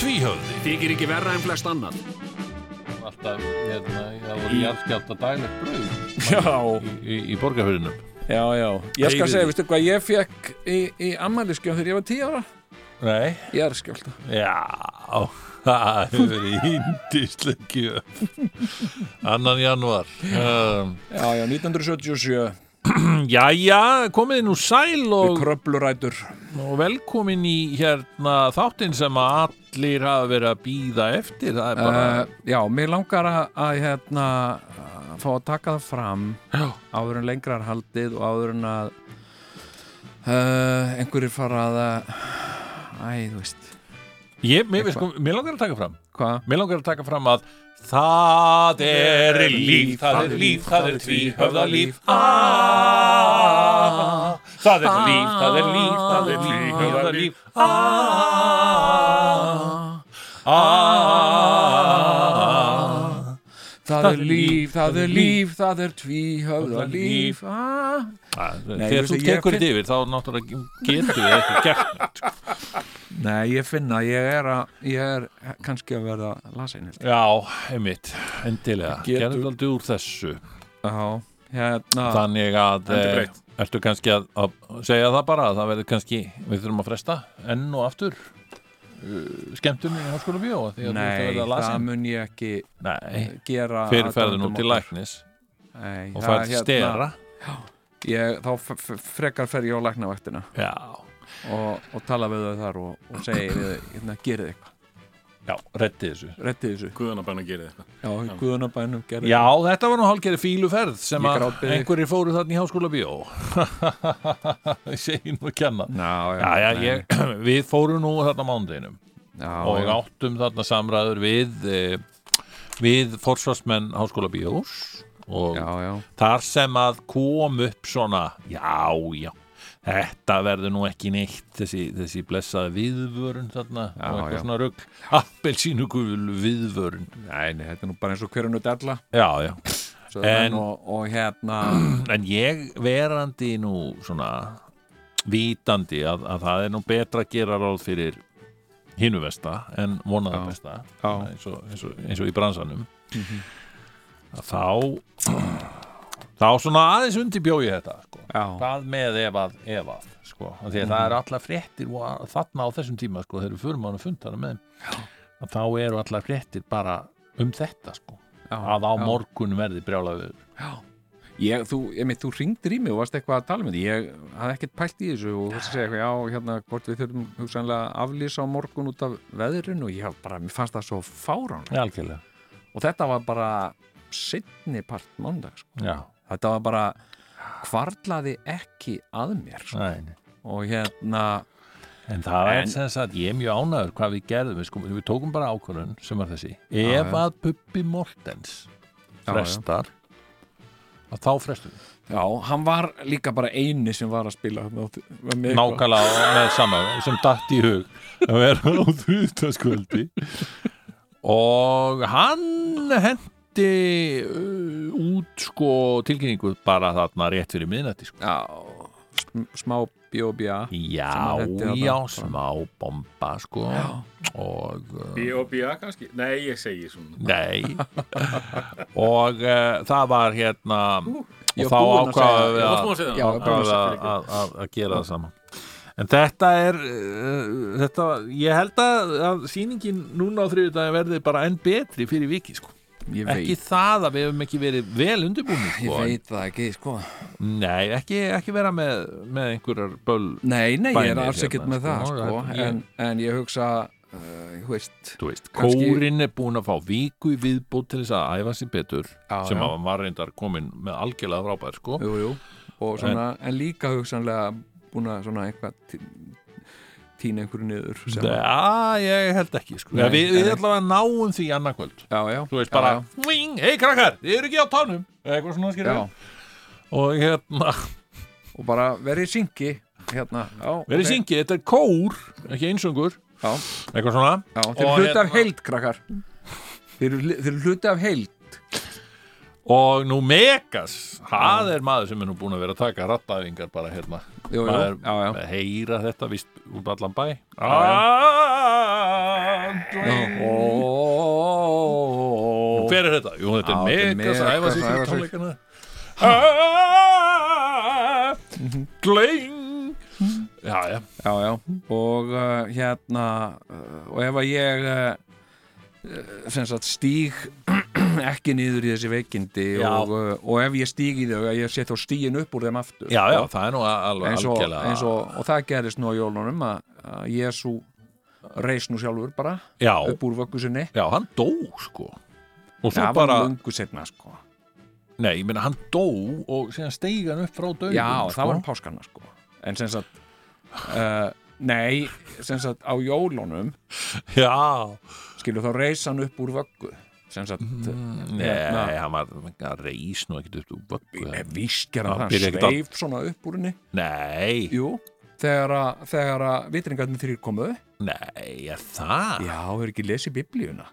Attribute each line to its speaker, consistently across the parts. Speaker 1: Tvíhöfði
Speaker 2: Þykir ekki verra en flest annan
Speaker 3: alltaf, hérna, það voru jarðskjált að daglegt brauð
Speaker 4: Já,
Speaker 3: í, í, í borgarfyrinum.
Speaker 4: já, já Ég skal
Speaker 2: Eigið
Speaker 4: segja,
Speaker 2: þið.
Speaker 4: veistu hvað ég fekk í, í ammæliskjón þegar ég var 10 ára
Speaker 3: Nei,
Speaker 4: Ég er skjálta
Speaker 3: já, það hefur verið índisleikju. Annan janúar. Um,
Speaker 4: Já, já, 1977
Speaker 3: jæja, komið nú sæl
Speaker 4: og...
Speaker 3: og,
Speaker 4: Kröblurætur
Speaker 3: og velkomin í hérna þáttinn sem að allir hafa verið að býða eftir. Það er bara,
Speaker 4: uh, Já, mér langar að, að hérna að fá að taka það fram
Speaker 3: já,
Speaker 4: áður en lengra er haldið og áður en að uh, einhverjir fara að Æ, þú veist
Speaker 3: ég, mér, sko, mér langar að taka fram.
Speaker 4: Hvað?
Speaker 3: Mér langar að taka fram að Það er líf, það er líf, það er tvíhöfða líf ah, Það er líf, það er líf, það er Ah. tvíhöfða líf ah, ah,
Speaker 4: Það er líf, það er líf, það er tvíhöfða líf ah.
Speaker 3: Þegar þú
Speaker 4: veistu, ég
Speaker 3: tekur
Speaker 4: finn-
Speaker 3: þetta yfir þá náttúrulega getur við ekki gert neitt, sko.
Speaker 4: Nei, ég finna, ég er, að, ég er kannski að verða lasin
Speaker 3: Já, einmitt, endilega
Speaker 4: Getur-
Speaker 3: Gerðu aldrei úr þessu
Speaker 4: Já, hérna
Speaker 3: Þannig að
Speaker 2: Endur
Speaker 3: eh,
Speaker 2: breytt.
Speaker 3: ertu kannski að, að segja það bara að það verður kannski, við þurfum að fresta enn og aftur uh, skemmtum í háskóla bjó því að þú ert að
Speaker 4: Nei,
Speaker 3: verða
Speaker 4: það
Speaker 3: lasin
Speaker 4: mun ég ekki eh,
Speaker 3: Nei,
Speaker 4: gera
Speaker 3: fyrirferðu nú
Speaker 4: aðdáendum
Speaker 3: til
Speaker 4: okkar.
Speaker 3: læknis
Speaker 4: Nei,
Speaker 3: og
Speaker 4: það
Speaker 3: færð
Speaker 4: hérna,
Speaker 3: stera
Speaker 4: ég, Þá f- f- frekar fer ég á læknavaktina
Speaker 3: Já,
Speaker 4: og, og tala við þau þar og, og segi við þau, hérna, gerið eitthvað
Speaker 3: já, reddi þessu
Speaker 4: Rettið þessu
Speaker 2: Guðanabanna gerir þetta
Speaker 4: Já, í guðunabænum gerið
Speaker 3: Já, þetta var nú hálfgerði fíluferð sem
Speaker 4: Ég
Speaker 3: að
Speaker 4: grátbið þig.
Speaker 3: einhverjir fóru þarna í háskóla bjó Ég segi nú að kenna
Speaker 4: Já, já,
Speaker 3: Já, já,
Speaker 4: nei.
Speaker 3: ég, við fórum nú þarna mándeginum
Speaker 4: já,
Speaker 3: og
Speaker 4: já.
Speaker 3: áttum þarna samræður við eh, við forsvarsmenn Háskóla Bíós og
Speaker 4: Já, já,
Speaker 3: þar sem að kom upp svona já, já, þetta verður nú ekki neitt þessi, þessi blessaði viðvörun þarna
Speaker 4: Já,
Speaker 3: og eitthvað
Speaker 4: já.
Speaker 3: svona rugg appelsínugul viðvörun
Speaker 4: nei, nei, þetta er nú bara eins og hverjunu della
Speaker 3: já, já, En-
Speaker 4: en, og, og hérna
Speaker 3: en ég verandi nú svona vitandi að, að það er nú betra að gera ráð fyrir hinu vesta en vonaða
Speaker 4: Já.
Speaker 3: besta
Speaker 4: Já, Mhm.
Speaker 3: eins og, eins og, eins og í bransanum að þá þá svona aðeins undirbjóði þetta sko.
Speaker 4: já, Mhm.
Speaker 3: hvað með ef að, ef að sko. Af því að það eru allar fréttir og að- þarna á þessum tíma sko, þegar við förum á hann að funda hana með þeim, að þá eru allar fréttir bara um þetta sko.
Speaker 4: já
Speaker 3: að á
Speaker 4: já.
Speaker 3: morgun verði brjála við
Speaker 4: Ég, þú, ég þú ringdir í mig og varst eitthvað að tala með því ég hafði ekkert pælt í þessu og þú varst að segja eitthvað, já, hérna, hvort við þurfum hugsanlega að aflýsa á morgun út af veðrinu og ég hafði bara, mér fannst það svo fáránlega
Speaker 3: algjörlega
Speaker 4: og þetta var bara setni part mándag, sko.
Speaker 3: Já,
Speaker 4: þetta var bara hvarlaði ekki að mér sko.
Speaker 3: nei, nei.
Speaker 4: og hérna,
Speaker 3: en það er
Speaker 4: En-
Speaker 3: sem sagt ég er mjög ánæður hvað við gerðum við, sko, við tókum bara ákvörðun sem var þessi ef
Speaker 4: já.
Speaker 3: að Puppi Mortens
Speaker 4: Já, já.
Speaker 3: frestar að þá frestum við
Speaker 4: já, hann var líka bara eini sem var að spila þarna á- var með sko. eitthvað.
Speaker 3: nákvæmlega og með sama sem datt í hug að vera á þrjúðtaskvöldi og hann hendi uh, út sko tilkynningu bara þarna rétt fyrir miðnætti sko.
Speaker 4: já, sm- smá bjóbja
Speaker 3: já,
Speaker 4: hann hendi þarna.
Speaker 3: já, smá bomba sko og uh,
Speaker 2: B.O.B.A. kannski? Nei, ég segi svona
Speaker 3: Nei og uh, það var hérna
Speaker 4: ég
Speaker 3: og þá
Speaker 4: var búinn
Speaker 3: ákvaðum
Speaker 4: að segja það.
Speaker 3: við
Speaker 2: Ég var
Speaker 3: að-
Speaker 2: búinn að segja það.
Speaker 4: Já, ég var búinn að
Speaker 3: að
Speaker 4: segja
Speaker 3: að- að- að- að gera það saman en þetta er uh, þetta, ég held að, að sýningin núna á þriðudagin verði bara enn betri fyrir viki sko.
Speaker 4: ég
Speaker 3: ekki
Speaker 4: veit,
Speaker 3: það að við hefum ekki verið vel undirbúin
Speaker 4: ég
Speaker 3: sko.
Speaker 4: veit það ekki, sko
Speaker 3: nei, ekki, ekki vera með, með einhverjar böl
Speaker 4: Nei, nei, ég er
Speaker 3: bænir
Speaker 4: alls ekkert
Speaker 3: hérna,
Speaker 4: með það
Speaker 3: sko,
Speaker 4: sko,
Speaker 3: þetta- ég-
Speaker 4: en, en ég hugsa uh, ég veist,
Speaker 3: þú veist,
Speaker 4: Kannski-
Speaker 3: kórin er búin að fá viku í viðbútt til þess að æfa sér betur
Speaker 4: Já,
Speaker 3: sem
Speaker 4: já.
Speaker 3: að var reyndar komin með algjörlega frábær sko.
Speaker 4: jú, jú og svona, en, líka hugsanlega búin að svona eitthvað tí- tína einhverju niður sem, já,
Speaker 3: Já, ég held ekki sko.
Speaker 4: Nei,
Speaker 3: Nei, Við, við
Speaker 4: nei.
Speaker 3: ætlum að náum því annarkvöld
Speaker 4: já,
Speaker 3: Þú veist
Speaker 4: já,
Speaker 3: bara, hei krakkar, þið eru ekki á tánum Eða eitthvað svona
Speaker 4: já, já,
Speaker 3: skilja Og hérna
Speaker 4: og bara verið syngi hérna, já,
Speaker 3: verið
Speaker 4: ok.
Speaker 3: syngið, þetta er kór ekki einsöngur,
Speaker 4: já,
Speaker 3: eitthvað svona
Speaker 4: já, þeir eru
Speaker 3: Og
Speaker 4: hluti af
Speaker 3: hérna-
Speaker 4: heild krakkar þeir eru li- þeir eru hluti af heild
Speaker 3: og nú Megas það er maður sem er nú búin að vera að taka rattæfingar bara hérna
Speaker 4: jú, jú,
Speaker 3: maður
Speaker 4: já, já,
Speaker 3: að heyra þetta vist út allan bæ
Speaker 4: já.
Speaker 3: Og hver er þetta? Jú, þetta
Speaker 4: Já, þetta
Speaker 3: er
Speaker 4: er
Speaker 3: Megas að
Speaker 4: Megas
Speaker 3: æfa sig
Speaker 4: að æfa
Speaker 3: fyrir
Speaker 4: sig.
Speaker 3: tónleikana Ah,
Speaker 4: Mhm.
Speaker 3: Gleing Já, já,
Speaker 4: já, já og uh, hérna uh, og ef að ég uh, uh, sem sagt stíg ekki niður í þessi veikindi
Speaker 3: Já.
Speaker 4: og, uh, og ef ég stíg í þau að ég sé þá stígin upp úr þeim aftur
Speaker 3: já, já,
Speaker 4: Og-
Speaker 3: það er nú al- alveg
Speaker 4: eins og,
Speaker 3: algjörlega
Speaker 4: eins og, og það gerist nú á jólunum að, að Jésu reis nú sjálfur bara
Speaker 3: Já,
Speaker 4: upp úr vöggu sinni
Speaker 3: já, hann dó sko Og svo
Speaker 4: það var
Speaker 3: bara,
Speaker 4: lungu setna sko
Speaker 3: nei, ég meina hann dó og síðan steig hann upp frá dögum
Speaker 4: já,
Speaker 3: sko.
Speaker 4: það var um páskarna sko en sem sagt uh, nei, sem sagt á jólunum
Speaker 3: Já,
Speaker 4: skilur þá reis hann upp úr vöggu sem sagt mm,
Speaker 3: nei, hann var hann reis nú ekkert upp úr vöggu
Speaker 4: Nei, víst gera
Speaker 3: Hann
Speaker 4: hann,
Speaker 3: byrjaði
Speaker 4: hann
Speaker 3: ekkert að-
Speaker 4: sveif svona upp úr henni
Speaker 3: Nei,
Speaker 4: Jú, þegar að, þegar að vitringarnir þrýr komu
Speaker 3: nei, er það
Speaker 4: Já, hefur ekki lesið biblíuna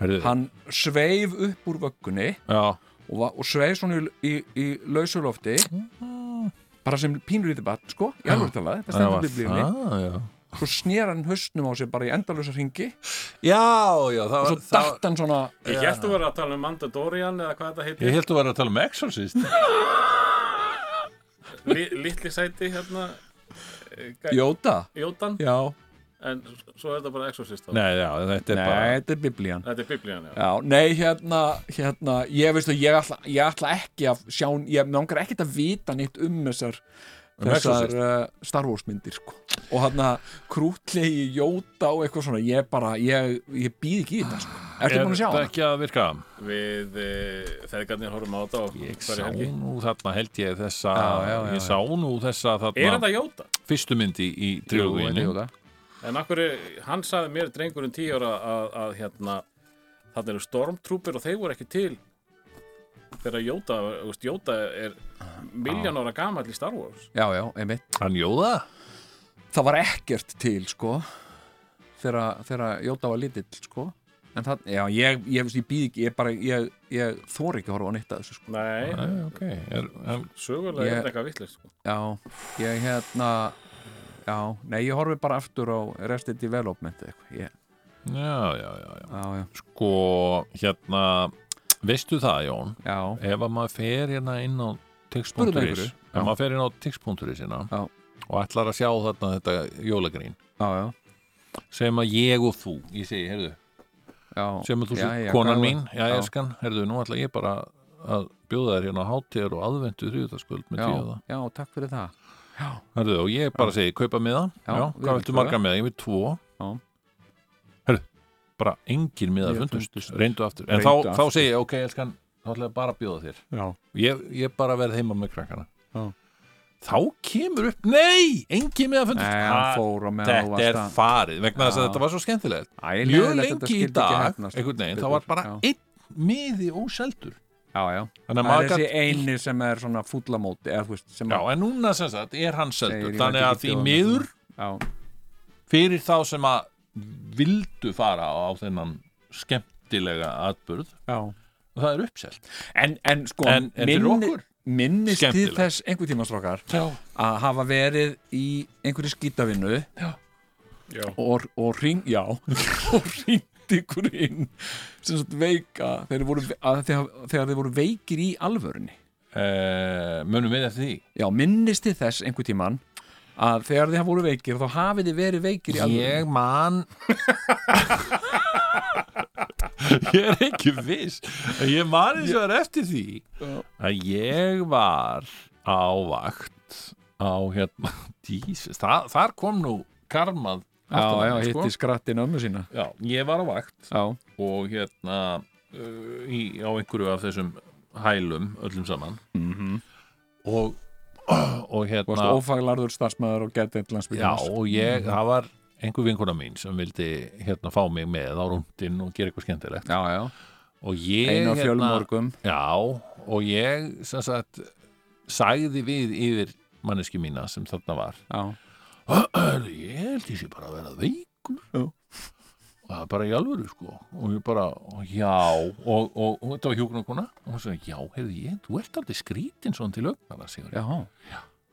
Speaker 3: Hörðu,
Speaker 4: Hann sveif upp úr vöggunni
Speaker 3: já,
Speaker 4: og, va- og sveið svona í, í, í lausu lofti bara sem pínlítið barn, sko, í alveg talað þetta
Speaker 3: það
Speaker 4: stendur
Speaker 3: var
Speaker 4: biblíunni,
Speaker 3: það, já
Speaker 4: svo snér hann hausnum á sig bara í endalösa ringi
Speaker 3: Já, já, það
Speaker 4: og
Speaker 3: var
Speaker 4: svo datt hann svona
Speaker 2: Ég held að vera að tala um Mandadorian eða hvað þetta heitir
Speaker 3: Ég held að vera að tala um Exorcist
Speaker 2: Li- Litli sæti hérna eh, gæ-
Speaker 4: Jóta,
Speaker 2: Jótan
Speaker 4: já
Speaker 2: En s- svo er þetta bara Exorcist þá.
Speaker 3: Nei, já, þetta er
Speaker 4: Nei,
Speaker 3: bara
Speaker 4: þetta er biblían
Speaker 2: Þetta er biblían, já
Speaker 4: Já, nei, hérna, hérna ég veist að ég ætla, ég ætla ekki að sjá, ég langar ekkert að vita neitt um þessar þessar
Speaker 3: Um Exorcist.
Speaker 4: uh, Star Wars myndir sko. og hann að krútlegi Jóta og eitthvað svona, ég bara ég, ég býð ekki í þetta sko. Ertu búin að sjá
Speaker 3: Er þetta
Speaker 4: hana?
Speaker 3: ekki að virka?
Speaker 2: Við e, þeðgarnir horfum á þetta og
Speaker 3: Ég sá
Speaker 2: hverju helgi
Speaker 3: nú þarna held ég þessa
Speaker 4: Já, já, já,
Speaker 3: Ég
Speaker 4: já.
Speaker 3: sá nú þessa
Speaker 2: Er
Speaker 3: þarna
Speaker 2: þetta Jóta?
Speaker 3: fyrstu myndi í
Speaker 4: Jú,
Speaker 3: drjóðinu
Speaker 4: þetta er Jóta.
Speaker 2: En akkur, hann sagði mér drengurinn tíu ára að, að hérna, þarna eru stormtrooper og þeir voru ekki til þegar Jóta, veist, Jóta er miljón ára gamall í Star Wars.
Speaker 4: Já, já, einmitt
Speaker 3: Hann Jóða?
Speaker 4: Það var ekkert til sko þegar, þegar Jóta var lítill sko en það, já, ég, ég veist, ég býð ekki ég bara, ég, ég þór ekki að horfa á neitt að þessu sko
Speaker 2: Nei,
Speaker 3: Æ, ok er, hann,
Speaker 2: sögulega
Speaker 4: Ég-
Speaker 2: er þetta eitthvað vitlega, sko.
Speaker 4: Já, ég hérna Já, nei, ég horfi bara aftur á Rested Development eitthvað ég,
Speaker 3: Já, já, já, já
Speaker 4: Já, já,
Speaker 3: Sko, hérna Veistu það, Jón?
Speaker 4: já
Speaker 3: Ef að maður fer hérna inn á
Speaker 4: Spurðu
Speaker 3: tix.is
Speaker 4: einhverju.
Speaker 3: Ef
Speaker 4: Já.
Speaker 3: maður fer inn á tix.is hérna
Speaker 4: Já.
Speaker 3: og ætlar að sjá þarna þetta jólagrín
Speaker 4: Já, já,
Speaker 3: sem að ég og þú, ég segi, heyrðu
Speaker 4: já
Speaker 3: sem að þú
Speaker 4: já,
Speaker 3: sér
Speaker 4: já,
Speaker 3: konan
Speaker 4: hvað
Speaker 3: mín já,
Speaker 4: Já.
Speaker 3: ég skan, heyrðu, nú ætla ég bara að bjóða þér hérna á hátíðar og aðventu þrjúðarskvöld með
Speaker 4: Já,
Speaker 3: tíða
Speaker 4: já, takk fyrir það Já,
Speaker 3: heyrðu, og ég bara segi, kaupa miða
Speaker 4: Já,
Speaker 3: já, hvað
Speaker 4: við viljum
Speaker 3: viltu
Speaker 4: tvö.
Speaker 3: marga miða, ég vil tvo
Speaker 4: Já.
Speaker 3: heyrðu, bara engin miða
Speaker 4: Ég
Speaker 3: fundust,
Speaker 4: fundust.
Speaker 3: reyndu aftur en
Speaker 4: Reyndu
Speaker 3: þá, þá
Speaker 4: aftur.
Speaker 3: segi ég, ok, ég skan þá ætla ég bara að bjóða þér
Speaker 4: já,
Speaker 3: ég, ég bara verð heima með krakkana
Speaker 4: Já.
Speaker 3: þá kemur upp, nei engin miða fundust
Speaker 4: nei, hann fór á meðan þú
Speaker 3: þetta er
Speaker 4: varst
Speaker 3: farið, vegna þess að
Speaker 4: Já.
Speaker 3: þetta var svo skemmtilegt
Speaker 4: að Æ,
Speaker 3: mjög
Speaker 4: leiðilegt að þetta
Speaker 3: lengi í
Speaker 4: skyldi ekki
Speaker 3: dag
Speaker 4: heppnast.
Speaker 3: einhvern veginn, þá
Speaker 4: Betur,
Speaker 3: var bara
Speaker 4: já.
Speaker 3: einn miði óseldur
Speaker 4: Já, já,
Speaker 3: þannig að
Speaker 4: það er
Speaker 3: maður
Speaker 4: þessi
Speaker 3: gat-
Speaker 4: eini sem er svona fúllamóti eða þú veist, sem
Speaker 3: já,
Speaker 4: að
Speaker 3: en núna sem sagt er hann seldur
Speaker 4: Segir, ég
Speaker 3: þannig
Speaker 4: veit
Speaker 3: að
Speaker 4: ekki
Speaker 3: því
Speaker 4: hvað
Speaker 3: miður
Speaker 4: Já,
Speaker 3: fyrir þá sem að vildu fara á þennan skemmtilega atburð
Speaker 4: já
Speaker 3: og það er uppselt
Speaker 4: En, en sko,
Speaker 3: En- en fyrir okkur?
Speaker 4: minnist þið
Speaker 3: Skemmtilegt.
Speaker 4: þess einhver tíma strókar
Speaker 3: já,
Speaker 4: að hafa verið í einhverju skýtavinnu
Speaker 2: Já.
Speaker 4: og, og hring, já og hringt ykkur inn sem sagt veika þegar þeir voru, að, þegar, þegar þeir voru veikir í alvörunni
Speaker 3: Eh, munum við eftir því
Speaker 4: já, minnist þið þess einhver tíman að þegar þeir voru veikir þá hafið þið verið veikir í alvörunni
Speaker 3: Ég man Ég er ekki viss En Ég man eins og er eftir því að ég var á vakt á hérna Jesus, það, þar kom nú karmað aftan
Speaker 4: já,
Speaker 3: að
Speaker 4: já,
Speaker 3: mér, sko.
Speaker 4: hitti skrattin ömmu sína
Speaker 3: já, ég var á vakt
Speaker 4: já,
Speaker 3: og hérna uh, í, á einhverju af þessum hælum öllum saman
Speaker 4: Mhm.
Speaker 3: -hmm. og, og hérna
Speaker 4: varst ófaglarður starfsmæður og getið eitthvað
Speaker 3: Já, og ég, það var einhver vinkona mín sem vildi hérna fá mig með á rúndin og gera eitthvað skemmtilegt
Speaker 4: já, já,
Speaker 3: og ég,
Speaker 4: einu
Speaker 3: hérna,
Speaker 4: fjölmorgum
Speaker 3: já, og ég sem sagt sagði við yfir manneski mína sem þarna var
Speaker 4: já,
Speaker 3: "Hörðu, ég held ég sé bara að vera veikur
Speaker 4: Já.
Speaker 3: og það er bara í alvöru sko og ég bara, já og, og, og þetta var hjúknarkona og hún sagði, já, heyrðu ég, þú ert aldrei skrítin svona til augnara, sigur
Speaker 4: já,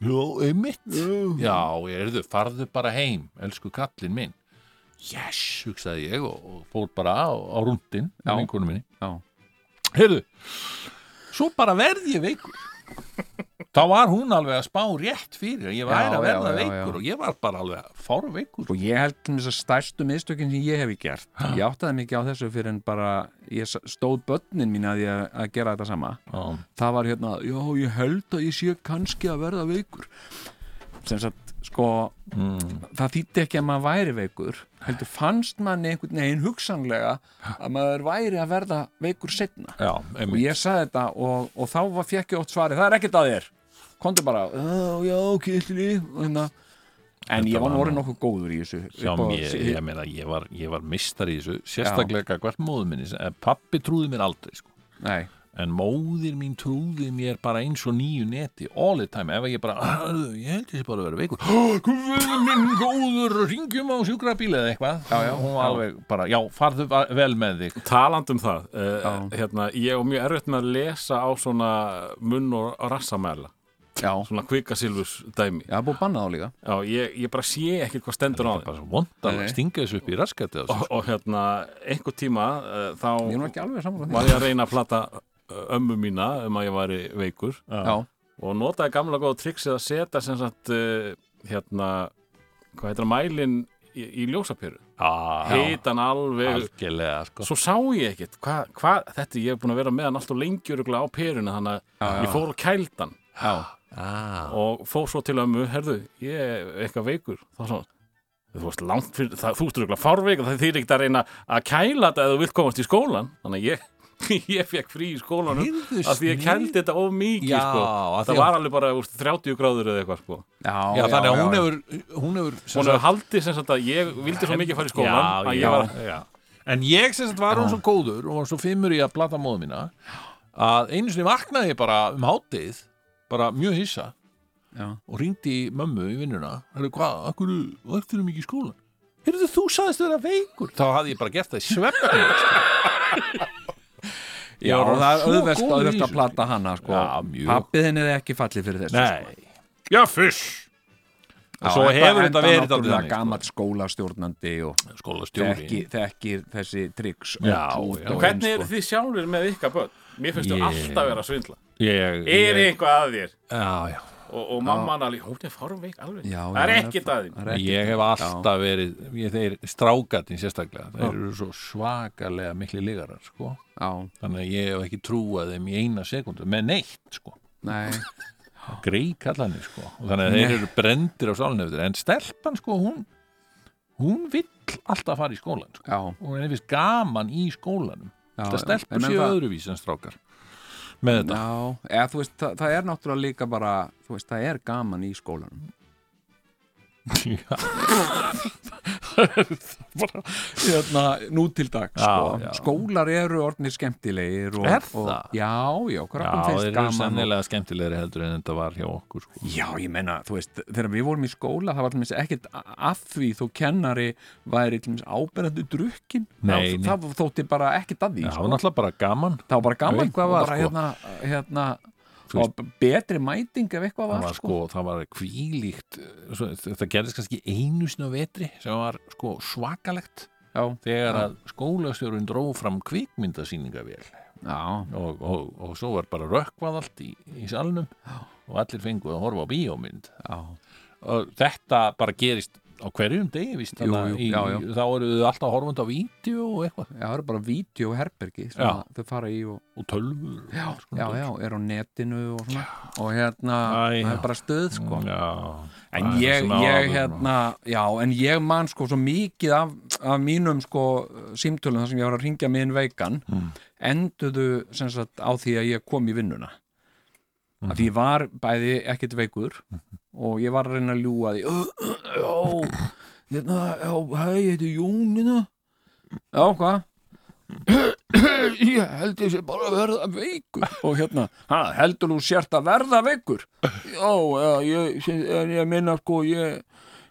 Speaker 3: Jó, einmitt Já, erðu, farðu bara heim, elsku kallinn minn Yes, hugsaði ég og, og fór bara á, á rúndin
Speaker 4: Já.
Speaker 3: með vinkonu minni
Speaker 4: já,
Speaker 3: Heyrðu, svo bara verð ég veikur Þá var hún alveg að spá rétt fyrir að ég væri
Speaker 4: Já,
Speaker 3: að verða
Speaker 4: já, já,
Speaker 3: veikur
Speaker 4: já.
Speaker 3: og ég var bara alveg að fára veikur
Speaker 4: og ég held til þess að stærstu mistökin sem ég hef ekki gert ég áttaði mikið á þessu fyrir en bara ég s- stóð börnin mín að ég að gera þetta sama
Speaker 3: Já,
Speaker 4: það var hérna, já ég held að ég sé kannski að verða veikur sem sagt, sko
Speaker 3: mm,
Speaker 4: það þýtti ekki að maður væri veikur heldur fannst manni einhvern veginn hugsanlega að maður væri að verða veikur setna
Speaker 3: já
Speaker 4: og
Speaker 3: einmitt
Speaker 4: ég saði þetta og, og þá var, fekk ég oft svari það er ekkert að þér, komdu bara "Já, já, kýtli en
Speaker 3: Þetta
Speaker 4: ég var
Speaker 3: var
Speaker 4: nú orðin
Speaker 3: nú-
Speaker 4: nokkuð góður í þessu
Speaker 3: Já,
Speaker 4: upp á-
Speaker 3: ég, ég meina, ég var, ég var mistar í þessu sérstaklega hvert móður minni sem- eh, pabbi trúði mér aldrei, sko
Speaker 4: nei,
Speaker 3: en móðir mín trúði mér bara eins og nýju neti all the time, ef ég bara "Hörðu, ég held þessi bara að vera veikur hvað minn góður, ringjum á sjúkrabíl eða eitthvað, já, já, hún var alveg bara, já, farðu va- vel með þig
Speaker 2: Taland um það, uh, hérna, ég og mjög erfitt með að lesa á svona munn og rassamæla,
Speaker 4: já,
Speaker 2: svona kvikasilvus dæmi.
Speaker 4: ég hafði búið bannað á líka
Speaker 2: Já, ég, ég bara sé ekki hvað stendur á þeim.
Speaker 3: bara svo vond að
Speaker 4: Nei.
Speaker 3: stinga þessu upp í raskætti
Speaker 2: Og, og hérna, einhver tíma uh, þá
Speaker 4: ég er nú ekki alveg saman
Speaker 2: var ég að reyna að plata uh, ömmu mína um að ég væri veikur
Speaker 4: já,
Speaker 2: og notaði gamla góða triksið að setja sem sagt, uh, hérna, hvað heitir það, mælin í, í ljósapyru. Oh,
Speaker 3: algjörlega,
Speaker 2: Heitan alveg
Speaker 3: sko
Speaker 2: svo sá ég ekkert hvað, hva, þetta ég hef búin að vera með hann alltaf lengi öruglega á peruna þannig að ég fór og kæld hann
Speaker 4: já,
Speaker 3: ah.
Speaker 2: og fór svo til ömmu, herðu, ég er eitthvað veikur þá svo, þú veist langt fyrir það, þú veist öruglega fárveik og það þýr ekkert að reyna að kæla þetta eða þú vilt komast í skólan þannig að ég, ég fekk frí í skólanum
Speaker 3: Heyrðu,
Speaker 2: af því ég
Speaker 3: snill.
Speaker 2: kældi þetta of mikið
Speaker 3: Já,
Speaker 2: sko.
Speaker 3: af því
Speaker 2: það
Speaker 3: að-
Speaker 2: var alveg bara úst, 30 gráður eða eitthvað sko.
Speaker 3: já, þannig að
Speaker 4: já,
Speaker 3: hún
Speaker 4: já.
Speaker 3: hefur hún hefur, sem
Speaker 2: hún hefur
Speaker 3: sagt-
Speaker 2: haldið sem sagt að ég vildi svo mikið fara í skólan
Speaker 3: já,
Speaker 2: að
Speaker 3: já,
Speaker 2: ég var
Speaker 3: já. en ég sem sagt var hún svo góður og var svo fimmur í að blata móðu mína að einu sinni vaknaði ég bara um hátið bara mjög hissa
Speaker 4: Já.
Speaker 3: og ringdi í mömmu í vinnuna hérna hvað, akkur, akkur er mikið í skólan hérna þú sagðist þér að veikur þá hafði ég bara gert það í svefni sko.
Speaker 4: já, og það er auðvelt auðvelt að
Speaker 3: plata
Speaker 4: plata hana sko.
Speaker 3: Já, mjög.
Speaker 4: pappið henni er ekki fallið fyrir þessu sko.
Speaker 3: nei, já fyrst og svo hefur þetta verið dálítið þannig, sko.
Speaker 4: gammalt skólastjórnandi og
Speaker 3: skólastjóri
Speaker 4: þekkir, þekkir þessi tryggs
Speaker 3: Já, já.
Speaker 2: og hvernig
Speaker 4: sko.
Speaker 2: eru þið sjálfur með ykkar börn? Mér finnst
Speaker 3: sko. Ég-
Speaker 2: þú alltaf vera að svindla
Speaker 3: ég,
Speaker 2: er
Speaker 3: ég,
Speaker 2: eitthvað að þér
Speaker 3: já, já
Speaker 2: og, og mamman alveg, hún er farveik alveg
Speaker 4: Já,
Speaker 2: það er
Speaker 4: já,
Speaker 2: ekkert að þín
Speaker 3: Ég hef alltaf verið, ég, þeir strákatinn sérstaklega, þeir eru svo svakalega mikli ligarar, sko.
Speaker 4: já,
Speaker 3: Þannig að ég hef ekki trúað þeim í eina sekundu, með neitt, sko.
Speaker 4: nei,
Speaker 3: Grei kallanir, sko. Og þannig að þeir eru brendir á sálinöfður. En stelpan, sko, hún, hún vill alltaf fara í skólan, sko.
Speaker 4: já,
Speaker 3: Og henni finnst gaman í skólanum.
Speaker 4: já
Speaker 3: Þetta
Speaker 4: En
Speaker 3: stelpur
Speaker 4: menn
Speaker 3: séu
Speaker 4: það-
Speaker 3: öðruvísi en strákar. Með þetta.
Speaker 4: Já, eða þú veist, það, það er náttúrulega líka bara þú veist, það er gaman í skólanum
Speaker 3: Já,
Speaker 4: hérna, nú til dags
Speaker 3: Já, já.
Speaker 4: skólar eru orðnir skemmtilegir og,
Speaker 3: sko. Er
Speaker 4: og,
Speaker 3: það?
Speaker 4: Já, já,
Speaker 3: já
Speaker 4: krakkun
Speaker 3: þeir
Speaker 4: finnst
Speaker 3: eru
Speaker 4: gaman og,
Speaker 3: sannilega skemmtilegri heldur en þetta var hjá okkur, sko.
Speaker 4: Já, ég menna, þú veist, þegar við vorum í skóla það var til dæmis ekkert a- að því þó kennari væri til dæmis áberandi drukkin
Speaker 3: Nei,
Speaker 4: það, það þótti bara ekkert að því
Speaker 3: Já,
Speaker 4: sko.
Speaker 3: það var náttúrulega bara gaman.
Speaker 4: það var bara gaman
Speaker 3: Eitthvað
Speaker 4: og
Speaker 3: var,
Speaker 4: bara
Speaker 3: sko.
Speaker 4: hérna, hérna
Speaker 3: Þú
Speaker 4: og betri mæting ef eitthvað
Speaker 3: það
Speaker 4: var,
Speaker 3: var sko, það var kvílíkt svo, þetta gerðist kannski einu sinna vetri sem var sko svakalegt
Speaker 4: já,
Speaker 3: þegar að skólastjórun dró fram kvikmyndasýningavél
Speaker 4: já,
Speaker 3: og, og, og svo var bara rökkvað allt í, í salnum og allir fenguð að horfa á bíómynd
Speaker 4: já,
Speaker 3: og þetta bara gerist á hverjum degi, víst,
Speaker 4: Jú,
Speaker 3: þarna
Speaker 4: jú,
Speaker 3: í,
Speaker 4: já, já.
Speaker 3: þá eru þau alltaf horfandi á vídeo og eitthvað,
Speaker 4: já, það eru bara vídeo herbergi sem
Speaker 3: Já.
Speaker 4: að þau fara í og
Speaker 3: og tölvur og alls konar
Speaker 4: já,
Speaker 3: dót.
Speaker 4: já, er á netinu og svona og hérna,
Speaker 3: Æ,
Speaker 4: það
Speaker 3: já. Mm,
Speaker 4: er bara stöð sko
Speaker 3: já
Speaker 4: En
Speaker 3: Það er það
Speaker 4: ég,
Speaker 3: sem
Speaker 4: ég
Speaker 3: áður, sko.
Speaker 4: hérna, já, en ég man sko svo mikið af, af mínum sko símtölum þar sem ég var að ringja mig inn veikan
Speaker 3: Mm.
Speaker 4: enduðu sem sagt á því að ég kom í vinnuna mm.
Speaker 3: Mhm.
Speaker 4: að ég var bæði ekkert veikur og ég var að reyna að ljúga því já, hérna, já, hei, ég heiti Jónina já, hvað? ég held ég sé bara að verða veikur og hérna, ha, heldur þú sért að verða veikur já, já, ég, ég, ég minna sko ég,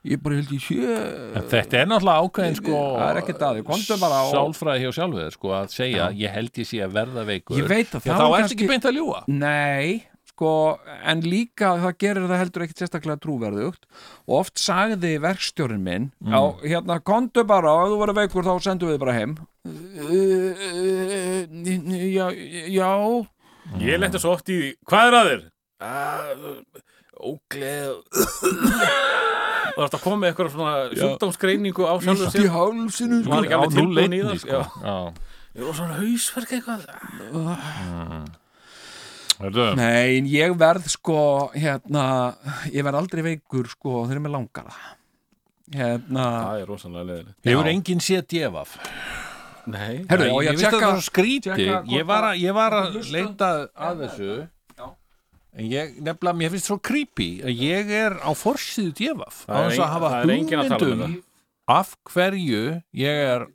Speaker 4: ég bara held ég sé
Speaker 3: Þetta er náttúrulega ákveðin sko
Speaker 4: Það er ekkert að því, komdu bara og-
Speaker 3: Sálfræði hjá sjálfuðið sko að segja Ég held ég sé að verða veikur
Speaker 4: Ég veit að
Speaker 3: Já, Þá
Speaker 4: það var
Speaker 3: ertu
Speaker 4: kannski-
Speaker 3: ekki beint að ljúga
Speaker 4: Nei, sko, en líka það gerir það heldur ekkit sérstaklega trúverðugt og oft sagði verkstjórin minn á, hérna, kondu bara og ef þú verður veikur þá sendum við þig bara heim eh, Já, já
Speaker 2: Ég lenti svo oft í því, hvað er að þér? Ógleð Og það er að koma með eitthvað svona sjúkdómsgreiningu á sjálfur
Speaker 4: Ítt í sko.
Speaker 2: sér
Speaker 4: hálsinu
Speaker 2: Var ekki
Speaker 3: Á
Speaker 2: alveg tilbúin
Speaker 3: núll
Speaker 2: í það
Speaker 3: einni,
Speaker 2: sko.
Speaker 3: sko. Já.
Speaker 2: Ég er svona hausverk eitthvað
Speaker 3: Heyrðu,
Speaker 4: Nei, en ég verð sko hérna, ég verð aldrei veikur sko þegar mér langar það Hérna
Speaker 2: Það er rosalega leðilegt
Speaker 3: Hefur enginn séð djefaf?
Speaker 2: Nei,
Speaker 4: Herru, og
Speaker 3: Ég
Speaker 4: ég
Speaker 3: veist að það
Speaker 4: tjekka
Speaker 3: er svo skrítið
Speaker 4: tjekka hvort
Speaker 3: Ég var að, ég var að
Speaker 4: Hlusta.
Speaker 3: leita að þessu En ég, nefnilega, mér finnst svo creepy að ég er á forsýðu djefaf á
Speaker 2: Það er
Speaker 3: þess að
Speaker 2: ein-
Speaker 3: hafa
Speaker 2: það er enginn að tala um
Speaker 3: hugmyndum af hverju ég er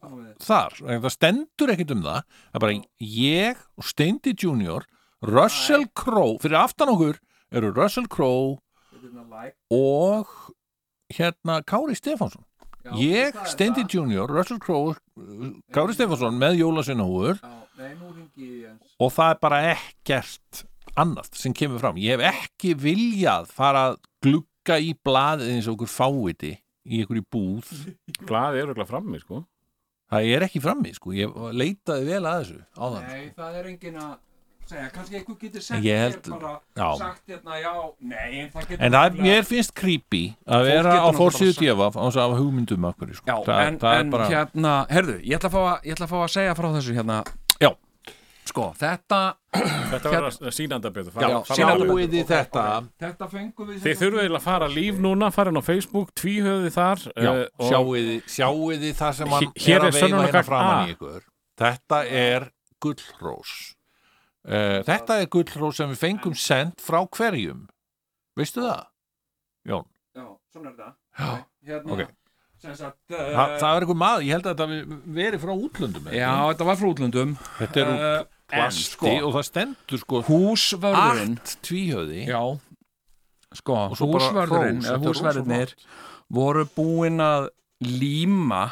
Speaker 3: þar en það stendur ekkit um það það er bara ég og Steindi Junior Russell Crowe, fyrir aftan okkur eru Russell Crowe og hérna Kári Stefánsson ég, Steindi Junior, Russell Crowe uh, Kári Stefánsson með Jólasveinahúður og það er bara ekkert annað sem kemur fram ég hef ekki viljað fara að glugga í blaðið eins og okkur fáviti í einhverju búð
Speaker 2: blaði er auðvitað frammi sko
Speaker 3: það er ekki frammi sko, ég leitaði vel að þessu á þann
Speaker 4: Nei, það er enginn að segja, kannski einhver getur
Speaker 3: En
Speaker 4: sent
Speaker 3: ég
Speaker 4: mér
Speaker 3: held-
Speaker 4: bara
Speaker 3: já.
Speaker 4: sagt hérna, já, nei, en það getur
Speaker 3: en það er,
Speaker 4: náttúrulega-
Speaker 3: mér finnst creepy að vera á
Speaker 4: getur náttúrulega
Speaker 3: fórsíðu
Speaker 4: sagt-
Speaker 3: djöfa á þess að hafa hugmyndum af hverju sko.
Speaker 4: Já,
Speaker 3: það,
Speaker 4: en,
Speaker 3: það
Speaker 4: en
Speaker 3: er bara,
Speaker 4: hérna, herðu, ég ætla, að fá að, ég ætla að fá að segja frá þessu hérna
Speaker 3: já,
Speaker 4: Sko, þetta,
Speaker 2: Þetta var að sýnanda betur fara- fara-
Speaker 4: sýnanda
Speaker 2: fara-
Speaker 4: betur.
Speaker 3: sjáuði þetta
Speaker 4: þetta fengum við
Speaker 2: Þið þurfið eiginlega að fara líf núna, farin á Facebook, tvíhöfði þar
Speaker 3: já,
Speaker 4: uh,
Speaker 2: eh, og-
Speaker 3: sjáuði, sjáuði það sem hann
Speaker 2: Hér- hér
Speaker 3: er
Speaker 2: er
Speaker 3: að veifa hérna
Speaker 2: sönnunargagn A.
Speaker 3: framan í ykkur þetta er gullrós uh, þetta er gullrós sem við fengum sendt frá hverjum veistu það? Jón
Speaker 4: Já, svona er þetta
Speaker 3: Já,
Speaker 4: hérna,
Speaker 3: ok.
Speaker 4: sem sagt
Speaker 3: Þa,
Speaker 4: uh,
Speaker 3: það er einhver maður, ég held að þetta hafi verið frá útlöndum eða
Speaker 4: Já,
Speaker 3: ekki?
Speaker 4: þetta var frá útlöndum
Speaker 3: þetta er úr
Speaker 4: Eh, en
Speaker 3: plasti
Speaker 4: sko,
Speaker 3: og það stendur sko
Speaker 4: húsvörðurinn
Speaker 3: allt tvíhöði
Speaker 4: Já, sko,
Speaker 3: Og svo bara hrós,
Speaker 4: húsvörðurinn eða
Speaker 3: þetta er
Speaker 4: húsverðirnir
Speaker 3: rosa
Speaker 4: voru búin að líma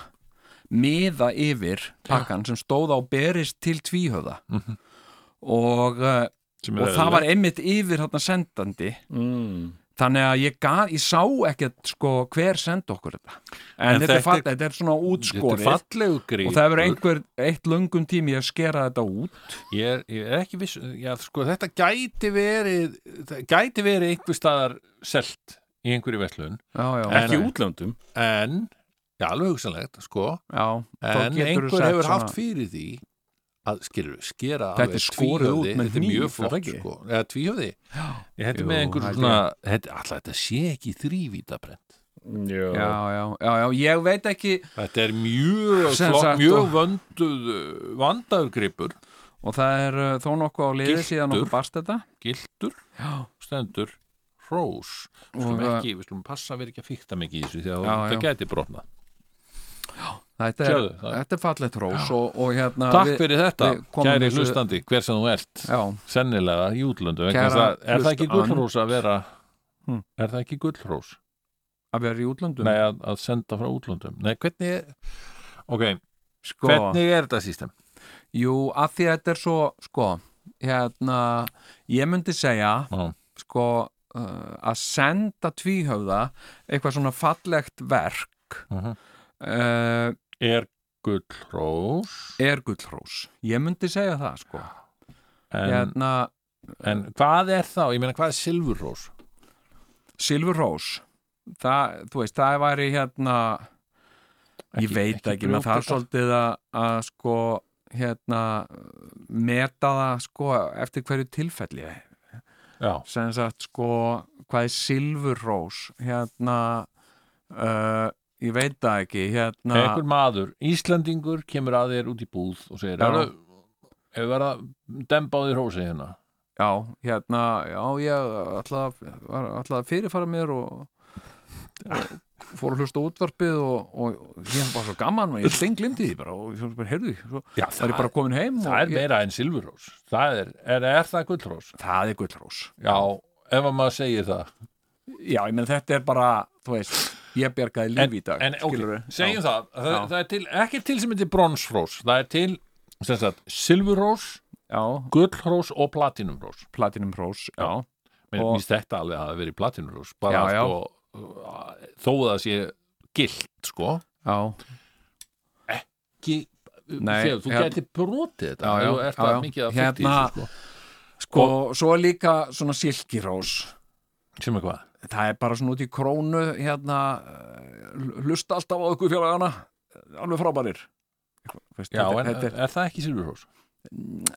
Speaker 4: miða yfir pakkan sem stóð á berist til tvíhöða
Speaker 3: Mhm.
Speaker 4: og, uh,
Speaker 3: sem er
Speaker 4: og það
Speaker 3: eðlilegt.
Speaker 4: var einmitt yfir þarna sendandi
Speaker 2: mm.
Speaker 4: þannig að ég, gaf, ég sá ekkert sko, hver sendi okkur þetta en,
Speaker 3: En
Speaker 4: þetta,
Speaker 3: þetta
Speaker 4: er
Speaker 3: er-
Speaker 4: fatt, þetta er svona
Speaker 3: þetta er
Speaker 4: útskorið
Speaker 3: fallegu
Speaker 4: og
Speaker 3: grípur
Speaker 4: það hefur einhver eitt lungum tími að skera þetta út
Speaker 3: Ég er, ég er ekki viss, já, sko, þetta gæti verið, það gæti verið einhver staðar selt í einhverju veslun,
Speaker 4: já, já,
Speaker 2: Ekki
Speaker 3: En-
Speaker 2: útlöndum
Speaker 3: en, já, alveg hugsanlegt, sko,
Speaker 4: já, þá
Speaker 3: en
Speaker 4: geturðu
Speaker 3: einhver
Speaker 4: sett
Speaker 3: hefur
Speaker 4: svona-
Speaker 3: haft fyrir því að skera, skera
Speaker 4: Þetta er skorið út
Speaker 3: tvíhöfði,
Speaker 4: með
Speaker 3: þetta er
Speaker 4: hníf,
Speaker 3: mjög
Speaker 4: er það
Speaker 3: flott,
Speaker 4: ekki?
Speaker 3: sko, eða tvíhöfði, þetta
Speaker 4: Jú,
Speaker 3: er með einhver
Speaker 4: held
Speaker 3: svona, þetta, alltaf þetta sé ekki þrývítabrent,
Speaker 2: Jó.
Speaker 4: já, já, já, já, ég veit ekki
Speaker 3: þetta er mjög
Speaker 4: Sem
Speaker 3: flott,
Speaker 4: sagt, og-
Speaker 3: mjög vönduð, vandaður gripur,
Speaker 4: og það er uh, þó nokkuð á liði
Speaker 3: Gylltur.
Speaker 4: síðan okkur barst þetta
Speaker 3: gildur,
Speaker 4: já,
Speaker 3: stendur, hrós, við
Speaker 4: og
Speaker 3: slum
Speaker 4: uh,
Speaker 3: ekki, við slum passa að vera ekki að fykta mikið í þessu því að
Speaker 4: Já,
Speaker 3: þetta
Speaker 4: já.
Speaker 3: gæti brotna
Speaker 4: þetta, er,
Speaker 3: Sjáðu, það-
Speaker 4: þetta er fallegt rós og, og hérna
Speaker 3: Takk
Speaker 4: við-
Speaker 3: fyrir þetta,
Speaker 4: við komum
Speaker 3: kæri
Speaker 4: þessu-
Speaker 3: hlustandi hver sem þú ert,
Speaker 4: já,
Speaker 3: sennilega í útlöndum vegna
Speaker 4: Kæra
Speaker 3: þess að- er það ekki
Speaker 4: hlustand.
Speaker 3: gullrós að vera
Speaker 4: Hmm.
Speaker 3: er það ekki gullrós?
Speaker 4: að vera í útlöndum
Speaker 3: Nei, að, að senda frá útlöndum Nei, hvernig er ok,
Speaker 4: sko,
Speaker 3: hvernig er þetta system?
Speaker 4: jú, að því að þetta er svo sko, hérna ég myndi segja
Speaker 3: Já.
Speaker 4: sko, uh, að senda tvíhöfða eitthvað svona fallegt verk
Speaker 3: Mhm.
Speaker 4: uh,
Speaker 3: Er gullrós
Speaker 4: er gullrós ég myndi segja það sko
Speaker 3: en,
Speaker 4: hérna,
Speaker 3: en hvað er þá? Ég meina, hvað er silfurrós?
Speaker 4: silfurrós það, þú veist, það væri hérna ég veit ekki, maður þarf
Speaker 3: brjóta-
Speaker 4: svolítið að, að sko hérna meta það sko eftir hverju tilfelli
Speaker 3: Já,
Speaker 4: sem sagt sko hvað er silfurrós hérna uh, ég veit það ekki hérna
Speaker 3: einhver maður, Íslandingur kemur að þér út í búð og segir
Speaker 4: Já.
Speaker 3: "Hörðu, hefur verið að dempa á því hrósi hérna
Speaker 4: já, hérna, já ég ætla, var- ætla að fyrirfara mér og, og fór að hlusta á útvarpið og, og ég var svo gaman og ég stein glimti því bara og ég bara, heyrðu, svo
Speaker 3: Já,
Speaker 4: var ég bara komin heim
Speaker 3: það
Speaker 4: og
Speaker 3: er meira en silfurrós það er, er, er það gullrós
Speaker 4: það er gullrós
Speaker 3: já, ef að maður segir það
Speaker 4: Já, ég menn þetta er bara, þú veist, ég bjargaði
Speaker 3: en,
Speaker 4: lífi í dag
Speaker 3: en ok,
Speaker 4: skilurðu?
Speaker 3: segjum
Speaker 4: Já.
Speaker 3: það, það,
Speaker 4: Já.
Speaker 3: það er til, ekki til sem heitir bronsrós það er til sem sagt, silfurrós,
Speaker 4: Já,
Speaker 3: gullrós og platinumrós
Speaker 4: Platinum Rose, já,
Speaker 3: mér
Speaker 4: Og-
Speaker 3: finnst þetta alveg að það verið platinumrós bara
Speaker 4: Já, já.
Speaker 3: sko uh, þó að það sé gilt sko
Speaker 4: já,
Speaker 3: ekki
Speaker 4: Nei,
Speaker 3: Sér, þú
Speaker 4: hérna-
Speaker 3: gæti brotið þetta
Speaker 4: Já, já,
Speaker 3: ef þú ert
Speaker 4: já,
Speaker 3: það
Speaker 4: já.
Speaker 3: mikið að
Speaker 4: Hérna-
Speaker 3: fyrta í þessu
Speaker 4: sko, svo er líka svona Silky Rose,
Speaker 3: sko. sem er hvað?
Speaker 4: það er bara svona út í krónu, hérna, eh, hlusta alltaf á okkur félagana, alveg frábærir. Veist,
Speaker 3: Já,
Speaker 4: þetta,
Speaker 3: en
Speaker 4: þetta
Speaker 3: er,
Speaker 4: er,
Speaker 3: það ekki silfurrós?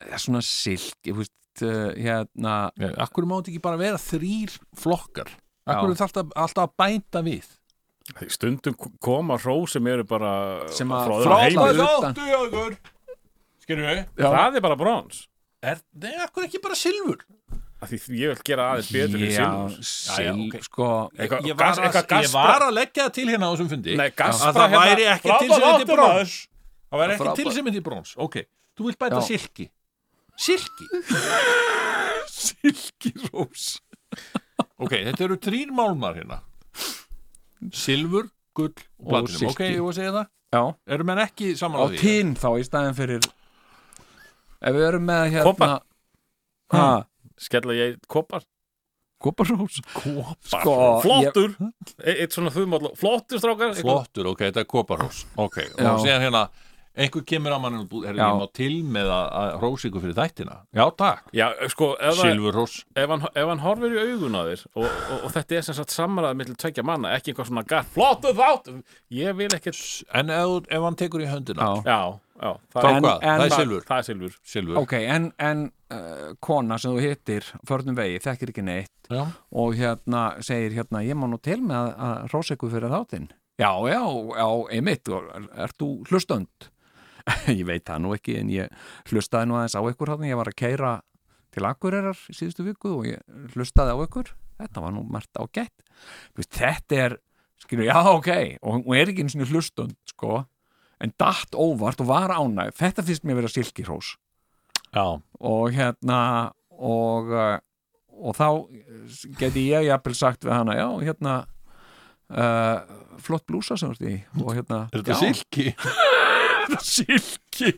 Speaker 4: er svona silk, ég veist, eh, hérna,
Speaker 3: Akkur mátt ekki bara vera þrýr flokkar Akkur
Speaker 4: Já.
Speaker 3: er það alltaf, alltaf að bæta við
Speaker 2: Stundum koma hró sem eru bara
Speaker 4: Sem að-
Speaker 2: frá öðrum
Speaker 4: frá-
Speaker 2: heimi.
Speaker 4: Heimir utan.
Speaker 3: þáttu jögur Skilur við?
Speaker 4: já,
Speaker 2: Það er bara brons
Speaker 3: Er, nei, akkur ekki bara silfur?
Speaker 2: Af Því ég vil gera aðeins betur fyrir silfur
Speaker 4: silk,
Speaker 3: Já, já, ok.
Speaker 4: sko,
Speaker 2: Eitthvað-
Speaker 3: Ég var,
Speaker 2: gas-
Speaker 3: að,
Speaker 2: eitthvað
Speaker 3: ég
Speaker 2: gaspra-
Speaker 3: var að leggja það til hérna á þessum fundi
Speaker 2: Nei, gaspra
Speaker 3: að það
Speaker 2: hérna-
Speaker 3: væri ekki
Speaker 2: frábær
Speaker 3: til sem
Speaker 2: þáttur,
Speaker 3: heitir brons
Speaker 2: maður.
Speaker 3: Það væri ekki
Speaker 4: Frábær.
Speaker 3: til sem heitir brons Ok, þú vilt bæta
Speaker 4: Já.
Speaker 3: silki Silki
Speaker 4: Silky Rose.
Speaker 3: Ok, þetta eru þrýr málmar hérna Silfur, gull og
Speaker 4: Og
Speaker 3: platinum Ok,
Speaker 4: silki.
Speaker 3: ég var að segja það
Speaker 4: Já,
Speaker 3: Eru menn ekki
Speaker 4: á
Speaker 3: samanlega því?
Speaker 4: tín þá í staðin fyrir ef við erum með hérna
Speaker 2: Kopar. Skella ég kopar
Speaker 4: Koparós
Speaker 2: Kopar
Speaker 4: Sko,
Speaker 2: Flottur e Eitt svona þumall Flottur strákar eitthvað.
Speaker 3: Flottur, ok, þetta er koparhós Ok,
Speaker 4: Já.
Speaker 3: og síðan hérna einhver kemur á mannum búð, herri,
Speaker 4: Já.
Speaker 3: ég má til með að, að hrósa ykkur fyrir þættina Já, takk,
Speaker 2: Já, sko ef, það-
Speaker 3: silfurhós
Speaker 2: ef, hann, ef hann horfir í augun á þér og, og, og þetta er sem sagt samræð millir tvekja manna Ekki eitthvað svona gart Flottur þátt Ég vil ekkert
Speaker 3: En ef, þú- ef hann tekur í höndina
Speaker 4: Já.
Speaker 2: Já, já
Speaker 3: Þá
Speaker 2: Það,
Speaker 4: En-
Speaker 3: hvað, það er
Speaker 4: en-
Speaker 3: silfur,
Speaker 2: það er silfur
Speaker 3: silfur.
Speaker 4: Ok, en, en uh, kona sem þú hittir förnum vegi, þekkir ekki neitt
Speaker 3: Já.
Speaker 4: og hérna segir hérna ég má nú til með að, að rósa ykkur fyrir þáttinn Já, já, já, einmitt og er, ert þú hlustönd? ég veit það nú ekki en ég hlustaði nú aðeins á ykkur hann ég var að keira til Akureyrar í síðustu viku og ég hlustaði á ykkur þetta var nú margt ágætt Þú veist, þetta er, skilur, já, ok og hún er ekki einu sinni hlustönd, sko en datt óvart og var ánæg þetta finnst mér vera silkirós
Speaker 3: Já.
Speaker 4: og hérna og, uh, og þá geti ég jafnvel sagt við hana já, hérna uh, flott blúsa sem þú ert í og hérna,
Speaker 3: Er þetta
Speaker 4: já,
Speaker 3: silki?
Speaker 4: þetta silki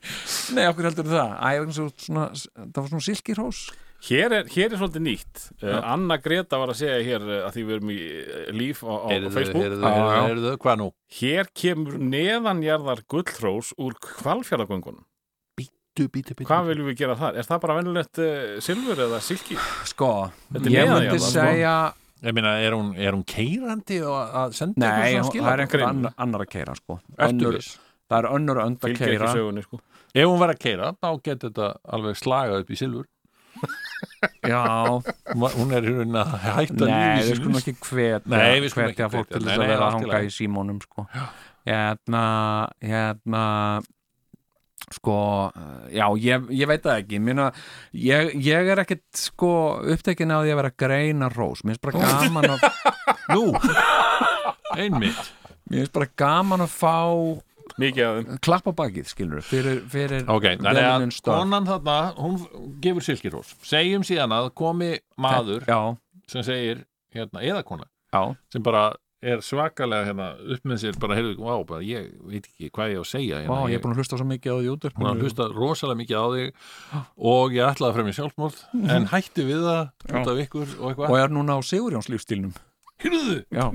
Speaker 4: nei, okkur heldur það Æ, vegna þess að þú ert svona, það var svona silki hrós
Speaker 2: Hér er, hér er svolítið nýtt uh, Anna Greta var að segja hér uh, að því við erum í uh, líf á, á
Speaker 3: Heyrðu,
Speaker 2: Facebook
Speaker 3: heyrðu,
Speaker 4: Já,
Speaker 3: heyrðu,
Speaker 4: já.
Speaker 3: heyrðu, hvað nú?
Speaker 2: Hér kemur neðanjarðar gullrós úr kvalfjörðagöngunum
Speaker 3: Bítu, bítu, bítu
Speaker 2: Hvað viljum við gera þar? Er það bara venjulegt uh, silfur eða silki?
Speaker 4: sko,
Speaker 2: Þetta
Speaker 4: ég
Speaker 2: er neðan
Speaker 4: myndi
Speaker 2: jarðar, sko.
Speaker 4: segja
Speaker 3: Ég meina, er hún, er hún keirandi og að- að senda
Speaker 4: nei,
Speaker 3: ykkur svona
Speaker 4: hún-
Speaker 3: skilabóð?
Speaker 4: það er einhver
Speaker 2: Grein.
Speaker 4: annar, annar að keira sko.
Speaker 3: Ertu
Speaker 4: önnur,
Speaker 3: viss?
Speaker 4: það er önnur önd að
Speaker 2: Fylgja
Speaker 4: keira
Speaker 2: ekki sögunni sko
Speaker 3: Ef hún var að keira, þá getur þetta alveg slagað upp í silfur
Speaker 4: já,
Speaker 3: Hún var- Hún er í raunin að hætta
Speaker 4: Nei,
Speaker 3: lífi
Speaker 4: við
Speaker 3: sínu.
Speaker 4: skulum ekki hvetja,
Speaker 3: Nei, við skulum
Speaker 4: hvetja
Speaker 3: ekki
Speaker 4: fólk
Speaker 3: hvetja.
Speaker 4: til
Speaker 3: Nei,
Speaker 4: þess að
Speaker 3: nei, allt
Speaker 4: vera að
Speaker 3: í
Speaker 4: hanga
Speaker 3: lagi.
Speaker 4: í símónum sko. hérna, hérna sko eh, já, ég, ég veit það ekki Muna, ég, ég er ekkit sko upptekin á því að vera að greina rós mér finnst bara gaman að
Speaker 3: Nú, einmitt
Speaker 4: mér finnst bara gaman að fá
Speaker 2: Mikið af þeim
Speaker 4: klappa bakið, skilur fyrir, fyrir
Speaker 3: Ok, þannig að
Speaker 4: velunum störf.
Speaker 3: konan þarna, hún f- gefur silkirós Segjum síðan að komi maður
Speaker 4: já,
Speaker 3: sem segir, hérna, eða kona
Speaker 4: já,
Speaker 3: sem bara er svakalega hérna, upp með sér, bara heyrðu, vá, bara ég veit ekki hvað ég á að segja
Speaker 4: Vá,
Speaker 3: hérna,
Speaker 4: ég er búin að hlusta svo mikið á því út
Speaker 3: búin að hlusta rosalega mikið á þig og ég ætlaði að fremja sjálfsmórð en hætti við það út af ykkur og
Speaker 4: og
Speaker 3: eitthvað
Speaker 4: er núna á Sigurjóns lífstílnum
Speaker 3: Hyrðu,
Speaker 4: já,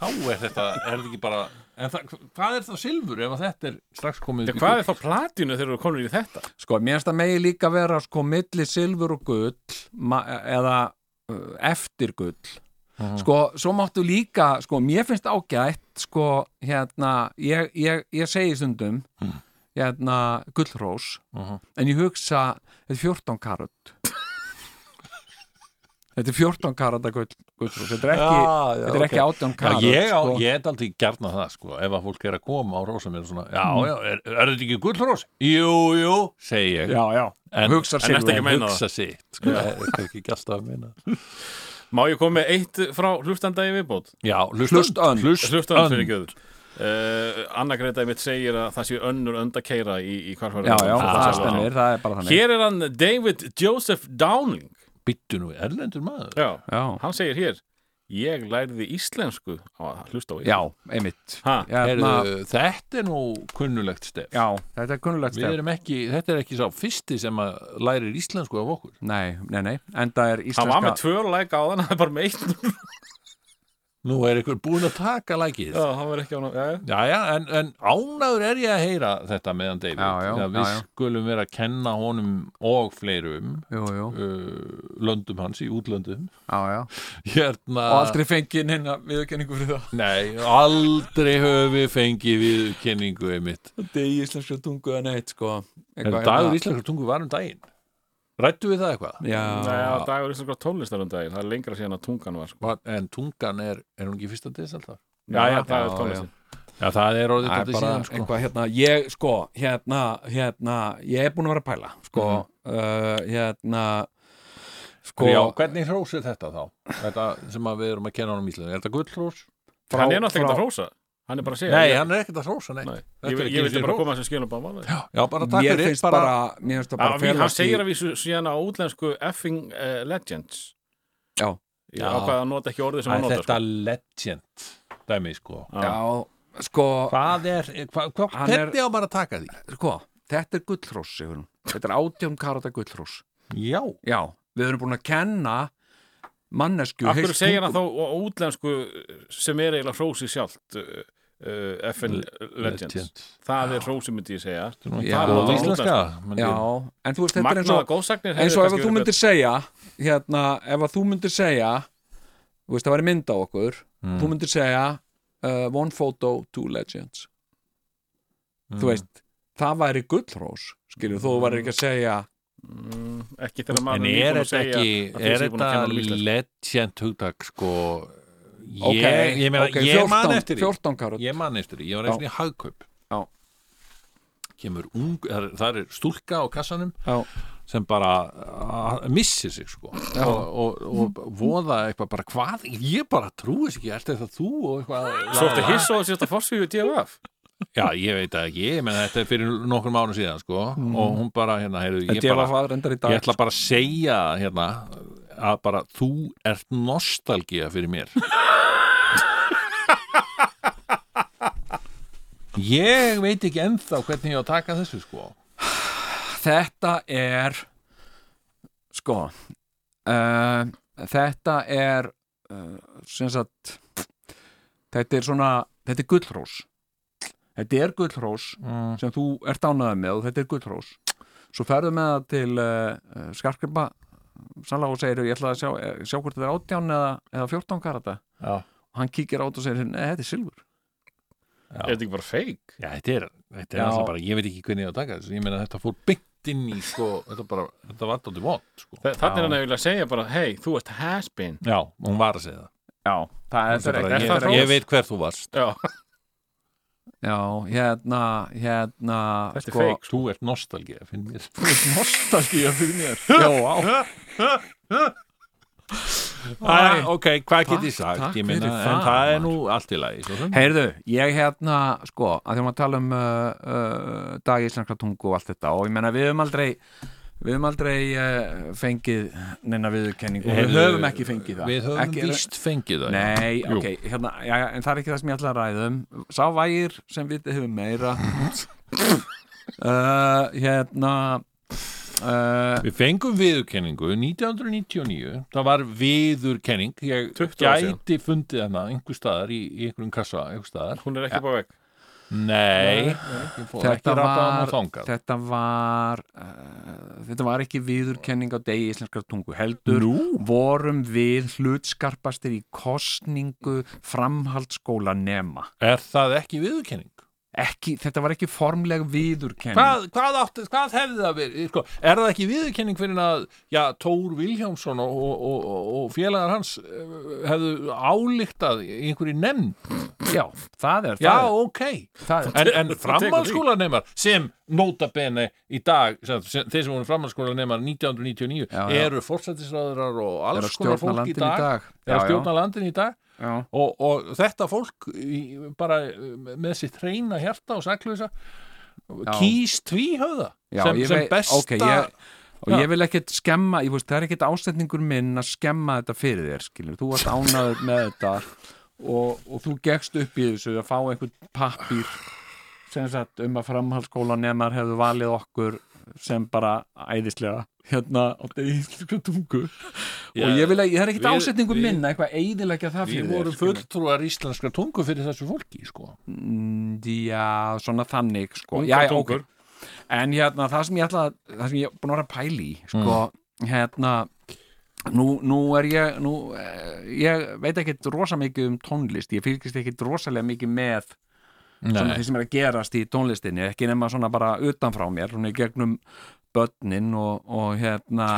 Speaker 3: þá er þetta, er þetta ekki bara en það, hvað er þá silfur ef að þetta er strax komið upp í
Speaker 2: Hvað
Speaker 3: gull?
Speaker 2: er þá platinu þegar við konur í þetta?
Speaker 4: Sko, mér finnst það megi líka vera sko milli silfur og gull ma- eða uh, eftir gull
Speaker 3: Mhm.
Speaker 4: Sko, svo máttu líka sko, mér finnst ágætt sko, hérna, ég, ég, ég segi stundum hérna, gullrós
Speaker 3: Mhm.
Speaker 4: en ég hugsa, þetta er 14 karat Þetta er 14 karata gull, gullrós Þetta er ekki,
Speaker 3: Já, já,
Speaker 4: þetta er
Speaker 3: ok.
Speaker 4: ekki 18
Speaker 3: Já,
Speaker 4: karat
Speaker 3: ég, á,
Speaker 4: sko.
Speaker 3: ég er aldrei gjarn að það sko, ef að fólk er að koma og rosa mér svona, já, já, er, er þetta ekki gullrós? Jú, jú, segi ég
Speaker 4: Já, já,
Speaker 3: en,
Speaker 4: hugsar
Speaker 2: en ertu
Speaker 4: silfur
Speaker 2: ekki að meina
Speaker 3: hugsa sitt sko, það er ekki alltaf að meina
Speaker 2: Má ég koma með eitt frá hlustanda í viðbót?
Speaker 3: Já,
Speaker 4: Hlust önd.
Speaker 2: Hlustanda fyrir göð uh, Anna Greta mitt segir að það sé önnur önd að keira í, í hvarfæra
Speaker 4: Já, já, það
Speaker 3: já.
Speaker 4: stemmir, það er bara þannig
Speaker 2: Hér er hann David Joseph Downing
Speaker 3: Bittu nú, erlendur maður
Speaker 2: Já,
Speaker 4: Já,
Speaker 2: hann segir hér Ég læriði íslensku á að hlusta á ég
Speaker 4: já einmitt
Speaker 2: Ha,
Speaker 4: Hérna,
Speaker 3: Heyrðu, Þetta er nú kunnulegt stef
Speaker 4: Já, þetta er kunnulegt
Speaker 3: Við
Speaker 4: stef
Speaker 3: erum ekki, þetta er ekki sá fyrsti sem að lærir íslensku af okkur
Speaker 4: Nei, nei, nei, en það er
Speaker 2: Hann var
Speaker 4: íslenska
Speaker 2: með tvö læk á þann, hann er bara með eitt
Speaker 3: Nú er ykkur búin að taka lækið
Speaker 2: Já,
Speaker 4: sko.
Speaker 2: hann var ekki á hann Já, já
Speaker 3: Jæja, en, en ánaður er ég að heyra þetta meðan David
Speaker 4: Já, já,
Speaker 3: Þegar Við
Speaker 4: já, já.
Speaker 3: skulum vera að kenna honum og fleirum
Speaker 4: Jú, jú,
Speaker 3: uh, löndum hans í útlöndum
Speaker 4: já, já
Speaker 3: Hérna,
Speaker 4: Og aldrei fengið neina viðurkenningu fyrir það
Speaker 3: nei, aldrei höfum við fengið við kenningu einmitt
Speaker 4: Þetta er í íslenska tungu en eitt, sko
Speaker 3: En
Speaker 4: Eitthvað
Speaker 3: dagur
Speaker 4: hérna-
Speaker 3: íslenskar tungu var um daginn Rættu við það eitthvað?
Speaker 4: Já,
Speaker 2: Næja, dagur íslenskar tónlistar um daginn Það er lengra síðan að tungan var sko.
Speaker 3: Var- En tungan er, er hún ekki fyrsta desember?
Speaker 2: Já, já, það
Speaker 4: já,
Speaker 2: er tónlistin
Speaker 3: Já, það er orðið
Speaker 4: Það er
Speaker 3: þetta
Speaker 4: bara
Speaker 3: síðan sko.
Speaker 4: eitthvað hérna, ég sko, hérna, hérna, ég er búin að vera að pæla, sko, uh, hérna, sko,
Speaker 3: Já, hvernig hrós er þetta þá? Þetta sem að við erum að kenna honum íslensku Er þetta gullhrós?
Speaker 4: frá-
Speaker 2: Hann er náttúrulega
Speaker 4: frá-
Speaker 2: ekki að hrósa Hann er bara að segja
Speaker 3: Nei,
Speaker 2: ég-
Speaker 3: hann er ekkert að hrósa, nei,
Speaker 2: Nei.
Speaker 3: Þetta
Speaker 2: Ég,
Speaker 3: er
Speaker 2: vil-
Speaker 3: ekki
Speaker 2: ég
Speaker 3: einu
Speaker 2: vildi
Speaker 3: sinni
Speaker 2: bara
Speaker 3: hrós.
Speaker 2: koma þessu skilum bara máli
Speaker 3: Já, já, bara takk
Speaker 4: Mér
Speaker 3: fyrir
Speaker 4: finnst bara, mér finnst það bara
Speaker 2: Hann
Speaker 4: felast í-
Speaker 2: segir að við síðan á útlensku effing eh, legends
Speaker 4: Já.
Speaker 2: Ég
Speaker 3: Já.
Speaker 2: ákvað að nota ekki orðið sem
Speaker 3: Æ,
Speaker 2: hann notar
Speaker 3: Þetta
Speaker 2: sko.
Speaker 3: legend Dæmi, sko
Speaker 2: Já.
Speaker 4: Já, sko,
Speaker 3: Hvað er, hva, hva,
Speaker 4: Hann er-
Speaker 3: hvernig á bara að taka því?
Speaker 4: sko, þetta er gullhrós, segir hún. Þetta er átjón karata gullhrós.
Speaker 3: Já,
Speaker 4: Já, við erum búin að kenna mannesku
Speaker 2: Af hverju
Speaker 4: heilt
Speaker 2: segir hann þá
Speaker 4: tungum.
Speaker 2: á útlensku eh, sem er eiginlega hrósið sjálft uh, uh, FN Legends Það er hrósið myndi ég segja
Speaker 4: Já.
Speaker 3: Það er
Speaker 4: Já.
Speaker 3: á íslenska myndi-
Speaker 4: Já, en þú veist, þetta er eins
Speaker 2: Magnaða
Speaker 4: og,
Speaker 2: góðsagnir
Speaker 4: eins
Speaker 2: hefðu
Speaker 4: og ef
Speaker 2: kannski
Speaker 4: þú
Speaker 2: verið
Speaker 4: myndir segja, hérna, ef að þú myndir segja, þú veist, það væri mynd á okkur,
Speaker 3: Mm,
Speaker 4: þú myndir segja uh, one photo, two legends.
Speaker 3: mm.
Speaker 4: Þú veist, það væri gullhrós, skilur, þú væri ekki að segja,
Speaker 2: betra. Mm, Ekki þegar
Speaker 3: En
Speaker 2: maður
Speaker 3: er
Speaker 2: búinn að
Speaker 3: þetta
Speaker 2: segja
Speaker 3: ekki,
Speaker 2: að þú
Speaker 3: er
Speaker 2: sé búinn að kenna honum
Speaker 3: þetta
Speaker 2: íslensku.
Speaker 3: legend hugtak, sko Ég,
Speaker 4: ok,
Speaker 3: ég meina,
Speaker 4: ok,
Speaker 3: ég man
Speaker 4: 14
Speaker 3: eftir því
Speaker 4: 14 karat.
Speaker 3: Ég man eftir því, ég var eftir í hagkaup
Speaker 4: Já.
Speaker 3: Kemur ung, þar, þar er stúlka á kassanum
Speaker 4: Já.
Speaker 3: sem bara a- missir sig sko og, og, og voða eitthvað bara hvað, ég bara trúi þess ekki er þetta þú og eitthvað
Speaker 2: Svo ertu hiss og sérst að fórsvíðu DFF
Speaker 3: Já, ég veit það ekki, ég menn þetta er fyrir nokkrum árum síðan sko og hún bara hérna, heyrðu, ég,
Speaker 4: Þetta er
Speaker 3: bara,
Speaker 4: að fara endar í dag
Speaker 3: ég ætla bara að segja hérna að bara þú ert nostalgía fyrir mér Ég veit ekki ennþá hvernig ég á að taka þessu sko
Speaker 4: Þetta er sko uh, þetta er uh, sem sagt þetta er svona, þetta er gullrós þetta er gullrós
Speaker 3: mm.
Speaker 4: sem þú ert ánaðið með og þetta er gullrós svo ferðu með það til uh, skarkripa sala og segir ég ætla að sjá, eh, sjá hvort þetta er átján eða, eða 14 karata
Speaker 3: Já.
Speaker 4: og hann kíkir át og segir, neða, þetta er silfur
Speaker 2: Er þetta ekki bara fake?
Speaker 3: Já, þetta er, þetta er
Speaker 4: Já.
Speaker 3: alltaf bara, ég veit ekki hvernig ég á að taka þessu, ég meina þetta fór beint inn í, sko, þetta bara, þetta var þáttu vond, sko.
Speaker 2: Þa- Þarna er hann að vilja segja bara Hei, þú ert has-been
Speaker 3: Já, hún var að segja það.
Speaker 4: Já, það er,
Speaker 3: Bara,
Speaker 2: er
Speaker 3: ég,
Speaker 2: það hrós?
Speaker 3: ég veit hver þú varst.
Speaker 2: Já,
Speaker 4: Já, hérna, hérna
Speaker 2: þetta er fake
Speaker 3: Þú ert nostalgið, finn mér.
Speaker 4: nostalgía fyrir mér Já, á Æ,
Speaker 3: ok, hvað
Speaker 4: get ég sagt? Ég meina, en
Speaker 3: en það er nú allt í lagi, svo sem.
Speaker 4: Heyrðu, ég hérna, sko, að því að maður tala um uh, uh, dag íslenskra tungu og allt þetta og ég menna við höfum aldrei við höfum aldrei uh, fengið neina viðurkenningu og við höfum ekki fengið það
Speaker 3: Við höfum
Speaker 4: ekki,
Speaker 3: víst fengið það.
Speaker 4: Nei,
Speaker 3: Jú.
Speaker 4: ok, hérna, já, já, en það er ekki það sem ég ætla að ræðum Sá vægir sem við hefum meira uh, Hérna uh,
Speaker 3: Við fengum viðurkenningu 1999, það var viðurkenning, ég
Speaker 2: 20 ár síðan.
Speaker 3: gæti fundið hana einhver staðar í, í einhverjum kassa, einhver staðar.
Speaker 2: Hún er ekki bara vekk
Speaker 3: Nei,
Speaker 4: þetta
Speaker 3: ekki rataðan og
Speaker 4: var,
Speaker 3: þangað.
Speaker 4: þetta var uh, þetta var ekki viðurkenning á degi íslenskar tungu heldur
Speaker 3: Nú?
Speaker 4: vorum við hlutskarpastir í kostningu framhaldsskóla nema
Speaker 3: Er það ekki viðurkenning?
Speaker 4: ekki, þetta var ekki formleg viðurkenning
Speaker 3: Hvað, hvað, átti, hvað hefði það verið? Sko, er það ekki viðurkenning fyrir að já, Tór Vilhjámsson og, og, og, og félagar hans eh, hefðu álíktað í einhverju nefnd?
Speaker 4: Já, það er, það
Speaker 3: Já,
Speaker 4: er,
Speaker 3: ok.
Speaker 4: það er
Speaker 3: En, en
Speaker 2: tekur því.
Speaker 3: framhalskólanemar sem notabene í dag, sem, sem, þeir sem voru framhalskólanemar 1999
Speaker 4: Já, já.
Speaker 3: eru forsættisráðurar og
Speaker 4: Eru
Speaker 3: alls
Speaker 4: að
Speaker 3: konar
Speaker 4: stjórna
Speaker 3: fólk í
Speaker 4: landinu í
Speaker 3: dag, er
Speaker 4: dag.
Speaker 3: að
Speaker 4: Já, já.
Speaker 3: stjórna landin í dag
Speaker 4: já,
Speaker 3: og, og þetta fólk í, bara eh, með sitt hreina hjarta og saklausa kýst tvíhöða
Speaker 4: já,
Speaker 3: sem,
Speaker 4: ég
Speaker 3: sem
Speaker 4: vei-
Speaker 3: besta
Speaker 4: ok, ég, og
Speaker 3: Já.
Speaker 4: ég vil ekkit skemma ég veist, það er ekkit ásetningur minn að skemma þetta fyrir þér, skilur, þú varst ánaður með þetta og, og þú gegst upp í þessu að fá einhvern pappír sem sagt um að framhaldsskólanemar hefðu valið okkur sem bara æðislega hérna á deyðislega tungu og ég vil að, það er ekkit
Speaker 2: við-
Speaker 4: ásetningur
Speaker 2: við-
Speaker 4: minn að eitthvað eiðilegja það
Speaker 3: Við
Speaker 4: fyrir
Speaker 3: vorum
Speaker 4: þér, skilur.
Speaker 3: fulltrúar íslenskra tungu fyrir þessu fólki, sko.
Speaker 4: Mm, Já, svona þannig sko.
Speaker 2: Ungar
Speaker 4: já, já,
Speaker 2: tungur.
Speaker 4: ok. En hérna, það sem ég ætla að- það sem ég er búin að vera að pæli sko, hérna nú, nú er ég nú, eh, ég veit ekkert rosa mikið um tónlist ég fylgist ekkert rosalega mikið með svona því sem er að gerast í tónlistinni ekki nema svona bara utan frá mér svona í gegnum börnin og, og hérna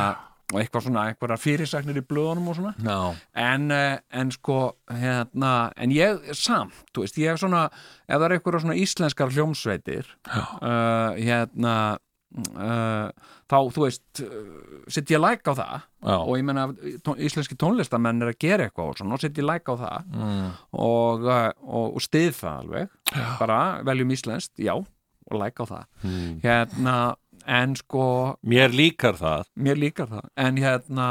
Speaker 4: og eitthvað svona, einhverja fyrirsagnir í blöðunum og svona
Speaker 3: Ná.
Speaker 4: en, eh, en sko hérna, en ég samt þú veist, ég hef svona, ef það er einhverja svona íslenskar hljómsveitir uh, hérna uh, þá, þú veist uh, sitt ég læk á það
Speaker 3: Já.
Speaker 4: og ég menna, tón, íslenski tónlistamenn er að gera eitthvað og svona, og sitt ég læk á það
Speaker 3: Mm.
Speaker 4: og, uh, og, og stið það alveg bara veljum íslenskt, já og læk á það
Speaker 3: Mm.
Speaker 4: hérna, en sko
Speaker 3: Mér líkar það.
Speaker 4: mér líkar það en hérna,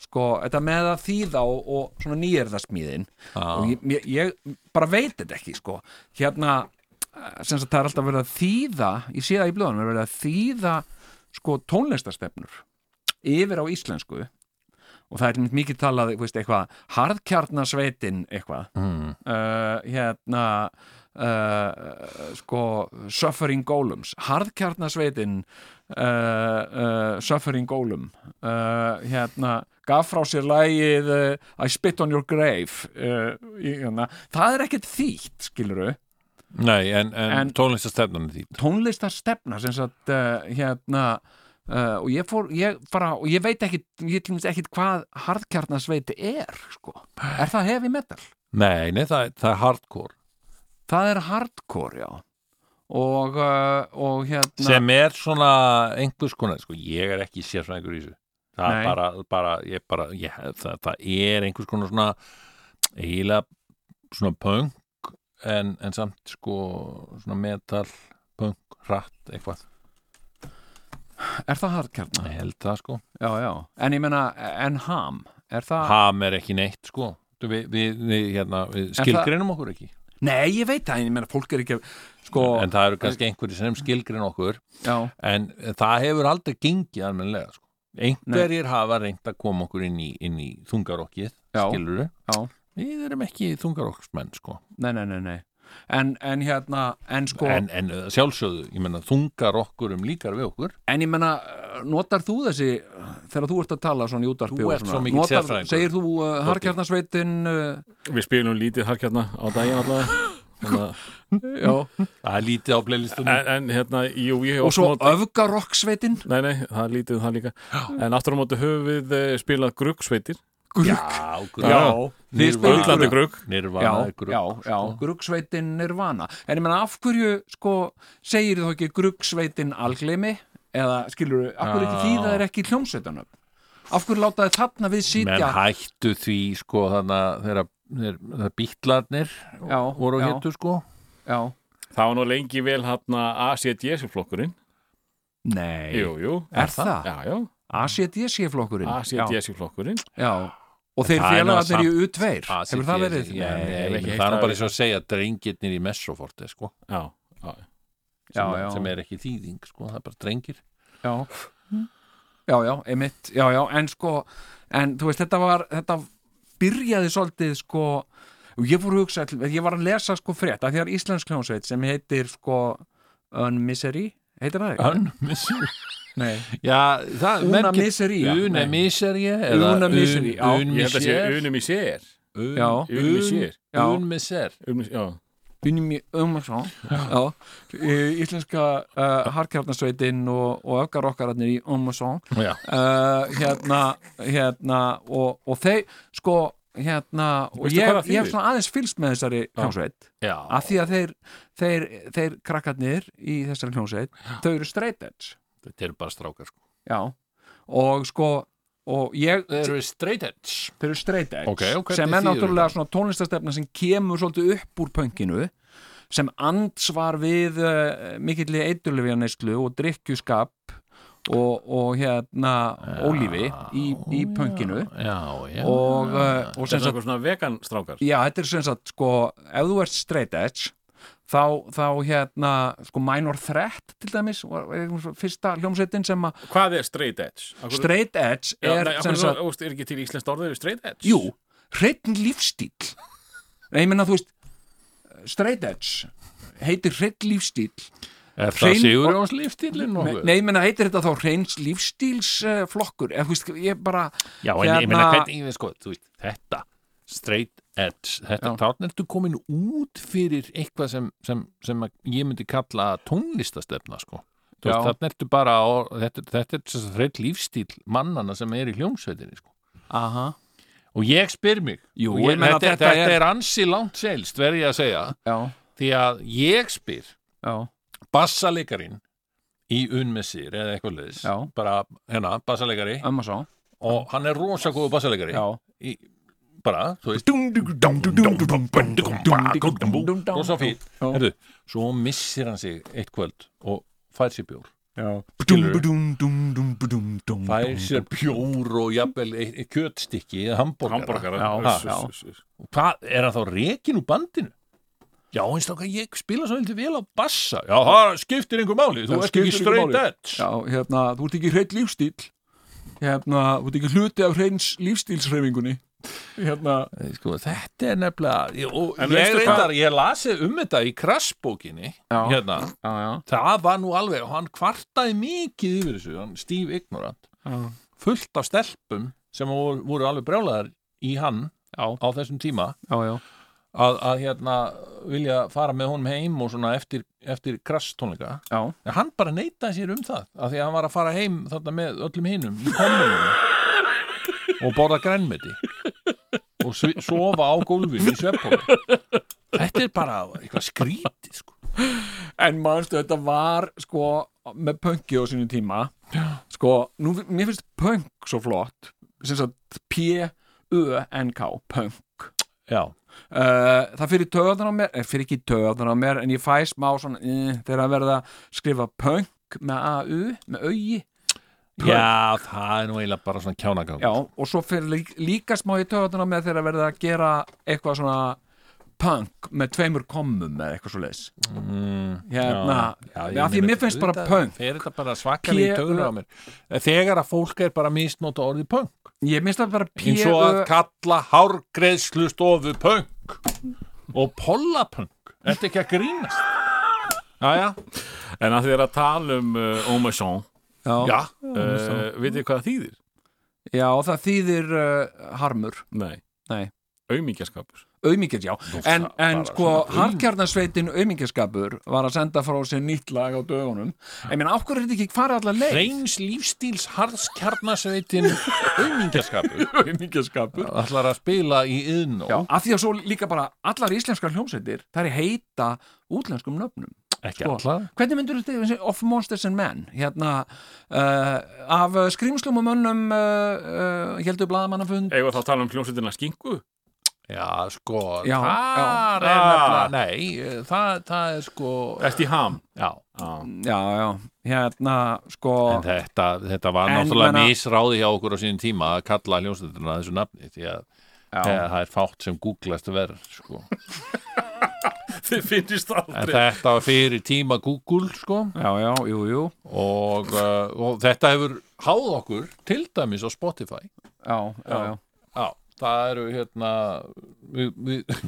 Speaker 4: sko, þetta með að þýða og, og svona nýjörðasmíðin og ég, mér- ég bara veit þetta ekki, sko hérna, eh, sem sagt það er alltaf verið að þýða ég sé það í blöðunum, er verið að þýða sko tónlistastefnur yfir á íslensku og það er einmitt mikið talað, þú veist, eitthvað harðkjarnasveitin, eitthvað
Speaker 3: Mm.
Speaker 4: uh, hérna uh, sko Suffering Golems Harðkjarnasveitin uh, uh, Suffering Golem uh, hérna gaf frá sér lagið uh, I Spit on Your Grave uh, í- hérna. það er ekkert þýtt skiluru,
Speaker 3: Nei, en, en,
Speaker 4: En-
Speaker 3: tónlistastefnan er þýtt.
Speaker 4: tónlistar stefna sem sagt uh, hérna Uh, og ég fór, ég bara, og ég veit ekkit ég til dæmis ekkit hvað harðkjarnasveiti er, sko, er það heavy metal?
Speaker 3: Nei, nei, það, það er hardcore.
Speaker 4: Það er hardcore, já og, uh, og hérna
Speaker 3: Sem er svona einhvers konar, sko, ég er ekki sérfræðingur í þessu. Það
Speaker 4: Nei.
Speaker 3: er bara, bara, ég bara, ég, það, það er einhvers konar svona, eiginlega svona punk, en, en samt sko svona metal, punk, hratt, eitthvað.
Speaker 4: er það hardkjarnar?
Speaker 3: Ég held það, sko.
Speaker 4: Já, já, en ég meina, en ham er það?
Speaker 3: ham er ekki neitt sko Þú, við, við, við, hérna, við skilgreinum okkur ekki
Speaker 4: Nei, ég veit það, en ég meina, fólk er ekki að- sko,
Speaker 3: en það eru kannski einhverjir sem skilgrein okkur
Speaker 4: já,
Speaker 3: en það hefur aldrei gengið almennilega sko. einhverjir hafa reynt að koma okkur inn í, inn í þungarokkið
Speaker 4: Já.
Speaker 3: skiluru
Speaker 4: Já.
Speaker 3: við erum ekki þungarokksmenn sko.
Speaker 4: nei, nei, nei, nei en, en hérna, en sko
Speaker 3: en, en uh, sjálfsögðu, ég menna þungarokkurum líkar við okkur
Speaker 4: en ég meina, uh, notar þú þessi þegar þú ert að tala svona í útarpi
Speaker 3: Þú
Speaker 4: og
Speaker 3: ert
Speaker 4: svona,
Speaker 3: svo mikill
Speaker 4: notar,
Speaker 3: sérfræðingur.
Speaker 4: segir þú uh, harkjarnarsveitin uh,
Speaker 2: Við spilum lítið harkjarna á daginn allavega Þannig að-
Speaker 4: já,
Speaker 3: það er lítið á playlistunum
Speaker 2: en, en hérna, jú, ég hef
Speaker 4: og
Speaker 2: oft
Speaker 4: svo
Speaker 2: notað-
Speaker 4: öfgarokksveitin
Speaker 2: Nei, nei, það er lítið um það líka En aftur á móti höfum við eh, spilað gruggsveitir
Speaker 4: grugg,
Speaker 3: já,
Speaker 4: þið spilið
Speaker 3: Nirvana-
Speaker 2: Bullandi grugg
Speaker 3: Nirvana
Speaker 4: já,
Speaker 3: er grugg,
Speaker 4: já, já,
Speaker 3: sko.
Speaker 4: gruggsveitin Nirvana en ég meina af hverju sko segir þú ekki gruggsveitin algleimi eða skilur þú, af hverju ekki
Speaker 3: Já.
Speaker 4: því það er ekki hljómsveitanöfn af hverju látaði þarna við
Speaker 3: menn
Speaker 4: sitja
Speaker 3: hættu því sko þannig að þeirra þeir, þeir bítlarnir
Speaker 4: Já,
Speaker 3: voru
Speaker 4: já.
Speaker 3: héttu sko
Speaker 4: já,
Speaker 2: Það var nú lengi vel hérna hann að ACDS-flokkurinn
Speaker 4: nei,
Speaker 2: Jú, jú
Speaker 4: er það?
Speaker 2: Já, já,
Speaker 4: ACDC flokkurinn já,
Speaker 2: ACDS-flokkurinn
Speaker 4: já, og þeir
Speaker 3: það er nú
Speaker 4: félagarnir
Speaker 3: samt-
Speaker 4: í U2 hefur það verið
Speaker 3: Já,
Speaker 4: Nei,
Speaker 2: ég hef
Speaker 3: ég,
Speaker 2: ekki
Speaker 3: ég,
Speaker 2: heyrt
Speaker 3: það er nú
Speaker 2: það.
Speaker 3: bara eins og að segja drengirnir í Messoforte sko,
Speaker 2: Já, já
Speaker 4: já,
Speaker 3: sem,
Speaker 4: já,
Speaker 3: sem er ekki þýðing sko, það er bara drengir
Speaker 4: já
Speaker 2: Mm.
Speaker 4: já, já, einmitt, já, já, en sko en þú veist, þetta var þetta byrjaði svolítið sko og ég fór að hugsa, til- ég var að lesa sko frétt af því að Íslensk hljónsveit sem heitir sko Unmisery, heitir það? ekki?
Speaker 3: Ön,
Speaker 4: Nei,
Speaker 3: já, það
Speaker 4: Una
Speaker 3: merkir-
Speaker 4: Miseria.
Speaker 3: Una
Speaker 4: Nei.
Speaker 3: Miseria
Speaker 4: Una Miseria, já.
Speaker 3: Un
Speaker 2: Ég held að sé
Speaker 3: Miser
Speaker 2: unum í sér
Speaker 4: Já.
Speaker 2: Unum í sér
Speaker 4: Já.
Speaker 3: Un Miser
Speaker 2: um, Já,
Speaker 4: Unni Ömarsson já, í- íslenska uh, harkjarnasveitin og, og öfgar okkararnir í Ömarsson
Speaker 2: Já.
Speaker 4: uh, hérna, hérna og, og þeir sko hérna og
Speaker 2: Veistu
Speaker 4: ég,
Speaker 2: hvað það
Speaker 4: ég hef
Speaker 2: þýðir?
Speaker 4: svona aðeins fylst með þessari hljómsveit
Speaker 2: Já.
Speaker 3: Ah.
Speaker 4: af því að þeir, þeir, þeir krakkarnir í þessari hljómsveit þau eru straight edge
Speaker 3: Þetta eru bara strákar sko.
Speaker 4: já. og sko og ég, eh,
Speaker 3: Þeir eru straight edge
Speaker 4: þau eru straight edge
Speaker 3: Ok, og hvernig
Speaker 4: sem er
Speaker 3: þýðir
Speaker 4: náttúrulega svona tónlistastefna sem kemur svolítið upp úr pönkinu sem ansvar við uh, mikill í eiturlefjarneyslu og drikkjuskap og, og hérna ólífi í, í pönkinu
Speaker 3: Já, já
Speaker 4: og, uh, og
Speaker 2: Þetta
Speaker 4: sem
Speaker 2: er
Speaker 4: sagt
Speaker 2: eitthvað svona vegan strákar
Speaker 4: já, þetta er sem sagt sko ef þú ert straight edge þá, þá hérna sko minor threat til dæmis var, var eitthvað svona fyrsta hljómsveitin sem að
Speaker 2: Hvað er straight edge? Akkur,
Speaker 4: straight edge
Speaker 2: já,
Speaker 4: er
Speaker 2: nei,
Speaker 4: sem
Speaker 2: akkur,
Speaker 4: sagt
Speaker 2: sagt, er ekki til íslenskt orðið við straight edge?
Speaker 4: Jú, hreitin lífstíl Nei, ég menna þú veist straight edge heitir hreitt lífstíl
Speaker 3: Er það
Speaker 4: hrein-
Speaker 3: Sigurjóns lífstílinn nokkuð?
Speaker 4: Nei, ég menna heitir þetta þá hreins lífstílsflokkur eða þú veist, ég bara
Speaker 3: Já, en ég meina hvernig, sko, þú veist, þetta straight edge, þetta,
Speaker 4: Já.
Speaker 3: þá ertu komin út fyrir eitthvað sem, sem, sem að ég myndi kalla tónlistastefna, sko Þú
Speaker 4: Já.
Speaker 3: veist, Þarna ertu bara, á, þetta, þetta er þess að þreitt lífstíl mannana sem er í hljómsveitinni, sko
Speaker 4: Aha,
Speaker 3: Og ég spyr mig,
Speaker 4: Jú,
Speaker 3: og
Speaker 4: ég meina
Speaker 3: þetta,
Speaker 4: þetta
Speaker 3: þetta,
Speaker 4: er-
Speaker 3: er ansi langt selst, verði ég að segja
Speaker 4: já,
Speaker 3: Því að ég spyr,
Speaker 4: já,
Speaker 3: bassaleikarin í unmessir eða eitthvað leðis
Speaker 4: Já.
Speaker 3: bara, hérna, bassalegari
Speaker 4: ömma svo
Speaker 3: og hann er rosa góðu bassalegari
Speaker 4: Já,
Speaker 3: í, bara, þú veist og svo
Speaker 4: rosa
Speaker 3: fín,
Speaker 4: Já.
Speaker 3: herðu svo missir hann sig eitt kvöld og fær sér bjór fær sér bjór og jafnvel eitt, eitt kjötstykki eða hambúrgara,
Speaker 2: Hamborgara
Speaker 4: Já,
Speaker 2: Uss,
Speaker 4: já.
Speaker 2: uss, uss.
Speaker 3: Og hvað, er hann þá rekin úr bandinu? Já, eins og ég spila svo heldur vel á bassa. Já, það skiptir einhver máli, þú
Speaker 4: Það
Speaker 3: ert ekki
Speaker 4: skiptir engu
Speaker 3: straight
Speaker 4: máli.
Speaker 3: edge.
Speaker 4: Já, hérna, þú ert ekki hreitt lífstíl Hérna, þú ert ekki hluti af hreins lífstílsreifingunni Hérna
Speaker 3: sko, þetta er nefnilega ég- og
Speaker 2: En
Speaker 3: ég
Speaker 2: veistu
Speaker 3: reyndar, ég lasi um þetta í krassbókinni
Speaker 4: Já.
Speaker 3: hérna,
Speaker 4: Já, já,
Speaker 3: það var nú alveg og hann kvartaði mikið yfir þessu hann Steve Ignorant,
Speaker 4: já,
Speaker 3: fullt af stelpum sem voru, voru alveg brjálaðar í hann
Speaker 4: Já.
Speaker 3: á þessum tíma
Speaker 4: já, já.
Speaker 3: að, að hérna vilja fara með honum heim og svona eftir, eftir krasstónleika
Speaker 4: já.
Speaker 3: en hann bara neitaði sér um það af því að hann var að fara heim þarna með öllum hinum í komunum og borða grænmeti og svi- sofa á gólfinu í sveppóli þetta er bara eitthvað skrítið sko.
Speaker 4: En manstu, þetta var sko með pönki á sínum tíma sko, nú, mér finnst pönk svo flott, sem sagt P-U-N-K, pönk
Speaker 3: já,
Speaker 4: uh, það fyrir töðan á mér, eh, fyrir ekki töðan á mér en ég fæ smá svona, uh, þegar að verða að skrifa pönk með A-U með augi,
Speaker 3: já, það er nú eiginlega bara svona kjánagang
Speaker 4: já, og svo fyrir líka, líka smá í töðan á mér þegar að verða að gera eitthvað svona punk með tveimur kommum eða eitthvað svo leis
Speaker 3: mm,
Speaker 4: hérna,
Speaker 3: ég
Speaker 4: af því
Speaker 3: meina,
Speaker 4: mér finnst bara
Speaker 3: auðvitað
Speaker 4: pönk
Speaker 3: fer þetta bara svakar í
Speaker 4: P-
Speaker 3: töður á mér þegar að fólk er bara misnóta orðið pönk
Speaker 4: ég minnst það bara
Speaker 3: eins og að
Speaker 4: P-U
Speaker 3: kalla hárgreðslu stofu punk og pollapunk Þetta er ekki að grínast Jæja,
Speaker 2: En að þið er að tala um uh, Omerson
Speaker 3: já
Speaker 2: uh, Vitið hvað það þýðir?
Speaker 4: Já, það þýðir uh, harmur
Speaker 2: Nei,
Speaker 4: Nei.
Speaker 2: Aumingjaskapur
Speaker 4: Aumingjars, já, en,
Speaker 3: það
Speaker 4: en
Speaker 3: bara
Speaker 4: sko
Speaker 3: svona aum-
Speaker 4: harkjarnarsveitin aumingarskapur var að senda frá sér nýtt lag á dögunum ég meina, af hverju er þetta ekki farið allar leið?
Speaker 3: Reyns lífstíls harðskjarnasveitin aumingjaskapur
Speaker 4: Aumingarskapur
Speaker 3: ætlar að spila í yðnó
Speaker 4: Já, af því að svo líka bara allar íslenskar hljómsveitir það er heita útlenskum nöfnum
Speaker 3: ekki
Speaker 4: sko.
Speaker 3: allar
Speaker 4: Hvernig myndur þetta of Monsters and Men hérna uh, af skrýmslum og mönnum uh, uh, heldur blaðamannafund
Speaker 2: Eða þá að tala um hljómsveitina skingu
Speaker 3: Já, sko,
Speaker 4: Já,
Speaker 3: það
Speaker 2: já.
Speaker 3: er
Speaker 2: Ah.
Speaker 3: nefnilega Nei, það, það er sko
Speaker 2: Eftir ham
Speaker 3: Já,
Speaker 2: Já,
Speaker 4: Eh, Já, já, hérna sko
Speaker 3: en þetta, þetta var
Speaker 4: En
Speaker 3: náttúrulega
Speaker 4: menna-
Speaker 3: misráði hjá okkur á sínum tíma að kalla hljómsveitina þessu nafni því að
Speaker 4: já.
Speaker 3: eh, það er fátt sem googlast verð sko.
Speaker 2: þið finnist
Speaker 3: En
Speaker 2: aldrei
Speaker 3: þetta var fyrir tíma Google sko
Speaker 4: já, já, jú, jú
Speaker 3: og, uh, og þetta hefur háð okkur til dæmis á Spotify
Speaker 4: Já, já, já
Speaker 3: Já, það eru hérna við, við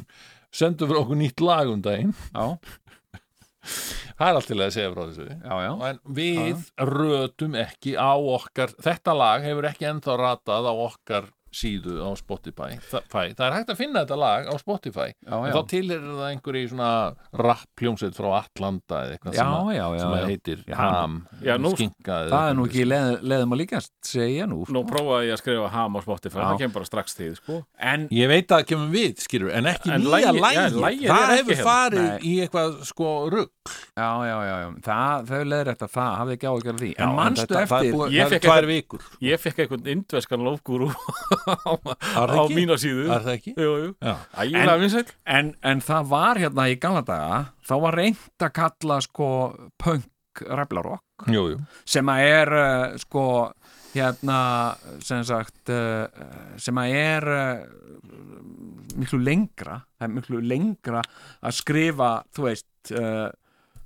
Speaker 3: sendum fyrir okkur nýtt lag um daginn
Speaker 4: Já,
Speaker 3: það er allt til að segja frá þessu
Speaker 4: já, já,
Speaker 3: en við rötum ekki á okkar þetta lag hefur ekki ennþá ratað á okkar síðu á Spotify Þa, fæ. það er hægt að finna þetta lag á Spotify
Speaker 4: Já,
Speaker 3: en
Speaker 4: já.
Speaker 3: þá tilherir það einhverju svona rappljómsveit frá Atlanta eða eitthvað
Speaker 4: Já,
Speaker 3: sem, að,
Speaker 4: já, já,
Speaker 3: sem að
Speaker 4: já.
Speaker 3: heitir
Speaker 4: Já,
Speaker 3: Ham
Speaker 2: Já, nú-
Speaker 3: skinka eða
Speaker 4: það er nú
Speaker 3: eitthvað.
Speaker 4: ekki leð, leðum að líkast, segja nú sko.
Speaker 2: Nú prófaði ég að skrifa ham á Spotify,
Speaker 4: Já.
Speaker 2: það kemur bara strax tíð, sko.
Speaker 4: en
Speaker 3: Ég veit að það kemur við, skilur, en ekki
Speaker 2: En
Speaker 3: nýja
Speaker 2: lagið-
Speaker 3: lægi,
Speaker 2: já, lagið
Speaker 3: það
Speaker 2: er ekki
Speaker 3: hefur
Speaker 2: hérna.
Speaker 3: farið
Speaker 4: Nei.
Speaker 3: í eitthvað sko rugg
Speaker 4: já, já, já, já. það, þau leður eftir það, hafði ekki á ekki að því en
Speaker 3: manstu
Speaker 4: manstu
Speaker 3: það er
Speaker 4: eftir
Speaker 3: búið,
Speaker 2: Ég
Speaker 3: það er
Speaker 2: fékk
Speaker 3: tvær vikur
Speaker 2: Ég fekk einhvern indveskan lofgúru á,
Speaker 3: Er
Speaker 2: á
Speaker 3: það ekki?
Speaker 2: mína síðu.
Speaker 3: Er það ekki?
Speaker 2: Jú, jú.
Speaker 3: Já.
Speaker 2: Ægilega vinsæl.
Speaker 4: en, en það var hérna í gamla daga þá var reynd að kalla sko punk ræflarokk
Speaker 3: Jú, jú.
Speaker 4: sem að er uh, sko hérna sem sagt uh, sem að er uh, miklu lengra það er miklu lengra að skrifa þú veist uh,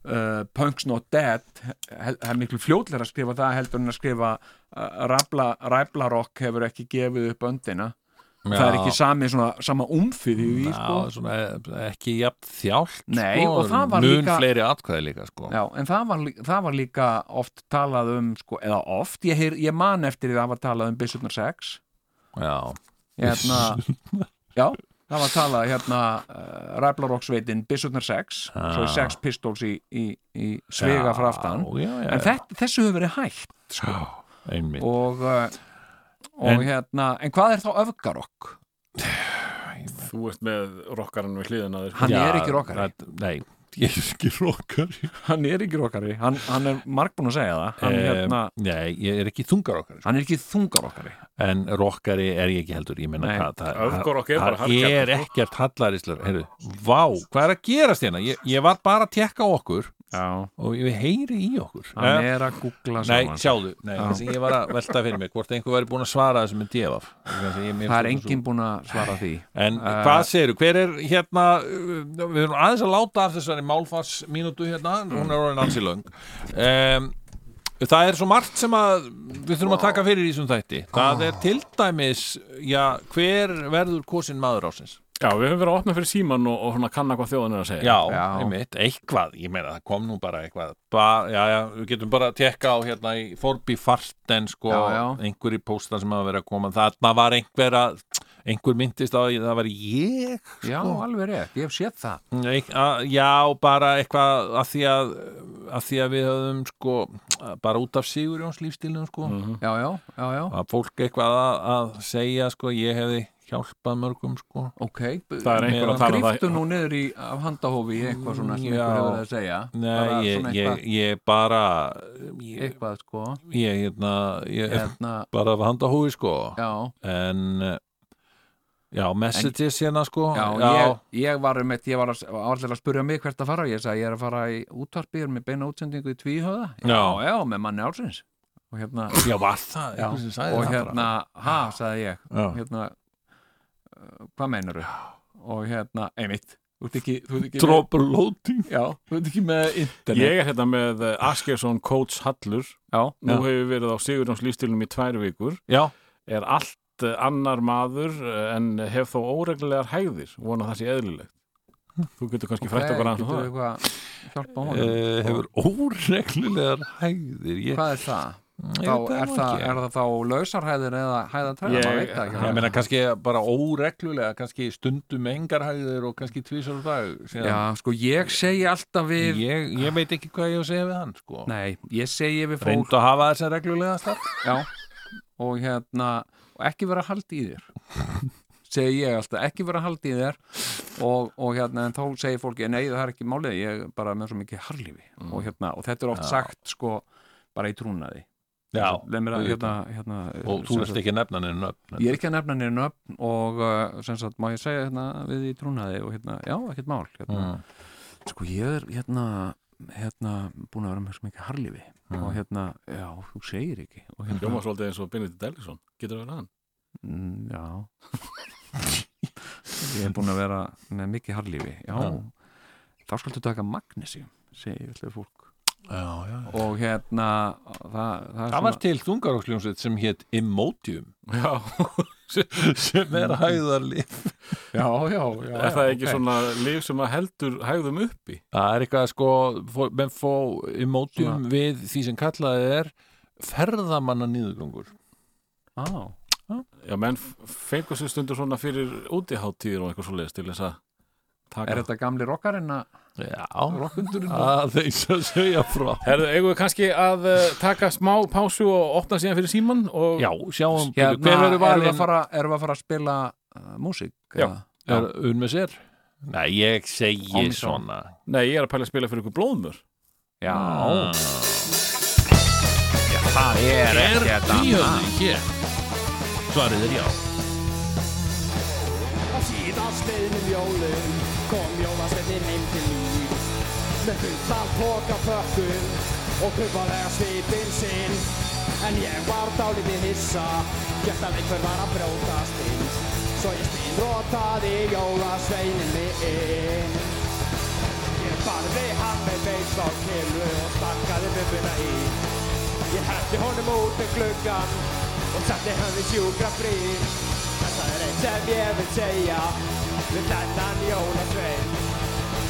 Speaker 4: uh, Punk's Not Dead hel- það er miklu fljótlega að skrifa það heldur en að skrifa uh, rabla, ræblarokk hefur ekki gefið upp öndina það er ekki sami svona, sama umfyrir í því
Speaker 3: Já,
Speaker 4: sko
Speaker 3: svona, eh, ekki jafn þjált
Speaker 4: Nei,
Speaker 3: sko,
Speaker 4: og það var
Speaker 3: mun
Speaker 4: líka-
Speaker 3: fleiri atkvæði líka sko.
Speaker 4: Já, en það var, lí- það var líka oft talað um, sko, eða oft, ég, heyr, ég man eftir því að það var talað um Byssurnar 6
Speaker 3: Já.
Speaker 4: hérna, Já, það var talað hérna uh, Ræblaroksveitin Byssurnar 6
Speaker 3: Já.
Speaker 4: svo í 6 pistols í, í, í svega frá aftan
Speaker 3: Já, já, já,
Speaker 4: En þetta, þessu hefur verið hægt
Speaker 3: sko. einmitt
Speaker 4: og, uh, og
Speaker 3: En-
Speaker 4: hérna, en hvað er þá öfgarokk?
Speaker 2: Þú ert með rockarann við hliðin að þér. sko.
Speaker 4: Hann
Speaker 3: Já,
Speaker 4: er ekki rokkari
Speaker 3: þetta- Nei, ég er ekki rokkari
Speaker 4: Hann er ekki rokkari, hann, hann er margbúin að segja það Hann,
Speaker 3: Eh,
Speaker 4: hérna,
Speaker 3: Nei, ég er ekki þungarokkari sko.
Speaker 4: hann er ekki þungarokkari
Speaker 3: en rokkari er ég ekki heldur ég menna
Speaker 4: Nei,
Speaker 3: hvað það,
Speaker 2: öfgarokk er bara
Speaker 3: það
Speaker 2: hardcore,
Speaker 3: er
Speaker 2: sko.
Speaker 3: ekkert hallaríslar heyrðu, vá, hvað er að gerast hérna ég, ég var bara að tekka okkur
Speaker 4: Já,
Speaker 3: og ég heyri í okkur
Speaker 4: hann
Speaker 3: Eh,
Speaker 4: er að googla
Speaker 3: Nei,
Speaker 4: saman
Speaker 3: sjáðu, nei, þessi, ég var að velta fyrir mig hvort einhver væri búin að svara þessu með devaf
Speaker 4: Það er enginn búin að svara því
Speaker 3: En
Speaker 4: Eh,
Speaker 3: hvað segirðu, hver er hérna uh, við erum aðeins að láta af þessari málfarsmínútu hérna,
Speaker 4: Mm.
Speaker 3: hún er orðin ansi löng um, Það er svo margt sem að við þurfum að taka fyrir í þessum þætti Það er til dæmis, já, hver verður kosin maður ásins?
Speaker 2: Já, við höfum verið að opna fyrir síman og, og svona kanna hvað þjóðan er að segja.
Speaker 3: Já,
Speaker 4: Já.
Speaker 3: einmitt, eitthvað, ég meina það kom nú bara eitthvað ba, Já, já, við getum bara að tekka á hérna í Forby Farten sko,
Speaker 4: Já, já.
Speaker 3: einhverjir póstar sem hafa verið að koma þarna var einhver að einhver myndist á að það var ég sko.
Speaker 4: Já, alveg rétt, ég hef séð það
Speaker 3: Eik, að, já, bara eitthvað að því að, að því að við höfum sko, bara út af Sigurjóns lífstílum sko,
Speaker 4: Já, já, já, já,
Speaker 3: að fólk eitthvað að, að segja sko, ég hefði hjálpað mörgum sko
Speaker 4: ok
Speaker 2: Það er einhver að tala um
Speaker 4: Gríftu
Speaker 2: það.
Speaker 4: nú niður í af handahófi í eitthvað svona sem
Speaker 3: Já.
Speaker 4: einhver hefur verið að segja
Speaker 3: Nei, ég,
Speaker 4: svona
Speaker 3: ég, ég bara ég,
Speaker 4: eitthvað sko
Speaker 3: ég, hérna, ég
Speaker 4: hérna,
Speaker 3: bara að handa húi sko
Speaker 4: Já,
Speaker 3: en eh, já, messages hérna sko
Speaker 4: já, Ég, ég var um eitt, ég var að- var allir að spurja mig hvert að fara og ég sagði ég er að fara í útvarpið með beina útsendingu í tvíhöða Já,
Speaker 3: Já.
Speaker 4: já, með manni álsins og hérna,
Speaker 3: já, var það,
Speaker 4: já,
Speaker 3: einhver sem sagði
Speaker 4: og
Speaker 3: það
Speaker 4: hérna ha, sagði ég
Speaker 3: bara. já.
Speaker 4: hérna, uh, hvað meinar og hérna, einmitt þú ert ekki, þú ert ekki
Speaker 3: drop loading
Speaker 4: með, já, þú ert ekki með internet
Speaker 2: Ég er hérna með eh, Askersson Coach Hallur.
Speaker 4: já,
Speaker 2: Nú
Speaker 3: Já.
Speaker 2: hefur við verið á Sigurjóns lífstílum í tvær vikur.
Speaker 3: já,
Speaker 2: Er allt eh, annar maður eh, en hef þó óreglulegar hægðir. Vona það sé eðlilegt. Þú getur kannski okay, frætt okkur aðeins um
Speaker 4: getur
Speaker 2: það.
Speaker 4: eitthvað hjálpa honum
Speaker 3: uh, hefur óreglulegar hægðir ég,
Speaker 4: hvað er það?
Speaker 3: ég
Speaker 4: Þá
Speaker 3: veit
Speaker 4: er,
Speaker 3: nú
Speaker 4: það,
Speaker 3: ekki.
Speaker 4: er það þá lausarhæðir eða hæðatræða,
Speaker 2: Ég-
Speaker 4: maður veit það ekki
Speaker 3: ég meina kannski bara óreglulega kannski stundum engar hægðir og kannski tvísar á dag
Speaker 4: já,
Speaker 3: síðan.
Speaker 4: sko, ég segi alltaf við
Speaker 3: ég, ég veit ekki hvað ég á að segja við hann sko.
Speaker 4: nei, ég segi við fólk
Speaker 3: reyndu að hafa þess að reglulega starf
Speaker 4: já, og hérna og ekki vera að halda í þér segi ég alltaf, ekki vera að halda í þér og, og hérna, en þá segir fólki nei, það er ekki málið, ég er bara með svo mikið harlífi og hérna, og þetta er oft
Speaker 3: Mm. Já.
Speaker 4: sagt sko, bara í trúnaði Leið mér að, hérna, hérna,
Speaker 3: og
Speaker 4: sem
Speaker 3: þú
Speaker 4: sagt-
Speaker 3: ert ekki að nefna henni nöfn
Speaker 4: Ég er ekki að nefna nýrn öfn og uh, sem sagt, má ég segja hérna við í trúnaði og hérna, já, ekkert mál hérna.
Speaker 3: mm.
Speaker 4: Sko, ég er hérna, hérna búin að vera með svo mikið harlífi og hérna, já, þú segir ekki og hérna,
Speaker 2: Jómas Valdið eins og Benedikt Ellison. Getur það verið hann?
Speaker 4: mm, já Ég er búin að vera með mikið harlífi, já Þá skaltu taka magnesium, segi ég ætlaði fólk
Speaker 3: já, já.
Speaker 4: og hérna, það, það er
Speaker 3: það var til þungaroksljónsveit sem hétt Emotium
Speaker 2: Já.
Speaker 3: sem er hæðarlif
Speaker 4: Já, já, já
Speaker 2: er það
Speaker 4: já,
Speaker 2: ekki
Speaker 4: ok.
Speaker 2: svona lif sem að heldur hægðum uppi?
Speaker 3: það er eitthvað sko fó- menn fó Emotium við því sem kallaði er ferðamanna nýðugangur
Speaker 4: Á,
Speaker 2: Já, menn fengur sér stundur svona fyrir útiháttíðir og eitthvað svoleiðis til þess að taka.
Speaker 4: Er þetta gamli rockarinn að
Speaker 3: Já,
Speaker 4: rockundurinn?
Speaker 3: að þeins að segja frá
Speaker 2: Herðu, eigum við kannski að uh, taka smá pásu og opna síðan fyrir síman og
Speaker 3: Já, sjáum,
Speaker 4: Hérna,
Speaker 3: hver verður
Speaker 4: erum við
Speaker 3: valin
Speaker 4: að fara, erum við að fara að spila uh, músík?
Speaker 2: Já.
Speaker 4: eða?
Speaker 3: er unn með sér? Nei, ég segi
Speaker 4: Omnisson.
Speaker 3: svona
Speaker 2: Nei, ég er að pæla að spila fyrir ykkur blóðmur.
Speaker 4: Já. Ah.
Speaker 3: Það Ah. er
Speaker 5: Er
Speaker 3: ekkert annað.
Speaker 5: tvíhöfði hér?
Speaker 3: Svarið er já
Speaker 6: Og síðast liðnum jólum kom jólasveinninn heim til mín Með fullan póka föttum og kumpalega svipinn sinn En ég var dálítið hissa, gert að einhver var að brjótast inn Svo ég stínrótaði jólasveinin mig inn Ég barði hann með beins á kilu og stakkaði bumbuna í Ég hætti honum út með gluggan og setti hann við sjúkra brýr En það er eitt sem ég vil segja við þennan jólasvein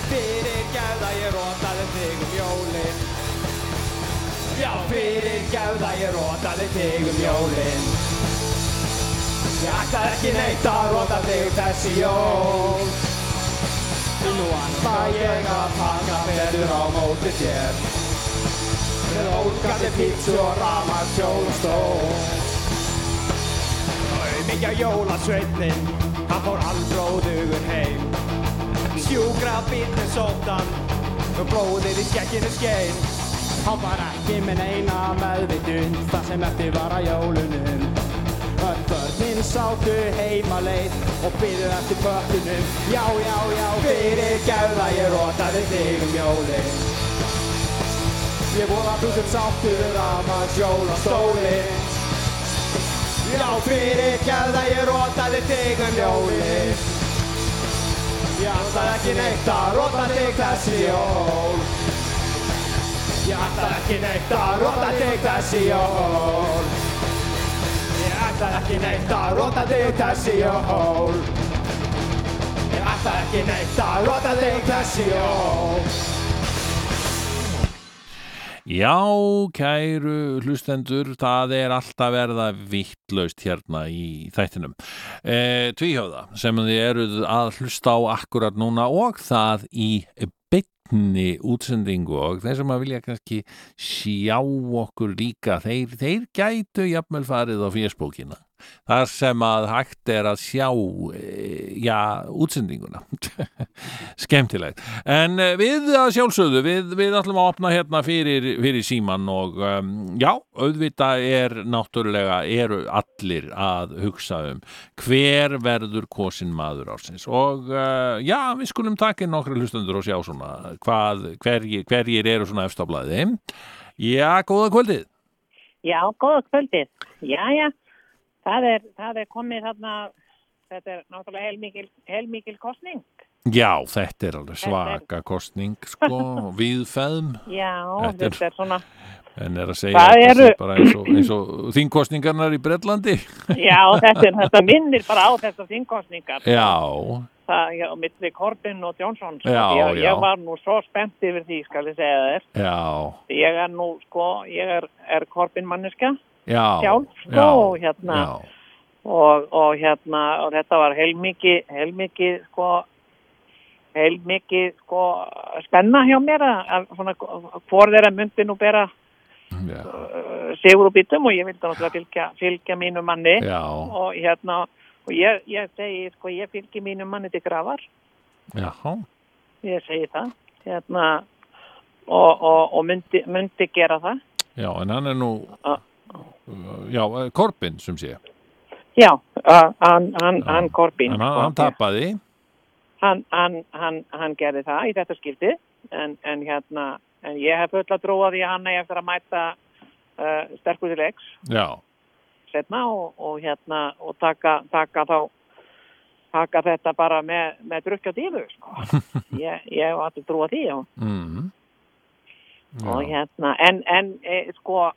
Speaker 6: Fyrir gefða ég rótaði þig um jólin Já, fyrir gefða ég rótaði þig um jólin Ég ætlaði ekki neitt að róta þig þessi jól Nú ætla ég að pakka betur á móti þér Með ógandi pítsu og rafmagnshjól og stól Mikið jólasveitnin, hann fór halvbróðugur heim Sjúkra bílni sóttan, og blóðið í skekkinu skein Hann var ekki með neina meðvitund, það sem eftir var að jólunum Öll börnin sátu heimaleið og byrðu eftir börnunum Já, já, já, fyrir gefða ég rótaði þig um jólin Ég voru að þú sem sáttur af að jóla stólinn Já, fyrir gerða ég rótaði þig um jóli Ég ætlaði ekki neitt að róta þig þessi jól Ég ætlaði ekki neitt að róta þig þessi jól Ég ætlaði ekki neitt að róta þig þessi jól Ég ætlaði ekki neitt að róta þig þessi jól
Speaker 3: Já, kæru hlustendur, það er alltaf verða vittlaust hérna í þættinum. E, tvíhjóða sem þið eruð að hlusta á akkurat núna og það í bytni útsendingu og þeir sem að vilja kannski sjá okkur líka, þeir, þeir gætu jafnvel farið á fésbókina. Þar sem að hægt er að sjá, e, já, útsendinguna. skemmtilegt en eh, við að sjálfsögðu, við, við ætlum að opna hérna fyrir, fyrir síman og um, já, auðvitað er náttúrulega, eru allir að hugsa um hver verður kosin maður ársins og uh, já, við skulum taka inn nokkra hlustendur og sjá svona hvað, hverjir, hverjir eru svona efstablaði já, góða kvöldið
Speaker 7: Já, góða kvöldið. Já, já, það er, það er komið þarna, þetta er náttúrulega heilmikil, heilmikil kostning.
Speaker 3: já, þetta er alveg svaka kostning sko, viðfeðm
Speaker 7: Já,
Speaker 3: Þetta er-
Speaker 7: þetta er svona,
Speaker 3: en er að segja
Speaker 7: Það
Speaker 3: að þetta
Speaker 7: eru-
Speaker 3: sé bara eins og, eins og þingkostningarnar í Bretlandi
Speaker 7: já, þetta, er, þetta minnir bara á þessar þingkostningar.
Speaker 3: já,
Speaker 7: Það, já, milli Corbyn og Johnson. sko.
Speaker 3: Já,
Speaker 7: ég,
Speaker 3: já.
Speaker 7: Ég var nú svo spennt yfir því, skal ég segja þér.
Speaker 3: já,
Speaker 7: Ég er nú, sko, ég er, er Corbyn manneska
Speaker 3: já
Speaker 7: sjálf, sko,
Speaker 3: já,
Speaker 7: og hérna.
Speaker 3: já,
Speaker 7: og, og hérna og þetta var heilmikið heilmikið sko heilmikið sko spenna hjá mér að, að svona hvor þeirra myndi nú bera
Speaker 3: já,
Speaker 7: uh, sigur og bítum og ég vildi náttúrulega fylgja, fylgja mínu manni
Speaker 3: já,
Speaker 7: og hérna og ég, ég segi sko ég fylgi mínu manni til grafar
Speaker 3: já,
Speaker 7: ég segi það hérna og, og, og myndi, myndi gera það
Speaker 3: já en hann er nú uh,
Speaker 7: Ah.
Speaker 3: já, Korbin sem sé
Speaker 7: já, uh, hann, hann,
Speaker 3: Já.
Speaker 7: hann Korbín sko.
Speaker 3: en hann, hann tapaði
Speaker 7: hann, hann, hann, hann gerði það í þetta skipti en, en hérna en ég hef öll að trúa því að hann eigi eftir að mæta uh, sterkur til leiks
Speaker 3: já,
Speaker 7: setna og, og hérna og taka, taka þá taka þetta bara með, með drukja dífu sko. ég, ég hef alltaf trúa því og,
Speaker 3: mm.
Speaker 7: og hérna en, en e, sko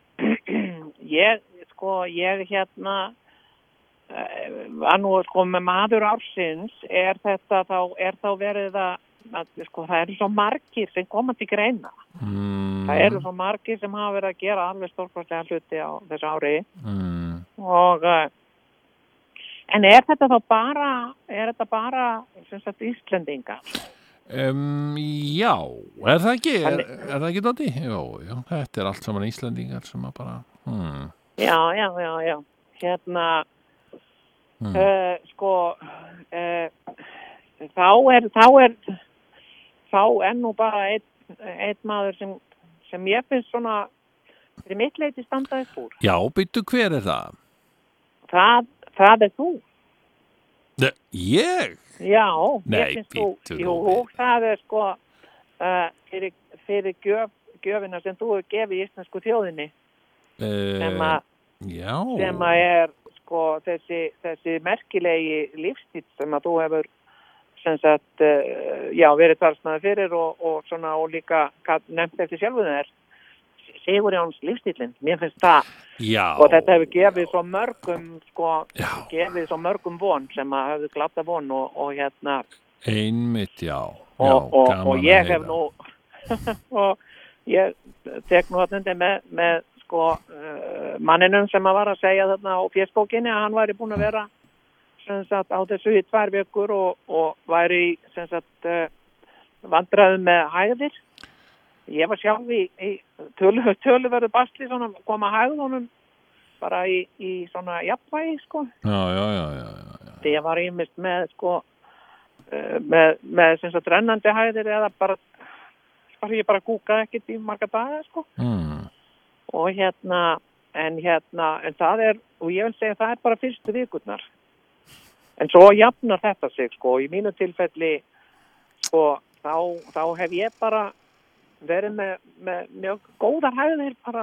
Speaker 7: ég sko ég hérna eh, var nú sko með maður ársins er þetta þá er þá verið að að, sko, það eru svo margir sem koma til greina
Speaker 3: mm,
Speaker 7: það eru svo margir sem hafa verið að gera alveg stórkostlega hluti á þessu ári
Speaker 3: mm,
Speaker 7: og, eh, En er þetta þá bara, er þetta bara, sem sagt, Íslendinga?
Speaker 3: Um, já, er það ekki, er, er það ekki Doddi? Jó, já, þetta er allt saman Íslendingar sem að bara, hmm,
Speaker 7: Já, já, já, já. Hérna,
Speaker 3: Hmm.
Speaker 7: eh, sko, uh, þá er, þá er, þá er nú bara einn ein maður sem, sem ég finnst svona, fyrir mitt leiti standaði fór.
Speaker 3: já, byttu hver er það?
Speaker 7: Það, það er þú.
Speaker 3: Ne, ég?
Speaker 7: Já,
Speaker 3: Nei,
Speaker 7: ég finnst þú,
Speaker 3: bíddu nú
Speaker 7: jú,
Speaker 3: við.
Speaker 7: það er sko, uh, fyrir, fyrir gjöf, gjöfina sem þú hefur gefið í íslensku þjóðinni, sem
Speaker 3: Uh,
Speaker 7: að,
Speaker 3: já,
Speaker 7: sem að er sko þessi, þessi merkilegi lífstíl sem að þú hefur sem sagt, uh, já, verið talsnaði fyrir og, og svona og líka gat- nefnt eftir sjálfuð þér Sigurjóns lífstílinn, mér finnst það
Speaker 3: já,
Speaker 7: og þetta hefur gefið svo mörgum sko,
Speaker 3: já,
Speaker 7: gefið svo mörgum von sem að hafðu glatta von og, og hérna
Speaker 3: einmitt, já,
Speaker 7: og,
Speaker 3: já,
Speaker 7: og,
Speaker 3: gaman
Speaker 7: og
Speaker 3: að
Speaker 7: ég
Speaker 3: heyra.
Speaker 7: hef nú og ég tek nú að undir með, með sko uh, manninum sem að var að segja þarna á fjöskókinni að hann væri búin að vera sem sagt á þessu í tvær vikur og, og væri í, sem sagt uh, vandraðum með hægðir ég var sjálf í, í tölu, töluverðu basli svona koma hægðunum bara í, í svona jafnvægi sko
Speaker 3: Já, já, já, já, já,
Speaker 7: því ég var ímist með sko eh, með, með sem sagt rennandi hæðir eða bara bara ég bara gúkaði ekkert í marga daga sko
Speaker 3: hmm,
Speaker 7: og hérna en hérna en það er og ég vil segja það er bara fyrstu vikurnar en svo jafnar þetta sig sko og í mínu tilfelli sko þá, þá hef ég bara verið með, með mjög góðar hæðir bara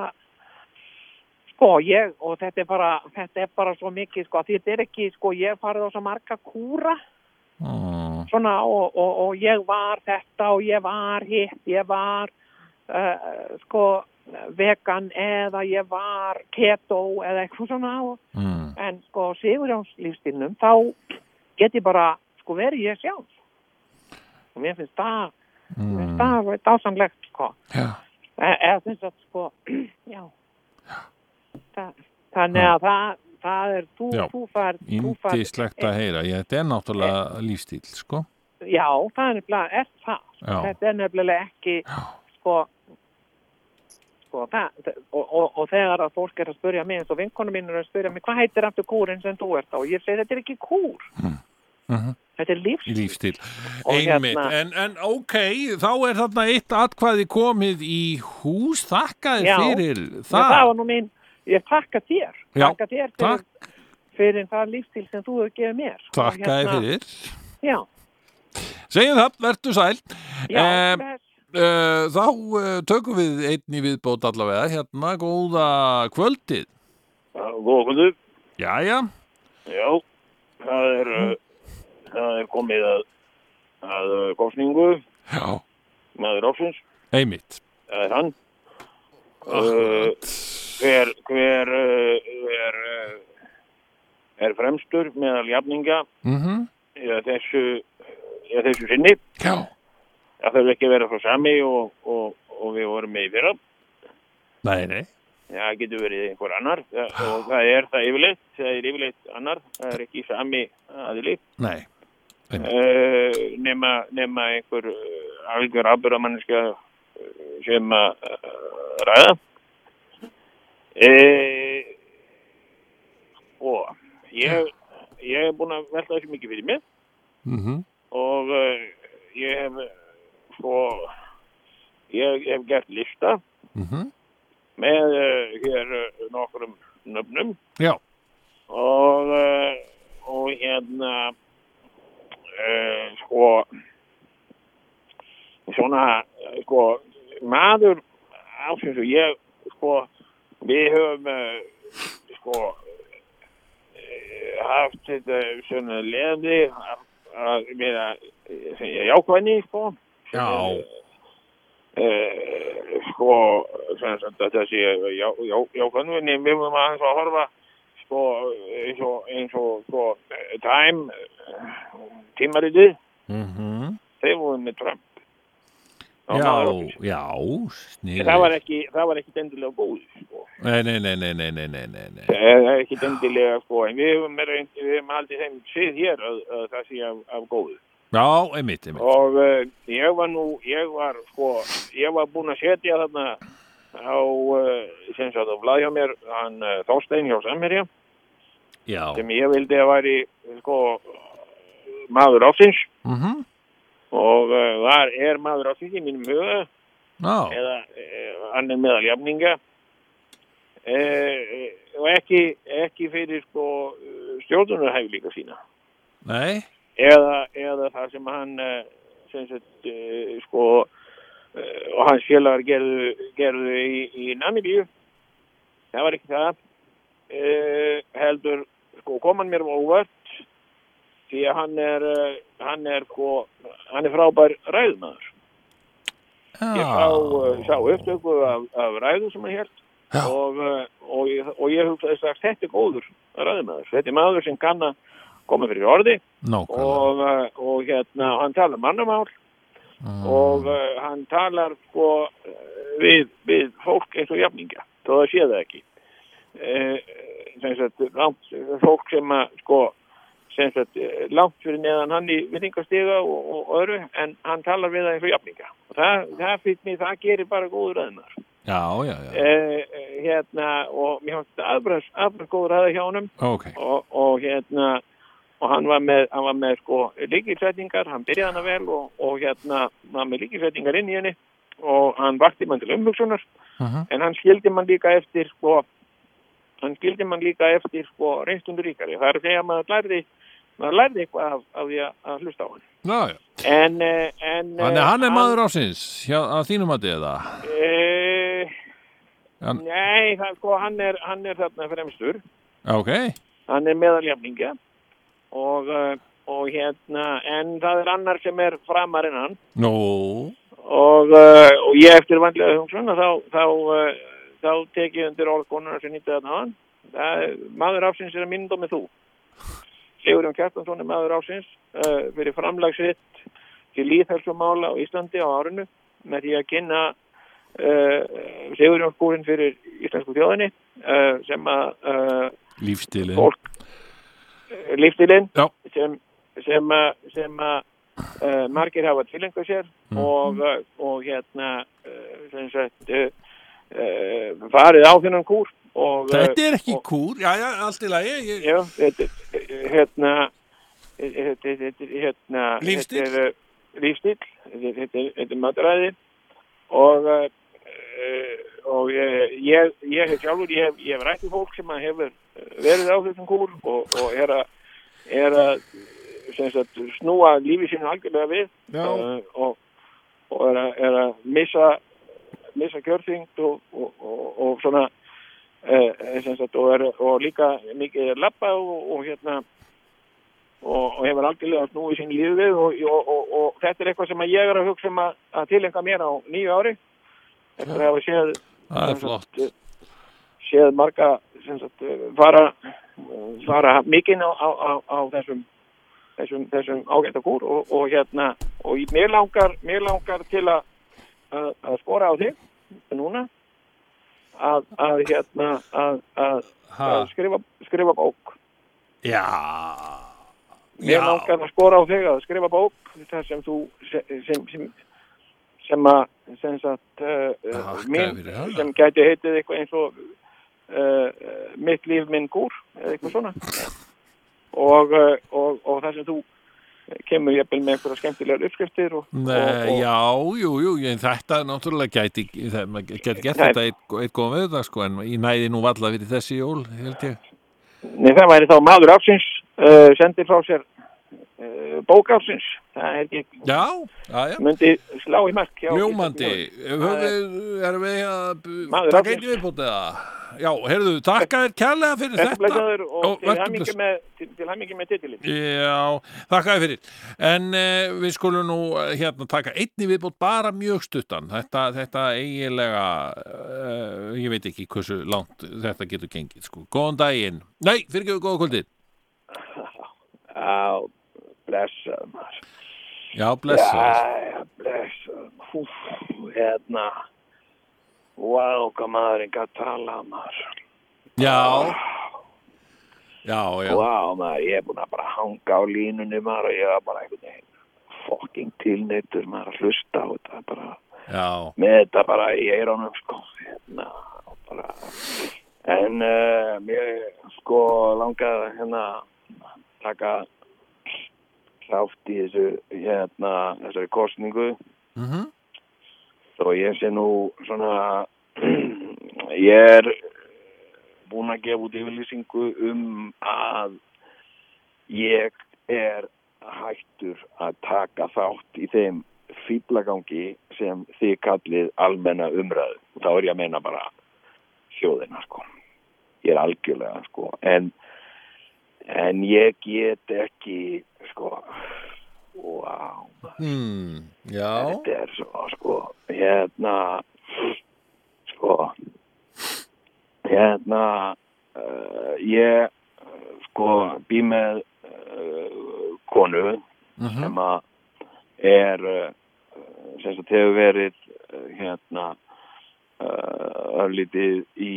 Speaker 7: sko ég og þetta er bara þetta er bara svo mikið sko því þetta er ekki sko ég hef farið á svo marga kúra
Speaker 3: hmm,
Speaker 7: svona og, og, og ég var þetta og ég var hitt, ég var uh, sko vegan eða ég var keto eða eitthvað svona og,
Speaker 3: hmm,
Speaker 7: en sko Sigurjónslífstilnum þá get ég bara sko verið ég sjálf og mér finnst það, mér finnst það alveg dásamlegt sko
Speaker 3: já,
Speaker 7: E- eða þess að sko já Þa, þannig að það, það er þú,
Speaker 3: Já.
Speaker 7: þú fær, þú fær
Speaker 3: indislegt að heyra, ég, þetta er náttúrulega lífstíl, sko,
Speaker 7: já, það er nefnilega er það
Speaker 3: já,
Speaker 7: þetta er nefnilega ekki
Speaker 3: Já.
Speaker 7: sko, sko það, og, og, og þegar að fólk er að spyrja mig eins og vinkonum mín er að spyrja mig hvað heitir aftur kúrin sem þú ert á og ég segi þetta er ekki kúr
Speaker 3: mhm.
Speaker 7: þetta er lífs
Speaker 3: lífstíl
Speaker 7: Og
Speaker 3: einmitt,
Speaker 7: hérna-
Speaker 3: en, en ok þá er þarna eitt atkvæði komið í hús, þakkaði
Speaker 7: Já.
Speaker 3: fyrir
Speaker 7: það.
Speaker 3: það,
Speaker 7: það var nú mín, ég takka þér
Speaker 3: Já,
Speaker 7: takka þér fyrir,
Speaker 3: takk,
Speaker 7: fyrir það lífstíl sem þú hefur gefið mér Og
Speaker 3: takkaði
Speaker 7: hérna,
Speaker 3: fyrir
Speaker 7: já,
Speaker 3: segjum það, vertu sæl
Speaker 7: já,
Speaker 3: Em,
Speaker 7: bless.
Speaker 3: uh, þá uh, tökum við einn í viðbót allavega, hérna, góða kvöldið,
Speaker 8: Já, góða kvöldu.
Speaker 3: jæja
Speaker 8: Já, það er, uh, það er komið að, að uh, kosningu,
Speaker 3: já,
Speaker 8: maður ásins,
Speaker 3: einmitt
Speaker 8: það er hann. Uh, hver hver uh, er, uh, er fremstur meðal jafninga
Speaker 3: mhm,
Speaker 8: eða þessu, eða þessu sinni.
Speaker 3: já,
Speaker 8: Það þarf ekki að vera frá sami og, og, og við vorum með í fyrra.
Speaker 3: nei, nei
Speaker 8: Það getur verið einhver annar það, og það er það yfirleitt, það er yfirleitt annar, það er ekki sami aðili.
Speaker 3: nei, Hm.
Speaker 8: Eh, nema, nema einhver eh, algjör afbjörðamanniska sem að eh, ræða uh, og ég, ég hef búin að velta þessu mikið fyrir mig
Speaker 3: mhm,
Speaker 8: og uh, ég hef eh, sko ég hef gert lista
Speaker 3: mhm
Speaker 8: með uh, hér uh, nokkrum nöfnum
Speaker 3: já,
Speaker 8: og uh, og hérna uh, sko svona eh, sko maður ásins og ég sko við höfum uh, sko eh, haft þetta svona leði að- að vera eh, segja jákvæðni sko
Speaker 3: já,
Speaker 8: uh, sko sem sagt að þessi já, já, jákvæðni en við höfum aðeins að horfa sko eins og, eins og sko, eh, Time eh, tímaritið
Speaker 3: mhm
Speaker 8: þeir voru með Trump
Speaker 3: já, já, snýður
Speaker 7: það var ekki, það var ekki endilega búið sko.
Speaker 3: Nei, nei, nei, nei, nei, nei, nei, nei, nei.
Speaker 7: það er ekki endilega sko. en við höfum, reynt, við höfum haldið þeim svið hér að, að það sé af, af góðu
Speaker 3: Já, einmitt, einmitt
Speaker 7: og uh, ég var nú ég var sko, ég var búinn að setja þarna á uh, sem sagt á blæð hjá mér hann uh, Þorstein hjá Samherja
Speaker 3: Já,
Speaker 7: sem ég vildi að væri sko maður ásins
Speaker 3: mhm,
Speaker 7: og uh, þar er maður ásins í mínum huga
Speaker 3: já,
Speaker 7: eða uh, hann er meðal jafninga uh, og ekki ekki fyrir sko stjórnunarhæflíka sína
Speaker 3: nei
Speaker 7: eða, eða það sem hann eh, sem sagt, eh, sko, eh, og hans félagar gerðu, gerðu í, í Namibíu það var ekki það Eh, heldur sko, kom hann mér á óvart því að hann er eh, hann er, sko, hann er frábær ræðumæður ég sá, eh, sá upptöku af, af ræðu sem hann hélt
Speaker 3: Já.
Speaker 7: og, eh, og, ég- og ég hugsaði strax þetta er góður ræðumæður þetta er maður sem kann að koma fyrir orði
Speaker 3: Nákvæmlega
Speaker 7: og, uh, og hérna, hann talar mannamál og uh, hann talar sko uh, við, við fólk eins og jafninga, þó það sé það ekki uh, sem sagt langt, fólk sem að sko sem sagt eh, langt fyrir neðan hann í vinningastiga og, og öðru en hann talar við það eins og jafninga og það, það fyrir mig, það gerir bara góður aðeinar
Speaker 3: Já, já, já,
Speaker 7: uh, hérna og mér fannst aðbrás, aðbrás góður aðeins hjá honum
Speaker 3: ok
Speaker 7: og, og hérna og hann var með, hann var með sko líkilsetningar, hann byrjaði hana vel og, og hérna, hann var með líkilsetningar inn í henni og hann vakti mann til umhugsunar
Speaker 3: Mhm.
Speaker 7: en hann skildi mann líka eftir sko, hann skildi mann líka eftir sko reynstundur ríkari, það er að segja að maður lærði maður lærði eitthvað af, af því að- að hlusta á hann
Speaker 3: Já, já,
Speaker 7: en, eh, en eh,
Speaker 3: þannig að hann er maður ásins hjá, að þínum að eða
Speaker 7: eh,
Speaker 3: Hann-
Speaker 7: nei, það, sko, hann er hann er þarna fremstur
Speaker 3: Já, ok,
Speaker 7: hann er meðaljafninga og, uh, og hérna en það er annar sem er framar en hann
Speaker 3: nú
Speaker 7: og, uh, og ég eftir vandlega hugsun að þá, þá, uh, þá tek ég undir orð konunar sem nýtti þarna hann maður ásins er að mynda með þú Sigurjón Kjartansson er maður ásins uh, fyrir framlagsritt til líðhelsumála á Íslandi á árinu með því að kynna uh, Sigurjón skúrin fyrir íslensku þjóðinni uh, sem að uh,
Speaker 3: Lífstilin
Speaker 7: fólk lífstilinn
Speaker 3: Já.
Speaker 7: sem, sem, að- sem að uh, margir hafa tilengu sér
Speaker 3: Mm.
Speaker 7: og, uh, og hérna uh, sem sagt uh, uh, farið á þennan kúr og uh,
Speaker 3: Þetta er ekki kúr, já, já, allt í lagi ég...
Speaker 7: já, þetta, er, hérna þetta, þetta, þetta, hérna
Speaker 3: Lífsstíll?
Speaker 7: þetta er, uh, lífstíll þetta, þetta, er- þetta er matræði og uh, uh, og ég, ég, ég hef sjálfur ég hef, ég hef rætt í fólk sem að hefur verið á þessum kúr og, og er að er að sem sagt, snúa lífi sínu algjörlega við uh, og, og er, að, er að missa missa kjörþyngd og, og, og, og svona uh, sagt, og, er, og líka mikið er lappa og, og hérna og, og hefur algjörlega snúið sín lífi við og, og, og, og þetta er eitthvað sem að ég er að hugsa um að, að tilenga mér á nýju ári eftir að hafa séð
Speaker 3: Það er
Speaker 7: sem sagt,
Speaker 3: flott
Speaker 7: séð marga sem sagt, fara, fara mikinn á, á, á, á þessum þessum, þessum ágæta kúr og, og hérna, og í- mér langar mér langar til að að að skora á þig núna að, að hérna að, að, að skrifa, skrifa bók
Speaker 3: Já
Speaker 7: mér langar að skora á þig að skrifa bók þar sem þú sem, sem, sem, sem að sem sagt uh,
Speaker 3: Þakkaði
Speaker 7: minn,
Speaker 3: fyrir hana.
Speaker 7: sem gæti heitið eitthvað eins og uh, mitt líf minn kúr eða eitthvað svona og, uh, og, og þar sem þú kemur jafnvel með einhverja skemmtilegar uppskriftir og, og,
Speaker 3: Nei,
Speaker 7: og,
Speaker 3: Eh, já, jú, jú, en þetta er náttúrulega gæti, það- maður gæti gert
Speaker 7: Nei.
Speaker 3: þetta eitt, eitt góðan við þetta, sko, en ég næði nú valla fyrir þessi jól, held ég.
Speaker 7: Nei, það væri þá maður ásins uh, sendir frá sér uh, bók ásins það er ekki,
Speaker 3: Já, já, já,
Speaker 7: myndi slá í mark hjá-
Speaker 3: ljómandi, höfum við, erum við að b-
Speaker 7: Maður
Speaker 3: taka
Speaker 7: ársins.
Speaker 3: einu viðbútið eða? Já, heyrðu, takka þér kærlega fyrir
Speaker 7: Vertu
Speaker 3: þetta.
Speaker 7: blessaður
Speaker 3: Ó,
Speaker 7: og til
Speaker 3: vertu
Speaker 7: hamingju
Speaker 3: blessaður.
Speaker 7: með, til- til hamingju með titilin.
Speaker 3: Já, þakka þér fyrir. En eh, við skulum nú eh, hérna taka einni viðbútt bara mjög stuttan. Þetta, þetta eiginlega, eh, ég veit ekki hversu langt þetta getur gengið, sko. Góðan daginn. Nei, fyrir ekki, góða kvöldið.
Speaker 7: Á, blessaður maður.
Speaker 3: Já, blessa
Speaker 7: Jæja, blessaður. Húf, hérna. Vá, hvað maðurinn gætt talað maður.
Speaker 3: Já Já, já,
Speaker 7: Vá, maður, ég er búin að bara hanga á línunni maður og ég var bara einhvern veginn fucking tilneittur maður að hlusta á þetta bara,
Speaker 3: já
Speaker 7: með þetta bara í eirónum sko, hérna, og bara. En uh, mér sko langaði hérna taka klátt í þessu, hérna, þessari kostningu.
Speaker 3: mhm
Speaker 7: þó ég sé nú svona ég er búin að gefa út yfirlýsingu um að ég er hættur að taka þátt í þeim fýblagangi sem þið kallið almenna umræðu og þá er ég að meina bara þjóðina sko ég er algjörlega sko en, en ég get ekki sko wow
Speaker 3: Hmm, já,
Speaker 7: þetta er svo sko hérna sko hérna uh, ég eh, sko bý með uh, konu sem að er uh, sem sagt hefur verið uh, hérna uh, örlítið í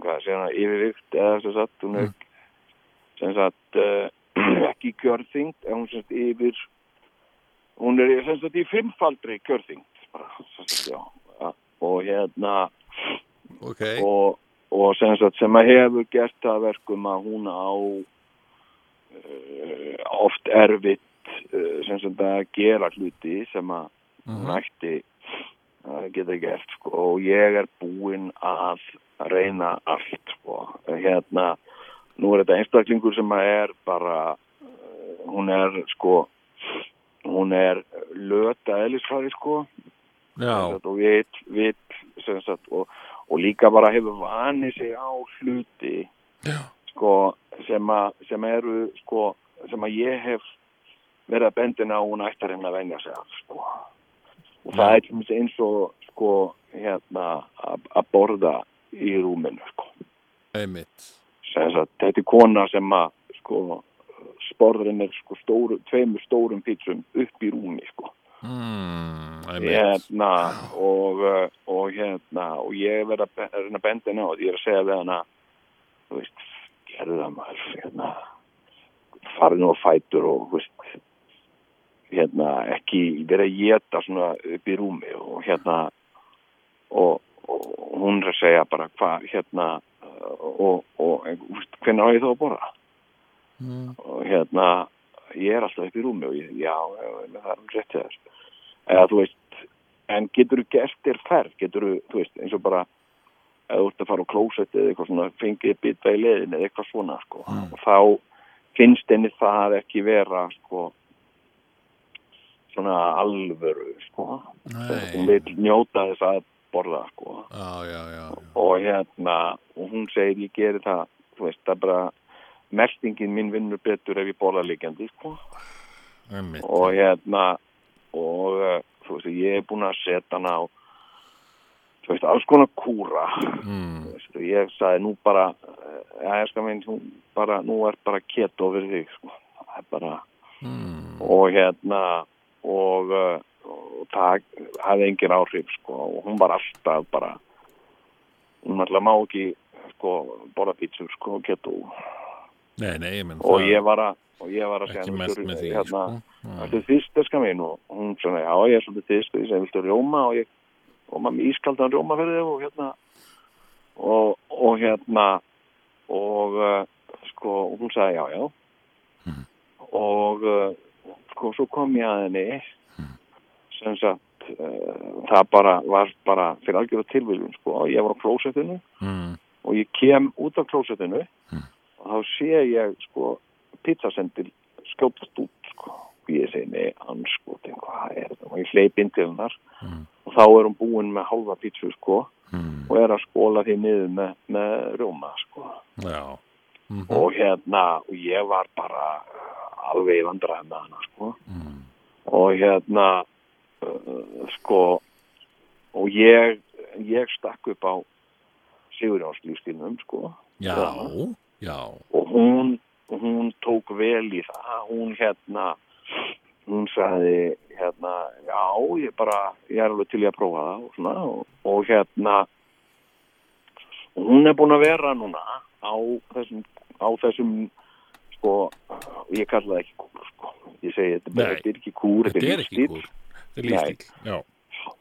Speaker 7: hvað segja hana, yfirvikt eða sem sagt hún er sem sagt uh, ekki kjörþyngd en hún sem sagt yfir hún er sem sagt í fimmfaldri kjörþyngd bara, sem sagt, já, Ja, og hérna
Speaker 3: ok
Speaker 7: og, og sem sagt sem að hefur gert það að verkum að hún á uh, oft erfitt uh, sem sagt að gera hluti sem að hún ætti að geta gert sko og ég er búinn að reyna allt sko hérna nú er þetta einstaklingur sem að er bara uh, hún er sko hún er löta eðlisfari sko sem
Speaker 3: Já,
Speaker 7: sagt, og vit, vit sem sagt, og, og líka bara hefur vanið sig á hluti sko, sem, a, sem eru sko, sem að ég hef verið að bendina og hún ættar henni að venja sig af sko. og það er til dæmis eins og sko, hérna, að að borða í rúminu sko.
Speaker 3: einmitt
Speaker 7: Sem sagt, þetta er kona sem að sko, sporður henni sko, stóru, tveimur stórum pítsum upp í rúmi sko
Speaker 3: Hmm, einmitt
Speaker 7: hérna og, uh, og hérna og ég verð að be- reyna að benda henni á þetta. ég er að segja við hana þú veist, gerðu það maður hérna, farið nú á fætur og þú veist hérna, ekki verið að geta svona upp í rúmi og hérna og, og hún er að segja bara hvað hérna uh, og, og en, þú veist, hvernig á ég þá að borða og hérna ég er alltaf upp í rúmi og ég, já, já, já, það er um rétt hjá þér eða þú veist, en getur þú gert þér ferð, getur þú, þú veist, eins og bara eða þú ert að fara á klósetti eða eitthvað svona, fengið bita í leðin eða eitthvað svona, sko,
Speaker 3: Mm.
Speaker 7: og þá finnst henni það ekki vera, sko svona alvöru, sko
Speaker 3: Nei.
Speaker 7: hún vil njóta þess að borða, sko,
Speaker 3: Já, já, já, já
Speaker 7: og hérna og hún segir, ég geri það, þú veist, það er bara meltingin mín vinnur betur ef ég borða líkjandi, sko
Speaker 3: einmitt
Speaker 7: og hérna og eh, þú veist, ég er búin að setja hana á þú veist, alls konar kúra
Speaker 3: Mm.
Speaker 7: þú veist, og ég sagði nú bara eh, já, ég skal minn, nú bara nú er bara keto fyrir þig, sko það er bara
Speaker 3: Mm.
Speaker 7: og hérna og, eh, og það hafði engin áhrif, sko og hún var alltaf bara hún alltaf má ekki, sko borða pítsur, sko, keto
Speaker 3: Nei, nei, ég menn
Speaker 7: og ég var að og ég var að
Speaker 3: Ekki
Speaker 7: segja henni,
Speaker 3: mælt
Speaker 7: viltu-
Speaker 3: með því,
Speaker 7: hérna,
Speaker 3: sko.
Speaker 7: Þetta er þýsteska mín og hún svona, já ég er svolítið þýst og ég segi, viltu rjóma og ég koma með ískaldan rjóma fyrir þig og hérna og, og hérna og uh, sko og hún sagði já já og uh, sko svo kom ég að henni sem sagt uh, það bara var bara fyrir algjörða tilviljun sko og ég var á klósettinu
Speaker 3: Mm.
Speaker 7: og ég kem út af klósettinu og þá sé ég sko pizzasendil skjótast út sko og ég segi nei anskotin hvað er þetta og ég hleyp inn til hennar og þá er hún búin með hálfa pizzu sko og er að skóla því niður með, með rjóma sko
Speaker 3: Já,
Speaker 7: og hérna og ég var bara uh, alveg í vandræðum með hana sko og hérna uh, sko og ég ég stakk upp á Sigurjóns lífstílnum sko
Speaker 3: já, já
Speaker 7: og hún, hún tók vel í það hún hérna hún sagði hérna, já, ég bara ég er alveg til í að prófa það og, svona, og, og hérna og hún er búin að vera núna á þessum, á þessum sko, ég kalla það ekki kúr sko. ég segi, þetta, er bara-
Speaker 2: Nei.
Speaker 7: þetta er ekki kúr
Speaker 1: Þetta er ekki
Speaker 7: lífstíll.
Speaker 1: kúr.
Speaker 2: Þetta er lífstíl. Já.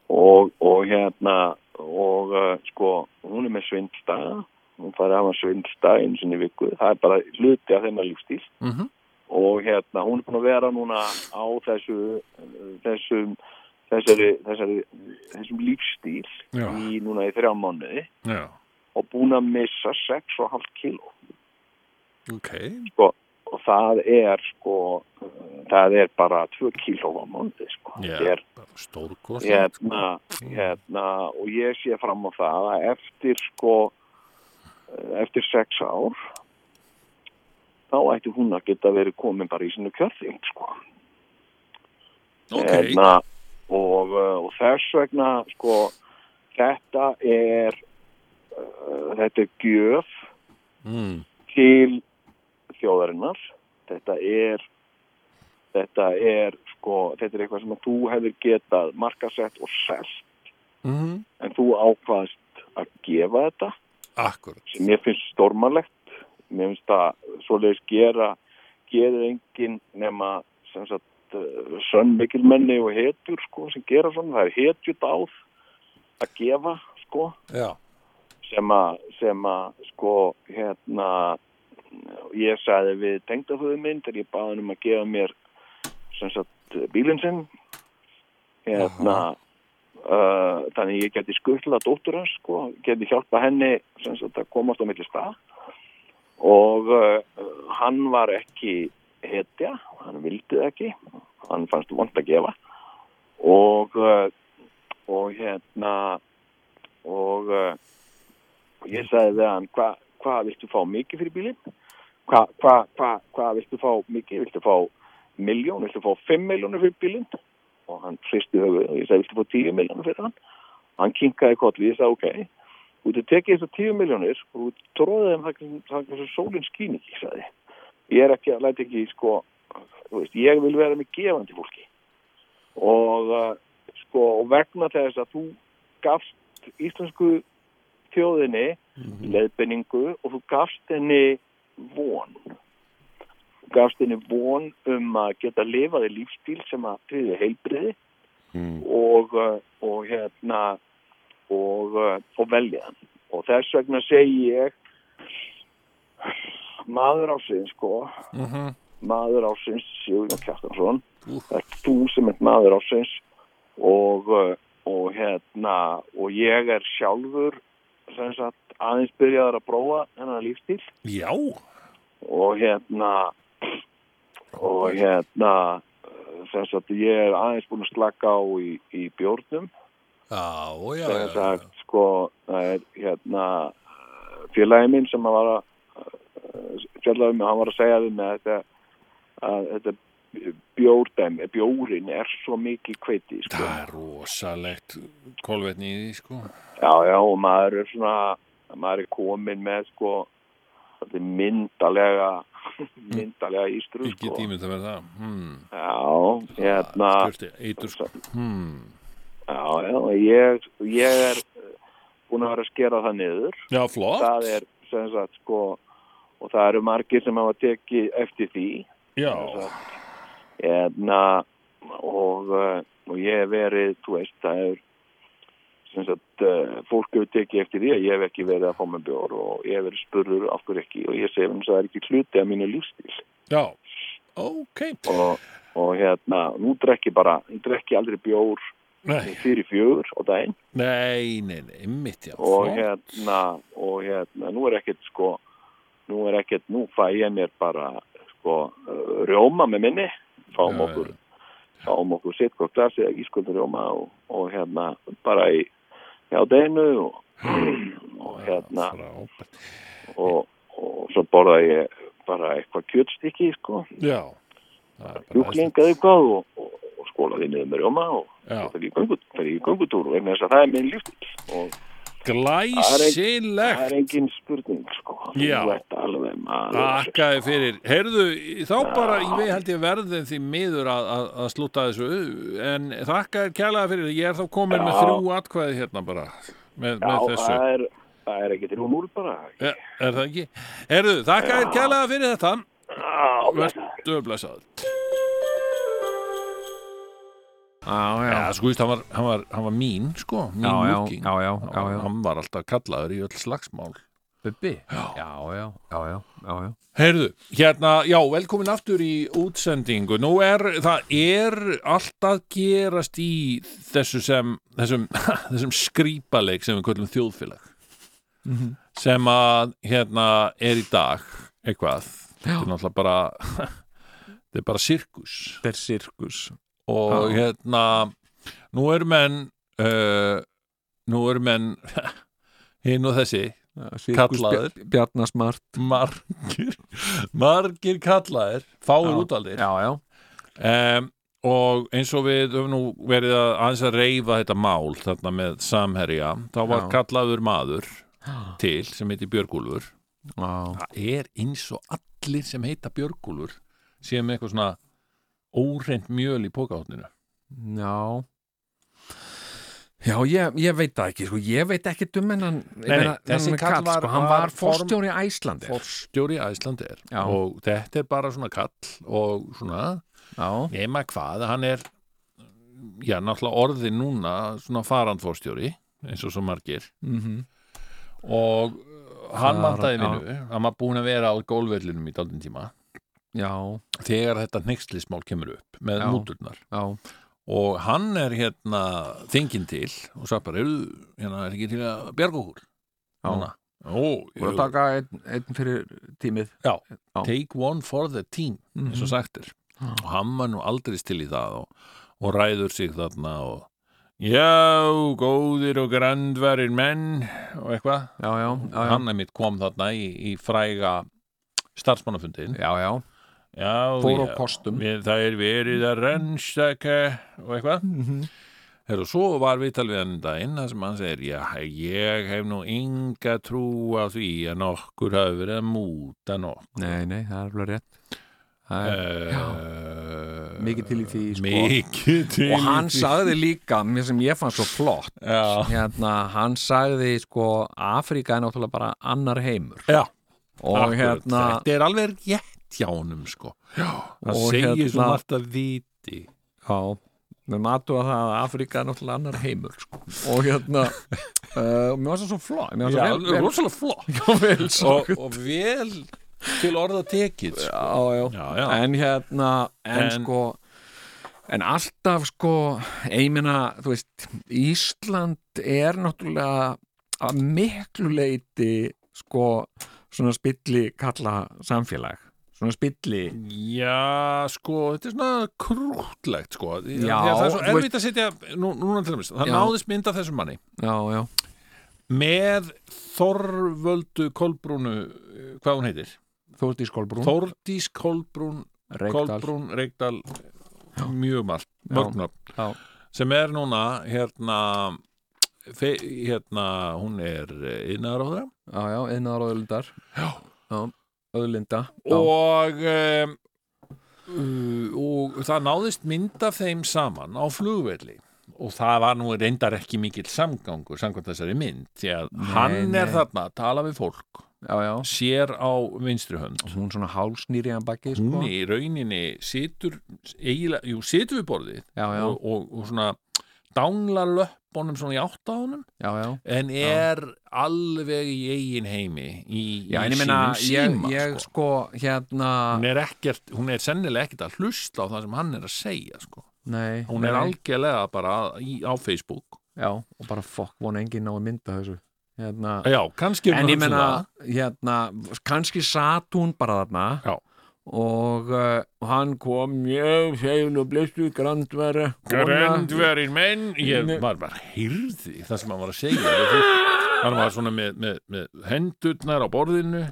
Speaker 7: og, og hérna og uh, sko hún er með svindstaða hún farið að hafa svindstaða eins og viku það er bara hluti af þeim að lífstíl
Speaker 2: Mhm.
Speaker 7: og hérna hún er búin að vera núna á þessu þessum þessari, þessari þessum lífstíl
Speaker 2: Já.
Speaker 7: í núna í þrjá mánuði
Speaker 2: Já.
Speaker 7: og búin að missa 6,5 kíló
Speaker 3: ok,
Speaker 7: sko, og það er sko uh, það er bara 2 kíló á mánuði sko
Speaker 1: Já.
Speaker 7: Þetta er
Speaker 1: Stórkost.
Speaker 7: hérna, hérna og ég sé fram á það að eftir sko eh, eftir sex ár þá ætti hún að geta verið komin bara í sinu kjörþing sko
Speaker 1: Ok.
Speaker 7: hérna, og, eh, og þess vegna sko þetta er uh, þetta er gjöf
Speaker 1: Mm.
Speaker 7: til þjóðarinnar þetta er þetta er sko þetta er eitthvað sem að þú hefur getað markasett og selt
Speaker 1: Mm.
Speaker 7: en þú ákvaðast að gefa þetta
Speaker 1: Akkurat.
Speaker 7: sem ég finnst stormalegt mér finnst að svoleiðis gera gerir enginn nema sem sagt uh, sönnmikilmenni og hetjur sko sem gera svona, það er hetjut áð að gefa sko
Speaker 1: Já.
Speaker 7: sem að sem að sko hérna ég sagði við tengdaföðu minn þegar ég baði hann um að gefa mér sem sagt bílinn sinn hérna uh, þannig ég geti skuttla dóttur hans sko, geti hjálpa henni sem sagt að komast á milli stað og uh, hann var ekki hetja, hann vildi það ekki hann fannst vond að gefa og uh, og hérna og uh, og ég sagði við hann hvað hva viltu fá mikið fyrir bílinn hvað hva, hva, hva viltu fá mikið viltu fá miljón, viltu fá 5 miljónir fyrir bílinn og hann hristi höfuð og ég sagði viltu fá 10 miljónir fyrir hann hann kinkaði kolli, ég sagði ok þú ert tekið þessar 10 miljónir og þú tróðið þeim þangað- þangað sem sólinn skýn ekki, ég sagði ég er ekki, læt ekki sko, þú veist, ég vil vera með gefandi fólki og uh, sko, og vegna þess að þú gafst íslensku þjóðinni leiðbendingu og þú gafst henni von þú gafst henni von um að geta lifað í lífstíl sem að tryggði heilbriði og, uh, og hérna og, uh, og velja hann. og þess vegna segi ég maður ásins sko maður ásins Sigurjón Kjartansson það er þú sem er maður ásins og, uh, og hérna og ég er sjálfur sem sagt aðeins byrjaður að prófa hennar lífstíl
Speaker 1: Já.
Speaker 7: og hérna og hérna uh, sem sagt ég er aðeins búin að slaka á í, í bjórnum
Speaker 1: Já, já,
Speaker 7: sem
Speaker 1: já. já.
Speaker 7: sagt sko það er hérna félagi minn sem að var að fjallaði mig, hann var að segja við mig að þetta, að þetta bjórdæmi, bjórin er svo mikið kveiti sko.
Speaker 1: Það er rosalegt kolvetni í því, sko.
Speaker 7: Já, já, og maður er svona, maður er komin með sko, þetta er myndalega, myndalega ístru,
Speaker 1: Ekki
Speaker 7: sko.
Speaker 1: tímið það með það. Hmm.
Speaker 7: Já, hérna,
Speaker 1: Skjörti, eitur, sko.
Speaker 7: Hmm. já, já, ég, ég er búin að vera að skera það niður.
Speaker 1: Já, flott.
Speaker 7: Það er, sem sagt, sko, og það eru margir sem hafa tekið eftir því.
Speaker 1: Já.
Speaker 7: hérna og, eh, og ég hef verið, þú veist, það er sem sagt, eh, fólk hefur tekið eftir því að ég hef ekki verið að fá með bjór og ég hef verið spurður af hverju ekki og ég segi hans að það er ekki hluti af mínu lífstíl
Speaker 1: Já. Ok.
Speaker 7: og, og hérna, nú drekki bara, ég drekki aldrei bjór
Speaker 1: Nei,
Speaker 7: fyrir fjögur á daginn
Speaker 1: nei, nei, nei, mitt, já.
Speaker 7: og
Speaker 1: flott.
Speaker 7: hérna, og hérna, nú er ekkert sko, nú er ekkert, nú fæ ég mér bara sko, uh, rjóma með minni, fáum
Speaker 1: Já,
Speaker 7: okkur, fáum okkur sitt hvort glasið eða ískuldur rjóma og, og hérna, bara í, já, deginu og, og hérna,
Speaker 1: Hmm. Frábært.
Speaker 7: og, og svo borða ég bara eitthvað kjötstykki, sko,
Speaker 1: Já. Það er bara
Speaker 7: júklingaði eitthvað og, og, og skólaði niður með rjóma og
Speaker 1: Já.
Speaker 7: það er í göngutúr, það er í göngutúr, vegna þess að það er minn lífstíl og það
Speaker 3: Glæsilegt
Speaker 7: er engin spurning sko
Speaker 3: Já.
Speaker 7: þú ert alveg maður
Speaker 3: Akkaði fyrir. Heyrðu, þá bara ég held ég verðin því miður að, að, að slúta þessu, en þakka þér kærlega fyrir, ég er þá komin með
Speaker 7: Já.
Speaker 3: þrjú atkvæði hérna bara, með,
Speaker 7: já,
Speaker 3: með þessu.
Speaker 7: það er, það er ekki 3-0 bara
Speaker 3: Er, er það ekki? Heyrðu, þakka þér kærlega fyrir þetta.
Speaker 7: já,
Speaker 3: Vertu blessaður.
Speaker 4: Já, já,
Speaker 3: Já, sko, víst, hann var, hann var, hann var mín, sko, mín
Speaker 4: já, já,
Speaker 3: looking.
Speaker 4: já, já, já, já.
Speaker 3: Hann var alltaf kallaður í öll slagsmál.
Speaker 4: Bubbi? Já, já, já, já, já, já.
Speaker 3: Heyrðu, hérna, já, velkomin aftur í útsendingu. Nú er, það er allt að gerast í þessu sem, þessum, þessum skrýpaleik sem við köllum þjóðfélag.
Speaker 4: Mhm.
Speaker 3: Sem að, hérna, er í dag, eitthvað. Þetta er náttúrulega bara, þetta er bara sirkus.
Speaker 4: Þetta er sirkus.
Speaker 3: og
Speaker 4: Já.
Speaker 3: hérna nú eru menn uh, nú eru menn hinn og þessi Kallaður.
Speaker 4: Bjarnasmart.
Speaker 3: margir, margir kallaðir fáir útaldir
Speaker 4: Já, já.
Speaker 3: um, og eins og við höfum nú verið að aðeins að reyfa þetta mál þarna með samherja þá var
Speaker 4: Já.
Speaker 3: kallaður maður til sem heiti Björgúlfur
Speaker 4: Já,
Speaker 3: það er eins og allir sem heita Björgúlfur séu með eitthvað svona óreint mjöl í pókáttinu
Speaker 4: já. Já, ég, ég veit það ekki, sko, ég veit ekki um hennan,
Speaker 3: nei, þessi
Speaker 4: hennan
Speaker 3: kall var-
Speaker 4: sko, hann var
Speaker 3: var form-
Speaker 4: forstjóri Æslandi.
Speaker 3: forstjóri Æslandir
Speaker 4: Já.
Speaker 3: og þetta er bara svona kall og svona
Speaker 4: Já,
Speaker 3: nema hvað, hann er já, náttúrulega orði núna svona farandforstjóri eins og svo margir
Speaker 4: mm -hmm.
Speaker 3: og uh, hann
Speaker 4: Farand-
Speaker 3: vantaði
Speaker 4: já.
Speaker 3: vinnu, hann var búin að vera á gólverlinum í daldin tíma
Speaker 4: já,
Speaker 3: þegar þetta hneikslismál kemur upp með
Speaker 4: Já.
Speaker 3: múturnar
Speaker 4: já,
Speaker 3: og hann er hérna þingin til og sagði bara, "Heyrðu, hérna er ekki til að bjarga okkur
Speaker 4: já.
Speaker 3: núna Ó,
Speaker 4: Voru að
Speaker 3: jú.
Speaker 4: taka einn, einn fyrir tímið. Já.
Speaker 3: take one for the team eins og sagt er
Speaker 4: Mhm. Já.
Speaker 3: og hann var nú aldrei til í það og, og ræður sig þarna og já, góðir og grandvarir menn og eitthvað
Speaker 4: Já, já, já, já.
Speaker 3: hann er mitt kom þarna í, í fræga starfsmannafundin
Speaker 4: Já, já.
Speaker 3: já,
Speaker 4: Fór á
Speaker 3: já.
Speaker 4: kostum.
Speaker 3: Við, það er verið að rannsaka og eitthvað Heru, svo var viðtal við hann um daginn þar sem hann segir, já, ég hef nú enga trú á því að nokkur hafi verið að múta nokkur
Speaker 4: Nei, nei, það er alveg rétt. Það er...
Speaker 3: Eh,
Speaker 4: Mikið til í því, sko.
Speaker 3: Mikið til
Speaker 4: Og hann
Speaker 3: í því
Speaker 4: sagði líka, mér sem ég fann svo flott,
Speaker 3: Já,
Speaker 4: hérna, hann sagði sko Afríka er náttúrulega bara annar heimur
Speaker 3: já
Speaker 4: og
Speaker 3: akkurat.
Speaker 4: hérna
Speaker 3: Þetta er alveg rétt hjá honum sko Já, hann
Speaker 4: Og
Speaker 3: segir
Speaker 4: hérna-
Speaker 3: svona allt að viti
Speaker 4: já, við matuða það að Afríka er náttúrulega annar heimur sko. og hérna uh, mér var það svo flott mér
Speaker 3: Já,
Speaker 4: var það
Speaker 3: rosalega flott
Speaker 4: svo vel, vel
Speaker 3: og, og vel til orða tekið sko.
Speaker 4: já, já.
Speaker 3: Já, já.
Speaker 4: en hérna en,
Speaker 3: En-
Speaker 4: sko en alltaf sko einmina, þú veist, Ísland er náttúrulega að miklu leiti sko svona spilli kalla samfélag svona spilli
Speaker 3: Já, sko, þetta er svona krútlegt sko Já,
Speaker 4: Já,
Speaker 3: það er svo
Speaker 4: þú
Speaker 3: erfitt að setja nú, Núna til dæmis, það
Speaker 4: Já.
Speaker 3: náðist mynd af þessum manni
Speaker 4: já, já,
Speaker 3: með Þorvöldu Kolbrúnu eh, hvað hún heitir
Speaker 4: Þórdís Kolbrún
Speaker 3: Þórdís Kolbrún
Speaker 4: Reykdal
Speaker 3: Kolbrún Reykdal mjög margt,
Speaker 4: Já. Já.
Speaker 3: mörgnöfn sem er núna hérna, fe, hérna hún er eh, innar á það
Speaker 4: já, já, einnar og öðlindar já, öðlinda já,
Speaker 3: og um, uh, og það náðist mynd af þeim saman á flugvelli og það var nú reyndar ekki mikill samgangur samkvæmt þessari mynd því að hann er
Speaker 4: nei.
Speaker 3: þarna að tala við fólk
Speaker 4: já, já.
Speaker 3: sér á vinstri hönd
Speaker 4: Og hún svona hálsnýri hann baki sko.
Speaker 3: hún í rauninni situr eiginlega, jú, situr við borðið
Speaker 4: já, já,
Speaker 3: og, og, og svona danglar löppunum svona í átt á honum
Speaker 4: já, já
Speaker 3: en er alveg í eigin heimi í,
Speaker 4: Já, en
Speaker 3: í
Speaker 4: ég meina, ég,
Speaker 3: sínum síma
Speaker 4: ég
Speaker 3: sko.
Speaker 4: sko, hérna
Speaker 3: hún, er ekkert, hún er sennilega ekkert að hlusta á það sem hann er að segja sko.
Speaker 4: Nei,
Speaker 3: hún er
Speaker 4: nei.
Speaker 3: algjörlega bara í, á Facebook
Speaker 4: Já, og bara fokk, vona enginn ná að mynda þessu hérna,
Speaker 3: já, kannski er
Speaker 4: En
Speaker 3: hún
Speaker 4: ég
Speaker 3: að hugsa
Speaker 4: meina,
Speaker 3: það.
Speaker 4: hérna kannski satt hún bara þarna
Speaker 3: Já.
Speaker 4: og uh, hann kom mjög segjun og blessu grandværa
Speaker 3: Gröndverin menn ég var bara hýrði það sem hann var að segja Við fólk- hann var svona með, með, með hendurnar á borðinu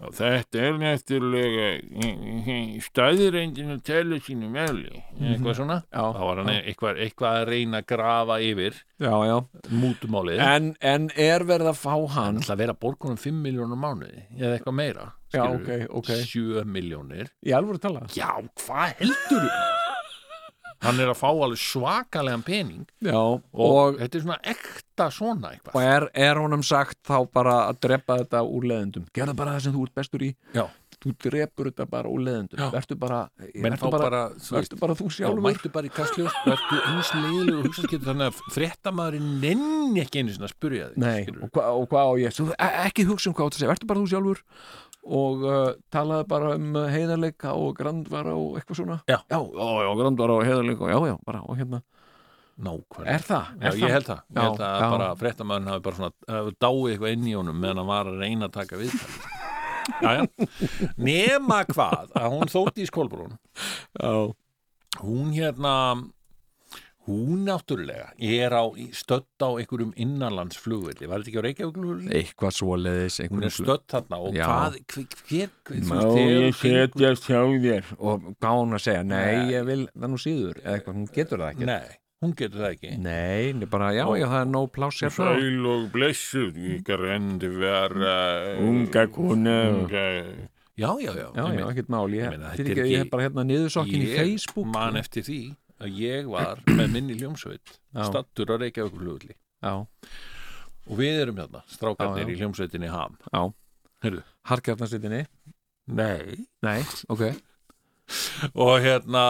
Speaker 2: Og þetta er nættúrulega staðirendin að tala sínu meðli.
Speaker 3: eitthvað svona
Speaker 4: Já.
Speaker 3: þá var hann eitthvað, eitthvað að reyna að grafa yfir
Speaker 4: já, já.
Speaker 3: mútumálið en
Speaker 4: En, en er verið að fá hann
Speaker 3: ætla að vera borgunum 5 miljónum mánuði eða eitthvað meira
Speaker 4: Já,
Speaker 3: skilurðu.
Speaker 4: ok, ok
Speaker 3: 7 miljónir
Speaker 4: Í alvöru tala
Speaker 3: já, hvað heldur hann er að fá alveg svakalegan pening
Speaker 4: Já, og,
Speaker 3: og,
Speaker 4: og,
Speaker 3: þetta er svona ekta svona eitthvað
Speaker 4: er, er honum sagt þá bara að drepa þetta úr leðendum Gerðu bara það sem þú ert bestur í
Speaker 3: Já.
Speaker 4: Þú drepur þetta bara úr leðendum Vertu bara,
Speaker 3: menn þá
Speaker 4: vertu bara,
Speaker 3: bara, þú veist,
Speaker 4: vertu bara þú
Speaker 3: Já,
Speaker 4: sjálfur
Speaker 3: mættu bara í kastljós, verður eins leiðilegu hugsaðskipti þannig að fréttamaðurinn nenni ekki einu sinna að spurja þig.
Speaker 4: Nei,
Speaker 3: skilurðu.
Speaker 4: og hvað og hva á ég Svo, e- Ekki hugsa um hvað þú segir, vertu bara þú sjálfur og uh, talaði bara um uh, heiðarleika og grandvara og eitthvað svona
Speaker 3: Já.
Speaker 4: já, já, já grandvara og heiðarleika og já, já, bara, og hérna
Speaker 3: Nákvæmlega.
Speaker 4: Er það?
Speaker 3: Já, ég
Speaker 4: Er það?
Speaker 3: held það. Ég held
Speaker 4: Já,
Speaker 3: að
Speaker 4: já.
Speaker 3: bara fréttamaðurinn hafi bara svona, hafi dáið eitthvað inn í honum meðan hann var að reyna að taka við það. Jæja. Nema hvað að hún þótti í skólbrún,
Speaker 4: Já,
Speaker 3: hún hérna, hún náttúrulega er á, stödd á einhverjum innanlandsflugvilli, var þetta ekki á Reykjavík?
Speaker 4: eitthvað svoleiðis
Speaker 3: Hún er stödd þarna og
Speaker 4: Já.
Speaker 3: hvað, hver, hver, hver
Speaker 2: Má ég setja sjá þér.
Speaker 4: og hvað á hún að segja, nei, ég vil það nú síður, eða eitthvað, hún getur það ekki
Speaker 3: Nei, hún getur það ekki.
Speaker 4: Nei, nei, bara, já, já, það er nóg pláss hérna
Speaker 2: Sæl og blessuð, ykkar endi vera... Unga kona. Unga...
Speaker 3: Já, já, já.
Speaker 4: Já,
Speaker 3: ég
Speaker 4: já,
Speaker 3: meina-
Speaker 4: ekkert mál,
Speaker 3: ég
Speaker 4: ég
Speaker 3: meina, þetta
Speaker 4: fyrir
Speaker 3: er
Speaker 4: ekki, ég
Speaker 3: ekki-
Speaker 4: hef bara hérna niður sokkin í Facebook sko.
Speaker 3: man eftir því að ég var með minni hljómsveit
Speaker 4: Já.
Speaker 3: stattur að reykja okkur hlugulli
Speaker 4: Já,
Speaker 3: og við erum hérna,
Speaker 4: Já,
Speaker 3: strákarnir
Speaker 4: já.
Speaker 3: í hljómsveitinni ham
Speaker 4: harkjarnarsitinni
Speaker 3: Nei.
Speaker 4: Nei, ok
Speaker 3: og hérna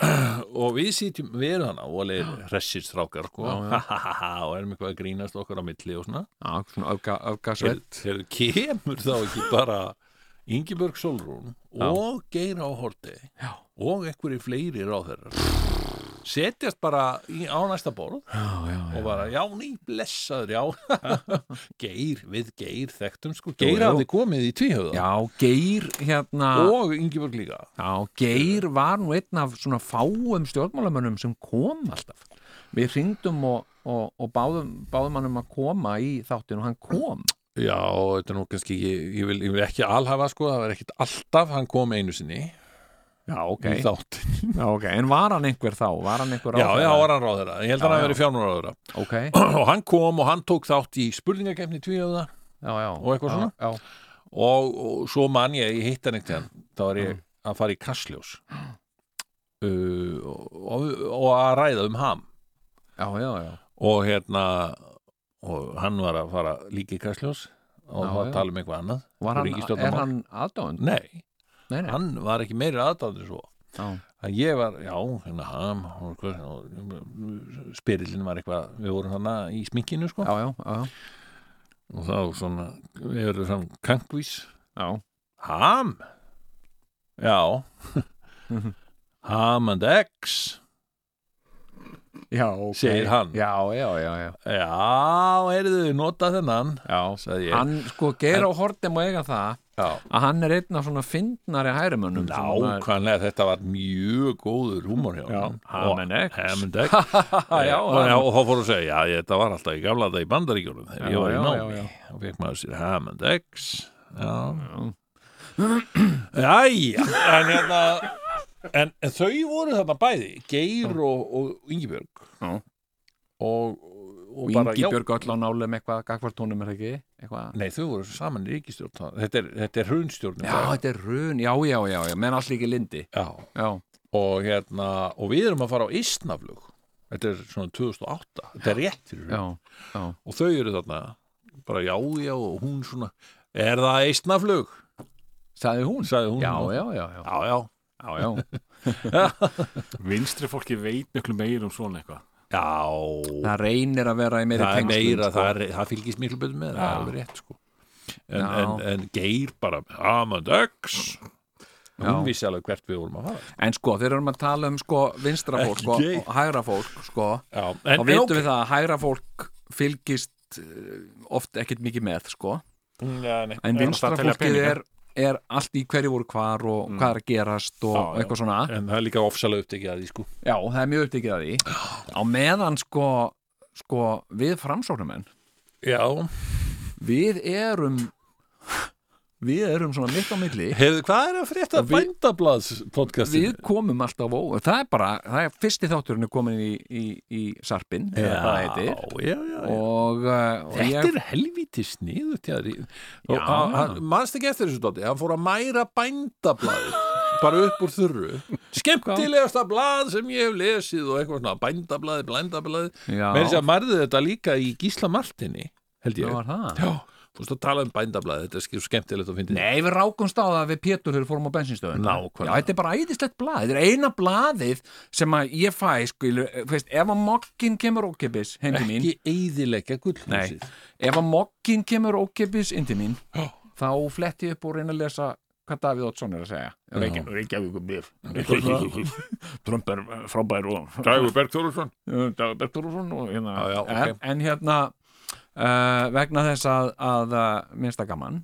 Speaker 3: og við sýtjum, við erum hana og alveg hressir strákar sko.
Speaker 4: Já, já.
Speaker 3: og erum eitthvað að grínast okkar á milli og svona
Speaker 4: Já, svona öfga, öfgasveit
Speaker 3: Heyrðu, heyrðu, kemur þá ekki bara Ingeborg Solrún og Geir á Horti
Speaker 4: Já.
Speaker 3: og einhverju fleiri ráðherrar setjast bara í, á næsta borð
Speaker 4: Já, já,
Speaker 3: og bara, já, ný, blessaður, já Geir, við Geir þekktum sko,
Speaker 4: Geir hafði
Speaker 3: komið í tvíhauða
Speaker 4: Já, Geir hérna
Speaker 3: og Ingeborg líka
Speaker 4: Já, Geir var nú einn af svona fáum stjórnmálamönnum sem kom alltaf Við hringdum og, og, og báðum, báðum hann um að koma í þáttinu og hann kom
Speaker 3: Já, og þetta er nú kannski, ég, ég, vil, ég vil ekki alhafa sko, það var ekkit alltaf hann kom einu sinni
Speaker 4: Já, ok
Speaker 3: í þáttin
Speaker 4: Já, ok, en var hann einhver þá? Var hann einhver
Speaker 3: Já, já,
Speaker 4: ráðherra?
Speaker 3: var hann ráðherra, ég held að
Speaker 4: Já,
Speaker 3: hann hafi
Speaker 4: já.
Speaker 3: verið fjármálaráðherra
Speaker 4: Ok,
Speaker 3: og hann kom og hann tók þátt í spurningakefni tvíhauða
Speaker 4: já, já
Speaker 3: Og eitthvað
Speaker 4: Já,
Speaker 3: svona?
Speaker 4: Já,
Speaker 3: og, og svo man ég, ég hitt hann eitthvað þá var ég að fara í kassljós uh, og, og, og að ræða um ham
Speaker 4: já, já, já
Speaker 3: og hérna og hann var að fara líka í kastljós og
Speaker 4: Já,
Speaker 3: var
Speaker 4: já.
Speaker 3: að tala um eitthvað annað
Speaker 4: Var hann,
Speaker 3: Ríkisstjórnarmál.
Speaker 4: er hann aðdáðan?
Speaker 3: nei,
Speaker 4: Nei, nei,
Speaker 3: hann var ekki meiri aðdáður svo
Speaker 4: já,
Speaker 3: að ég var, já, hérna ham og hvað, og spyrillin var eitthvað, við vorum þarna í sminkinu sko,
Speaker 4: já, já, já,
Speaker 3: og þá svona við erum svona kankvís
Speaker 4: já.
Speaker 3: ham já ham and eggs
Speaker 4: Já, ok
Speaker 3: Segir hann.
Speaker 4: Já, já, já, já
Speaker 3: já, heyrðu, nota þennan já, sagði ég
Speaker 4: Hann, sko, Geir á Hortem og eiga það
Speaker 3: já.
Speaker 4: að hann er einn af svona fyndnari hærumönnum
Speaker 3: Nákvæmlega, þetta var mjög góður húmor hjá honum. Og-
Speaker 4: Ham and eggs.
Speaker 3: Ham and eggs já, og, já, og þá fór að segja, já, þetta var alltaf í gamla þetta í bandaríkjólum þegar
Speaker 4: Já,
Speaker 3: ég var í
Speaker 4: já,
Speaker 3: námi
Speaker 4: já,
Speaker 3: og fekk maður sér ham and eggs já Jæja, en hérna en, en þau voru þarna bæði Geir og, og Ingibjörg
Speaker 4: Já.
Speaker 3: og, og
Speaker 4: og
Speaker 3: bara,
Speaker 4: Ingi
Speaker 3: já,
Speaker 4: Björg öll á nálum eitthvað gagvart honum er það ekki eitthvað
Speaker 3: nei, þau voru saman í ríkistjórn þá. þetta er, þetta er hrunstjórn í
Speaker 4: Já,
Speaker 3: dag.
Speaker 4: þetta er run, já, já, já, já, menn allir ekki lindi
Speaker 3: já,
Speaker 4: Já,
Speaker 3: og hérna og við erum að fara á Ísnaflug þetta er svona 2008 þetta er rétt fyrir
Speaker 4: já,
Speaker 3: hrun. og þau eru þarna bara já já og hún svona er það Ísnaflug?
Speaker 4: sagði hún
Speaker 3: sagði hún
Speaker 4: Já, já, já, já,
Speaker 3: já, já.
Speaker 4: já, já,
Speaker 9: Vinstri fólki veit miklu meir um svona eitthvað.
Speaker 3: Já,
Speaker 4: það reynir að vera í meiri
Speaker 3: það er
Speaker 4: tengslum,
Speaker 3: meira
Speaker 4: sko.
Speaker 3: það, er, það fylgist miklu betur með það er alveg rétt sko en,
Speaker 4: Já.
Speaker 3: en, en geir bara Amand X hún
Speaker 4: Já.
Speaker 3: vissi alveg hvert við vorum að fara
Speaker 4: En sko, þeir erum að tala um sko vinstra fólk
Speaker 3: Ekki
Speaker 4: sko,
Speaker 3: gay.
Speaker 4: og hægra fólk sko,
Speaker 3: já,
Speaker 4: þá
Speaker 3: en,
Speaker 4: veitum við það að hægra fólk fylgist eh, oft ekkert mikið með sko
Speaker 3: við
Speaker 4: en vinstra
Speaker 9: alltaf að telja
Speaker 4: fólkið
Speaker 9: peninga.
Speaker 4: er, er allt í hverju voru hvar og hvað er að gerast og
Speaker 3: Já, já.
Speaker 4: eitthvað svona
Speaker 3: en það er líka ofsalega upptekið að því sko
Speaker 4: já, það er mjög upptekið að því á meðan sko, sko við framsóknumenn
Speaker 3: já,
Speaker 4: við erum við erum svona mitt á milli
Speaker 3: Heyrðu, hvað er að frétta
Speaker 4: Og við-
Speaker 3: bændablaðs podcastinu?
Speaker 4: við komum alltaf ó það er bara, það er fyrsti þátturinn er komin í, í, í sarpin eða hvað það heitir
Speaker 3: já, já, já.
Speaker 4: og, uh, og
Speaker 3: Þetta
Speaker 4: ég,
Speaker 3: er helvítið sniðu
Speaker 4: Já.
Speaker 3: tjáður Manst ekki eftir þessu dóti Hann fór að mæra bændablaði bara upp úr þurru Skemmtilegasta blað sem ég hef lesið og eitthvað svona bændablaði, blændablaði
Speaker 4: já,
Speaker 3: Mér þess að marði þetta líka í Gísla Martini held
Speaker 4: það
Speaker 3: ég
Speaker 4: var það
Speaker 3: Já, þú veist að tala um bændablaði þetta er skil skemmtilegt að finna
Speaker 4: Nei, við rákumst á það við Pétur þegar við fórum á bensinstöðun
Speaker 3: Nákvæmlega.
Speaker 4: Já, þetta er bara æðislegt blað, þetta er eina blaðið sem að ég fæ, skilu, veist, ef að mokkin kemur ókipis heim til mín
Speaker 3: ekki eyðileggja
Speaker 4: Nei,
Speaker 3: gullhúsið
Speaker 4: ef að mokkin kemur ókipis inn til mín
Speaker 3: Já.
Speaker 4: þá fletti ég upp og reyna að lesa hvað Davíð Oddsson er að segja Reykjavík blif Trump er frábær og
Speaker 10: Dagur Berg Þólusson
Speaker 4: Dagur Bergþóruðsson og hérna
Speaker 3: Já, já, ok.
Speaker 4: en, en hérna uh, vegna þess að, að uh, minnsta gaman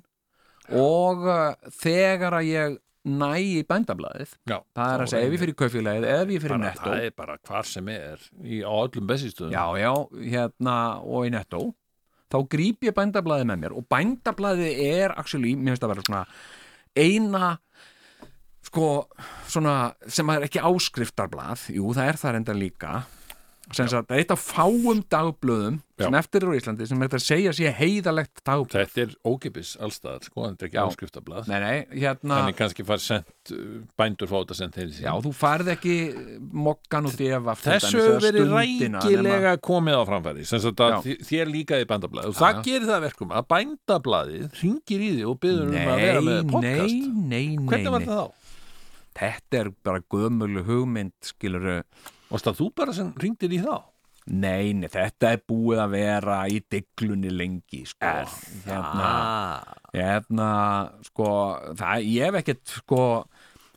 Speaker 4: og uh, þegar að ég næ í bændablaðið
Speaker 3: Já,
Speaker 4: það er að
Speaker 3: þá
Speaker 4: segja ef
Speaker 3: reynir-
Speaker 4: ég fyrir kaufélagið ef ég fyrir
Speaker 3: bara,
Speaker 4: netto
Speaker 3: það er bara hvar sem er í, á öllum bessistöðum
Speaker 4: Já, já, hérna og í nettó þá gríp ég bændablaðið með mér og bændablaðið er actually, mér finnst að vera svona eina sko, svona sem er ekki áskriftarblað, jú, það er það reyndar líka sem sagt, það er eitt af fáum dagblöðum sem eftir eru á Íslandi sem er þetta að segja sé heiðalegt dagblöð
Speaker 3: Þetta er ókipis allstaðar, sko, þetta er ekki
Speaker 4: Já.
Speaker 3: áskriftablað
Speaker 4: Nei, nei, hérna,
Speaker 3: Þannig kannski fær sent, uh, bændur fá þetta sent þeir
Speaker 4: já, þú færð ekki mokkan út í efa
Speaker 3: Þessu hefur verið rækilega komið á framfæri sem sagt að
Speaker 4: Já.
Speaker 3: þi- þér líkaði bændablaði og það
Speaker 4: já.
Speaker 3: gerir það að verkum að bændablaðið ringir í þig og byður um að vera
Speaker 4: Nei,
Speaker 3: með
Speaker 4: nei,
Speaker 3: podcast
Speaker 4: nei, nei
Speaker 3: Hvernig var
Speaker 4: nei.
Speaker 3: það þá?
Speaker 4: þetta er bara gömul hugmynd skilur,
Speaker 3: Varst það þú bara sem ringdir í þá?
Speaker 4: nei, nei, þetta er búið að vera í diglunni lengi sko. er, hérna, hérna sko, það, ég hef ekkert sko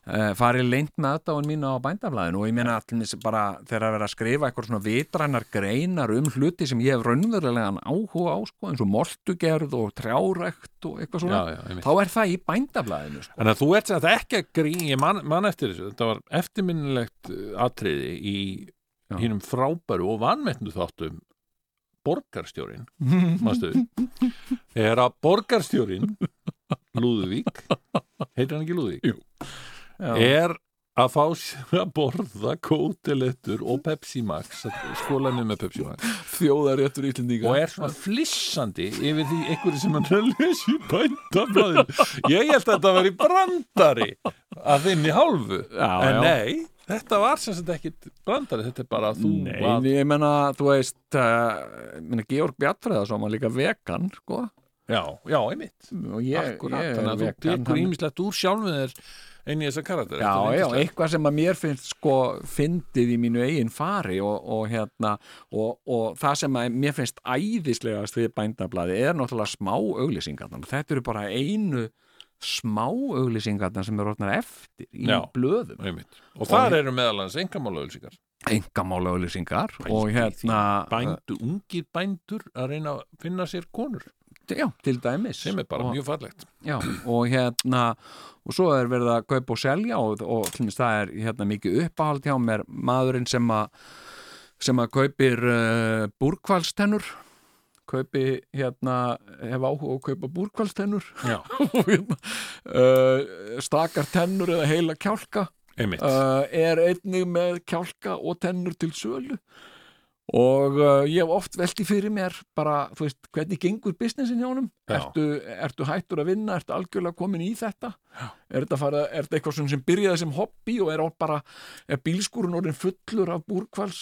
Speaker 4: Uh, farið leint með aðdáun mín á bændaflæðinu og ég meina allir bara þegar að vera að skrifa eitthvað svona vitrænar greinar um hluti sem ég hef raunverulegan áhuga á sko, eins og moltugerð og trjárekt og eitthvað svona,
Speaker 3: já, einmitt.
Speaker 4: þá er það í bændaflæðinu sko.
Speaker 3: Þannig að þú ert sem þetta ekki að grín ég man, man eftir þessu, þetta var eftirminnilegt uh, atriði í
Speaker 4: Já.
Speaker 3: hínum frábæru og vanmetnu þáttum borgarstjórin mástu er að borgarstjórin Lúðvík heitir hann ekki Lúðvík? Jú. er að fá sér að borða kótilettur og Pepsi Max skólanum með Pepsi Max
Speaker 4: þjóðaréttur íslendinga
Speaker 3: og er svona flissandi yfir því einhverju sem hann er að lesa í bændablaðin ég held að þetta var í brandari að þinni hálfu en nei, þetta var sem sagt ekkit brandari, þetta er bara að þú
Speaker 4: Nei,
Speaker 3: að,
Speaker 4: ég menna, þú veist uh, menna, Georg Bjartfræðarsson var líka vegan sko,
Speaker 3: já, já, einmitt
Speaker 4: og ég,
Speaker 3: akkurat,
Speaker 4: ég er
Speaker 3: þannig að þú
Speaker 4: vegan
Speaker 3: tekur
Speaker 4: hann-
Speaker 3: ímislegt úr sjálfum þér inn í þessa karakter
Speaker 4: Já,
Speaker 3: Þetta er
Speaker 4: já,
Speaker 3: yndislegt.
Speaker 4: eitthvað sem að mér finnst sko fyndið í mínu eigin fari og, og hérna og, og það sem að mér finnst æðislegast við bændablaði er náttúrulega smá auglýsingarnar og þetta eru bara einu smá auglýsingarnar sem eru orðnar eftir í
Speaker 3: Já.
Speaker 4: blöðum
Speaker 3: Einmitt. og þar eru meðal hans engamálauðlýsingar
Speaker 4: engamála auglýsingar og hérna
Speaker 3: bændu, ungir bændur að reyna að finna sér konur
Speaker 4: já, til dæmis
Speaker 3: sem er bara
Speaker 4: og,
Speaker 3: mjög fallegt
Speaker 4: Já, og hérna og svo er verið að kaupa og selja og, og til dæmis það er hérna mikið uppahald hjá mér maðurinn sem að sem að kaupir uh, búrkvalstennur kaupi hérna hef áhuga á að kaupa búrkvalstennur
Speaker 3: Já.
Speaker 4: og hérna uh, stakar tennur eða heila kjálka
Speaker 3: einmitt,
Speaker 4: uh, er einnig með kjálka og tennur til sölu og uh, ég hef oft velti fyrir mér bara, þú veist, hvernig gengur businessin hjá honum,
Speaker 3: Já.
Speaker 4: ertu, ertu hættur að vinna, ertu algjörlega komin í þetta er þetta, fara, er þetta eitthvað svona sem byrjaði sem hobby og er á bara er bílskúrun orðin fullur af búrkvals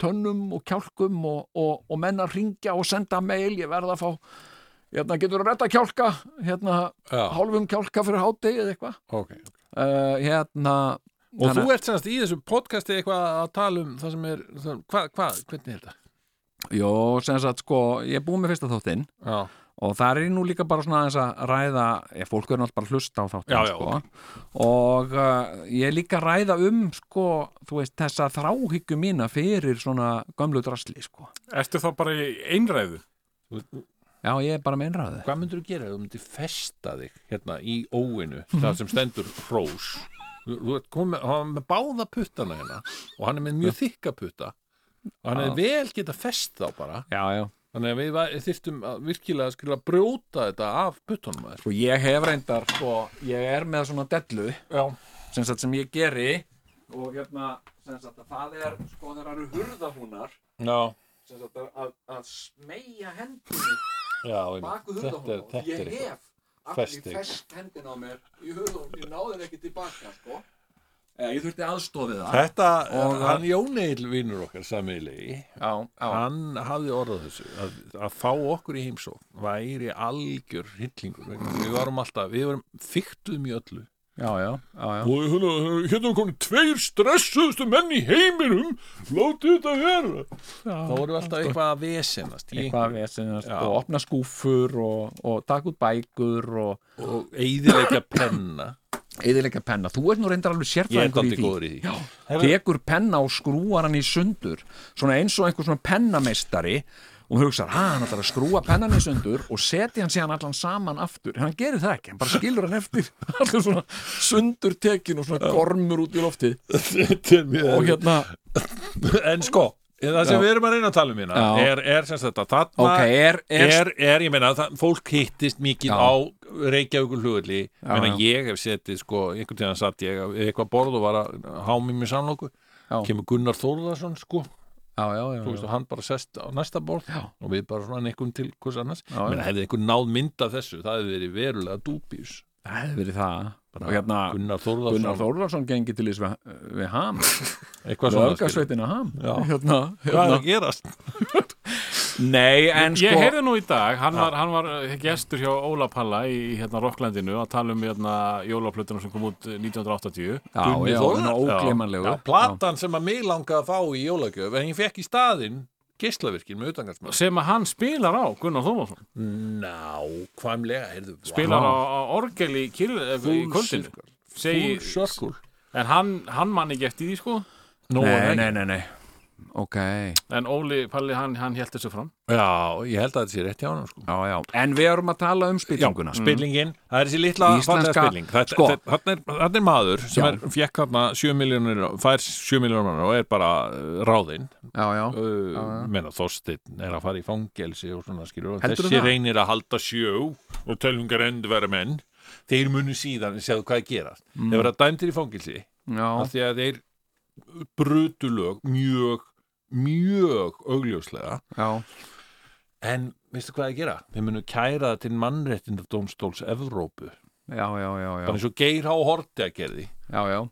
Speaker 4: tönnum og kjálkum og, og, og menn að ringja og senda mail, ég verða að fá hérna, getur að redda kjálka hérna,
Speaker 3: já,
Speaker 4: hálfum kjálka fyrir hátegi eða eitthvað
Speaker 3: ok
Speaker 4: uh, hérna
Speaker 3: Og
Speaker 4: þannig-
Speaker 3: þú ert semast í þessu podcasti eitthvað að tala um það sem er, það, hvað, hvað, hvernig er þetta?
Speaker 4: Jó, sem sagt sko, ég er búið með fyrsta þáttinn
Speaker 3: Já,
Speaker 4: og það er ég nú líka bara svona aðeins að ræða, ég, fólk er náttúrulega bara að hlusta á þáttinn
Speaker 3: Já, já,
Speaker 4: sko og uh, ég er líka að ræða um sko, þú veist, þessa þráhyggju mína fyrir svona gömlu drasli sko.
Speaker 2: Ertu þá bara í einræðu?
Speaker 4: Já, ég er bara með einræði
Speaker 3: hvað myndur þú gera? ef Þú myndir festa þig hérna í óinu, það sem stendur hrós. Þú þú ert komið, hann er með báða puttana hérna og hann er með mjög þykka putta og hann er vel geta fest þá bara
Speaker 4: Já, já,
Speaker 3: Þannig Þannig að við va- þyrftum að virkilega skilja að brjóta þetta af puttunum aðeins.
Speaker 4: Sko, ég hef reyndar, sko, ég er með svona dellu
Speaker 3: Já.
Speaker 4: sem, sagt, sem ég geri og hérna, sem sagt, að það er, sko, þeir eru hurðahúnar
Speaker 3: Já,
Speaker 4: sem sagt, að- að, að smeja hendinni
Speaker 3: já, einmitt.
Speaker 4: baku
Speaker 3: þetta er,
Speaker 4: hurðahúnum og
Speaker 3: þetta er
Speaker 4: ég
Speaker 3: eitthvað.
Speaker 4: hef allir
Speaker 3: Festing.
Speaker 4: fest hendina á mér í hurðahúnum, ég náði henni ekki tilbaka, sko. Eh, Ég þurfti aðstofið það.
Speaker 3: Þetta,
Speaker 4: Og-
Speaker 3: hann Jóneil vinnur okkar sammeilegi,
Speaker 4: Já, já.
Speaker 3: hann hafði orðað þessu að, að fá okkur í heimsókn væri algjör hillingur vegna þess að við varum alltaf, við varum fyktuðum í öllu
Speaker 4: Já, já, já, já.
Speaker 3: og hérna, hérna komin tveir stressuðustu menn í heiminum látið þetta vera þá vorum við alltaf eitthvað að vesenast í
Speaker 4: eitthvað vesinast
Speaker 3: Já.
Speaker 4: og opna skúfur og, og taka út bækur og
Speaker 3: einhverju og eigðilega penna
Speaker 4: eðilega penna, þú ert nú reyndar alveg
Speaker 3: ég er
Speaker 4: sérfræðingur í
Speaker 3: aldrei
Speaker 4: því
Speaker 3: góður í því
Speaker 4: tekur penna og skrúar hann í sundur svona eins og einhver svona pennameistari og hugsar, ha, hann ætlar að skrúa pennan í sundur og setja hann síðan allan saman aftur en hann gerir það ekki, hann bara skilur hann eftir allir svona sundur tekin og svona gormur út í loftið
Speaker 3: Þetta er mjög
Speaker 4: og hérna,
Speaker 3: erfitt. en sko það sem
Speaker 4: Já.
Speaker 3: við erum að reyna að tala um hérna
Speaker 4: Já.
Speaker 3: er, er sem sagt að þarna
Speaker 4: ok, er, er,
Speaker 3: er, er, ég meina, það, fólk hittist mikið
Speaker 4: Já.
Speaker 3: á Reykjavíkur hlugulli ég meina,
Speaker 4: já.
Speaker 3: ég hef setið, sko, einhvern tíðan satt ég við eitthvað borð og var að hámi mér samlóku
Speaker 4: Já.
Speaker 3: kemur Gunnar Þórðarsson, sko
Speaker 4: já, já,
Speaker 3: þú
Speaker 4: já, já.
Speaker 3: veist að hann bara sest á næsta borð
Speaker 4: Já.
Speaker 3: og við bara svona nekkum til hvers annars já,
Speaker 4: já.
Speaker 3: menn hefði einhver náð mynd af þessu það hefði verið verulega dúbjus
Speaker 4: það hefði verið það og hérna,
Speaker 3: Gunnar Þórðarsson,
Speaker 4: Gunnar Þórðarsson gengi til þess við, við ham
Speaker 3: eitthvað svona skilur.
Speaker 4: Lörgarsveitin að ham
Speaker 3: Já.
Speaker 4: hérna,
Speaker 3: hvað er
Speaker 4: hérna.
Speaker 3: að gerast?
Speaker 4: Nei, en sko
Speaker 2: Ég heyrði nú í dag, hann var, hann var eh, gestur hjá Óla Palla í hérna Rocklandinu að tala um hérna jólaplötuna sem kom út eh, 1980
Speaker 4: Já,
Speaker 3: Gunni
Speaker 4: já,
Speaker 3: Þórðar-
Speaker 4: hann er óglimanlegu
Speaker 3: já, platan sem að mig langa að fá í jólagjöf en ég fekk í staðinn geislavirkin með utangarsmann
Speaker 2: sem að hann spilar á Gunnar Þómasson,
Speaker 4: Mm.
Speaker 3: nákvæmlega, heyrðu
Speaker 2: spilar á, á orgel í, kyrr, eh, í kvöldinu
Speaker 3: full
Speaker 2: Segi,
Speaker 3: circle
Speaker 2: en hann, hann mann ekki eftir því sko
Speaker 3: Nú,
Speaker 4: Nei, nei, nei, nei Ok,
Speaker 2: en Óli Palli hann, hann held þessu fram
Speaker 3: Já, ég held að þetta sé rétt hjá hann sko.
Speaker 4: já, já En við erum að tala um spillinguna
Speaker 3: Mm. Spillingin, það er þessi litla
Speaker 4: Íslenska-
Speaker 3: fallega spilling Þetta
Speaker 4: sko.
Speaker 3: þetta- þarna er, þarna er maður sem
Speaker 4: Já.
Speaker 3: er, fekk þarna 7 miljónir fær 7 miljónir og er bara uh, ráðinn
Speaker 4: Já, já,
Speaker 3: uh, menna Þorsteinn er að fara í fangelsi og svona skilur og
Speaker 4: Heldurðu
Speaker 3: þessi
Speaker 4: það?
Speaker 3: reynir að halda sjó og tölungar endverða menn þeir munu síðan sjáðu hvað að gera mm. þeir verða dæmtir í fangelsi
Speaker 4: já
Speaker 3: af því að þeir brutu lög mjög, mjög augljóslega
Speaker 4: Já,
Speaker 3: en veistu hvað að gera? Þeir munu kæra það til mannréttindadómstóls Evrópu,
Speaker 4: já, já, já, já,
Speaker 3: bara eins og Geir H. Horte að gerði
Speaker 4: já, já.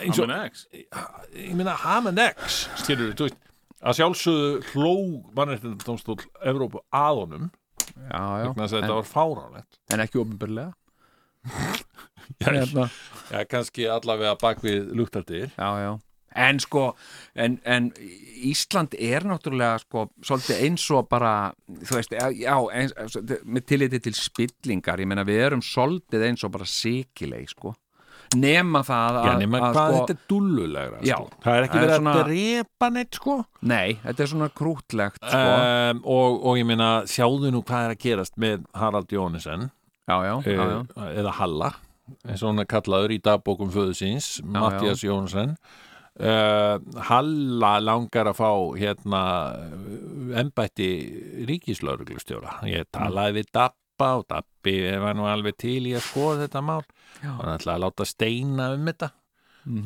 Speaker 3: eins og,
Speaker 2: Amen X.
Speaker 3: ég meina Haman X skilur þú veist að sjálfsögðu hló mannréttindadómstól Evrópu að honum
Speaker 4: Já, já.
Speaker 3: vegna þess að
Speaker 4: En,
Speaker 3: þetta var fáránlegt
Speaker 4: en ekki ofinbörlega
Speaker 3: já,
Speaker 4: hérna.
Speaker 3: já, kannski allavega bak við luktardir
Speaker 4: Já, já En sko, en, en Ísland er náttúrulega sko svolítið eins og bara, þú veist, já, eins, með tilliti til spillingar, ég meina við erum svolítið eins og bara sikileg, sko. Nema það að...
Speaker 3: já, nema hvað
Speaker 4: að, sko,
Speaker 3: þetta er dullulegra
Speaker 4: Já.
Speaker 3: sko. það er ekki
Speaker 4: Það er
Speaker 3: verið
Speaker 4: svona-
Speaker 3: að drepa neitt sko
Speaker 4: Nei, þetta er svona krútlegt, sko.
Speaker 3: Um, og, og ég meina, sjáðu nú hvað er að gerast með Harald Jónisen
Speaker 4: já, já, já, já.
Speaker 3: Eh, eða Halla eins og hún er kallaður í dagbókum föðu síns Mattias Jónisen uh, Halla langar að fá hérna eh, embætti ríkislauruglustjóra ég talaði við Dabba og Dabbi var nú alveg til í að skoða þetta mál
Speaker 4: Já. Mhm.
Speaker 3: hann ætlaði að láta steina um þetta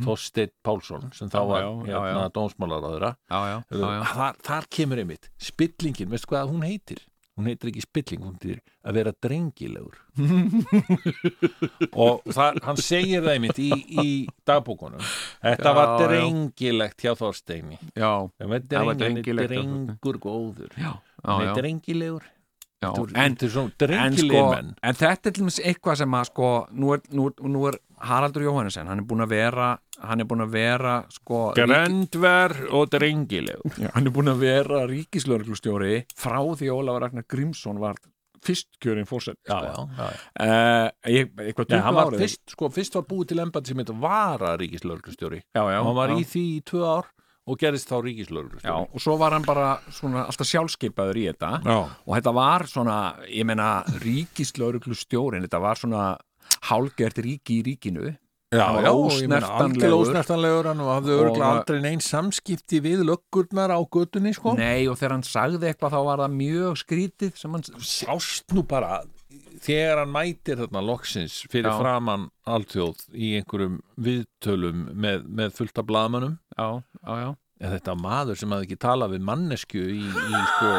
Speaker 3: Þorsteinn Pálsson sem þá
Speaker 4: Já,
Speaker 3: var
Speaker 4: já, já,
Speaker 3: hérna,
Speaker 4: já.
Speaker 3: dómsmálaráðura
Speaker 4: já, já, já, já.
Speaker 3: þar, þar kemur einmitt spillingin, veistu hvað hún heitir hún heitir ekki spilling, hún heitir að vera drengilegur og þar, hann segir það einmitt í, í dagbókunum þetta
Speaker 4: Já,
Speaker 3: var
Speaker 4: já.
Speaker 3: drengilegt hjá Þorsteini
Speaker 4: já,
Speaker 3: það var
Speaker 4: Það var
Speaker 3: drengilegt,
Speaker 4: drengilegt hjá Þorsteini.
Speaker 3: drengur góður
Speaker 4: já,
Speaker 3: hann
Speaker 4: já,
Speaker 3: er drengilegur
Speaker 4: já. En,
Speaker 3: þetta er svona
Speaker 4: en, sko,
Speaker 3: drengileg menn
Speaker 4: en þetta er til dæmis eitthvað sem að sko, nú er, nú, nú er Haraldur Jóhannesson, hann er búin að vera hann er búin að vera sko, ríki,
Speaker 3: gröndver og drengilegur
Speaker 4: Já, hann er búin að vera ríkislörglustjóri frá því Ólafur Ragnar Grímsson var fyrst kjörin fórsett
Speaker 3: já,
Speaker 4: sko.
Speaker 3: já, já, já.
Speaker 4: Uh, eitthvað 20
Speaker 3: Nei, hann var
Speaker 4: árið.
Speaker 3: fyrst, sko, fyrst var búið til embætt sem heit vara ríkislörglustjóri
Speaker 4: já, já,
Speaker 3: og hann var
Speaker 4: já.
Speaker 3: í því í tvö ár og gerist þá ríkislörglustjóri
Speaker 4: Já, og svo var hann bara svona alltaf sjálfskeipaður í þetta
Speaker 3: Já.
Speaker 4: og þetta var svona, ég meina ríkislauruglu stjórin, þetta var svona hálgert ríki í ríkinu
Speaker 3: Já,
Speaker 11: Hann var
Speaker 3: já,
Speaker 11: ósnertanlegur.
Speaker 3: ósnertanlegur ósnertanlegur, hann hafði
Speaker 4: Og
Speaker 3: örgulega
Speaker 4: var-
Speaker 3: aldrei neins samskipti við löggurnar á götunni, sko
Speaker 4: Nei, og þegar hann sagði eitthvað þá var það mjög skrítið sem hann...
Speaker 3: sást nú bara þegar hann mætir þarna loksins fyrir
Speaker 4: Já.
Speaker 3: framann alltjóð í einhverjum viðtölum með, með fullta blaðmönnum
Speaker 4: Já, já, já.
Speaker 3: en þetta var maður sem hafði ekki talað við mannesku í, í sko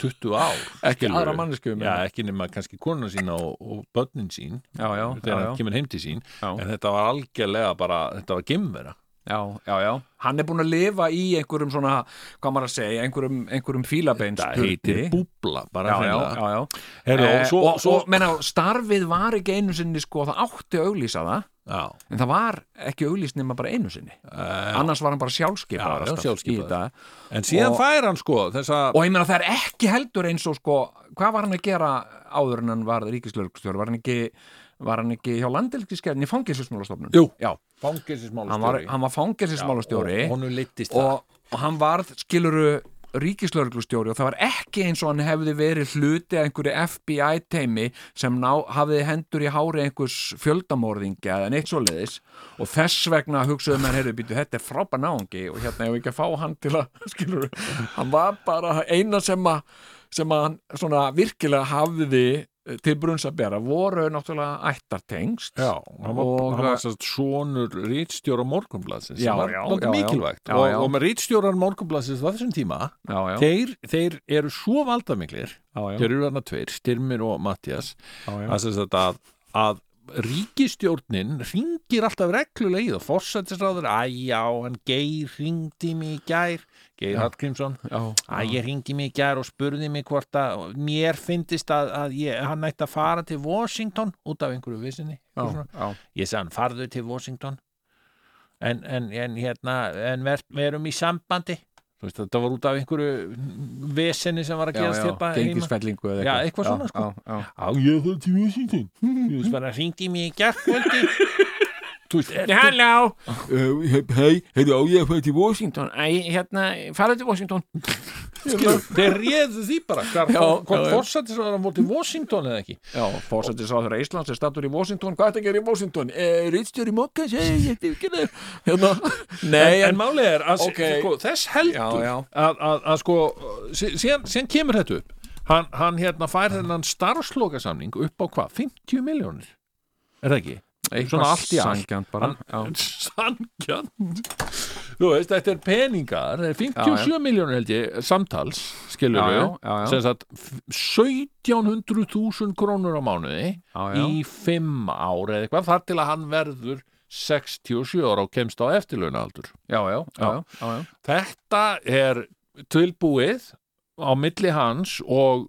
Speaker 3: 20 ár
Speaker 4: Ekki
Speaker 3: skilurðu.
Speaker 4: aðra mannesku, meina.
Speaker 3: já, ekki nema kannski konuna sína og, og börnin sín
Speaker 4: Já, já, já,
Speaker 3: þegar hann
Speaker 4: já,
Speaker 3: kemur heim til sín
Speaker 4: Já.
Speaker 3: en þetta var algjörlega bara, þetta var gimmera
Speaker 4: já, já, já. Hann er búin að lifa í einhverjum svona, hvað maður að segja, einhverjum, einhverjum fílabeins.
Speaker 3: það heitir búbla bara
Speaker 4: Já, já,
Speaker 3: hreinlega.
Speaker 4: já, já.
Speaker 3: Heyrðu,
Speaker 4: Eh,
Speaker 3: og svo,
Speaker 4: og,
Speaker 3: svo,
Speaker 4: og menna, starfið var ekki einu sinni sko, það átti að auglýsa það
Speaker 3: já,
Speaker 4: en það var ekki auglýst nema bara einu sinni annars var hann bara
Speaker 3: Já,
Speaker 4: sjálfskipaður
Speaker 3: já,
Speaker 4: alltaf
Speaker 3: sjálfskipaður.
Speaker 4: í þetta.
Speaker 3: en síðan
Speaker 4: Og-
Speaker 3: fær hann sko þessa
Speaker 4: og ég meina það er ekki heldur eins og sko, hvað var hann að gera áður en hann var ríkislörgstjór var hann ekki, var hann ekki hjá landelgiskefni fangilsismálastofnun
Speaker 3: Jú.
Speaker 4: já, hann var,
Speaker 3: fangelsismálastjóri
Speaker 4: hann var fangelsismálastjóri
Speaker 3: og honum leittist það
Speaker 4: og, og hann varð, skiluru ríkislörglustjóri og það var ekki eins og hann hefði verið hluti að einhverju FBI-teimi sem ná, hafði hendur í hári einhvers fjöldamorðingja eða neitt svoleiðis og þess vegna hugsuðu menn, heyrðu, býtu, þetta er frábæð náungi og hérna ég ekki að fá hann til að skiluru, hann var bara eina sem að, sem að hann svona virkilega hafði til brunns að bera, voru náttúrulega ættartengst
Speaker 3: Já, hann var,
Speaker 4: Og-
Speaker 3: hann var sérst svonur rítstjóra morgunblaðsins
Speaker 4: Já,
Speaker 3: sem var
Speaker 4: já,
Speaker 3: dálítið
Speaker 4: já, já.
Speaker 3: mikilvægt
Speaker 4: Já, já.
Speaker 3: Og, og með rítstjóran morgunblaðsins á þessum tíma
Speaker 4: já, já,
Speaker 3: þeir, þeir eru svo valdamiklir
Speaker 4: já,
Speaker 3: þeir eru þarna tveir, Styrmir og Mattias
Speaker 4: já, já.
Speaker 3: að, sem sagt að, að ríkistjórnin ringir alltaf reglulegið og forsættisráður æ já, hann Geir ringdi mig í gær Geir Hallgrímsson
Speaker 4: já,
Speaker 3: Æ, ég ringi mig í gær og spurði mig hvort að mér finnist að, að ég, hann ætti að fara til Washington út af einhverju vissinni. eitthvað svona.
Speaker 4: já,
Speaker 3: Ég sagði hann, farðu til Washington en, en, en hérna, en ver, verum í sambandi. Þú veist, þetta var út af einhverju vissinni sem var að gerast hérna heima.
Speaker 4: gengisfellingu eða
Speaker 3: Já, eitthvað svona, sko.
Speaker 4: já, já.
Speaker 3: Á, ég það til Washington. Þú veist, bara ringdi mig í Eh, gær kvöldi. Þú veist, er,
Speaker 4: Halló, Eh,
Speaker 12: Hei, heyrðu á ég að fæta í vós?
Speaker 4: Washington, æ, hérna, farðu til Washington
Speaker 3: skilur, þeir réðu því bara. Hvar,
Speaker 4: Já,
Speaker 3: hvort
Speaker 4: já, já.
Speaker 3: forsættisráður móti Washington eða ekki?
Speaker 4: Já, fórsættir sá þeirra Íslands er stattur í Washington, hvað er þetta að gera í Washington? E, Ritstjóri Mokka, segi ég, ég ekki það Hérna, nei,
Speaker 3: en, en
Speaker 4: en,
Speaker 3: málið er að
Speaker 4: Ok.
Speaker 3: sko, þess heldur
Speaker 4: Já, já.
Speaker 3: Að, að, að sko sí- síðan, síðan kemur þetta upp hann, hann hérna fær þennan starfslokasamning upp á hvað, 50 miljónir er það ekki? svona allt í allt.
Speaker 4: Sangjant bara, já,
Speaker 3: Sankjönd þú veist, þetta er peningar þetta er 57 miljónir held ég samtals skilur
Speaker 4: Já,
Speaker 3: við
Speaker 4: já, já, já.
Speaker 3: sem sagt, f- 1700.000 krónur á mánuði
Speaker 4: Já, já.
Speaker 3: í 5 ár eða eitthvað þar til að hann verður 67 ára og kemst á eftirlaunaaldur
Speaker 4: já, já, já, já, já, já.
Speaker 3: Þetta er tilbúið á milli hans og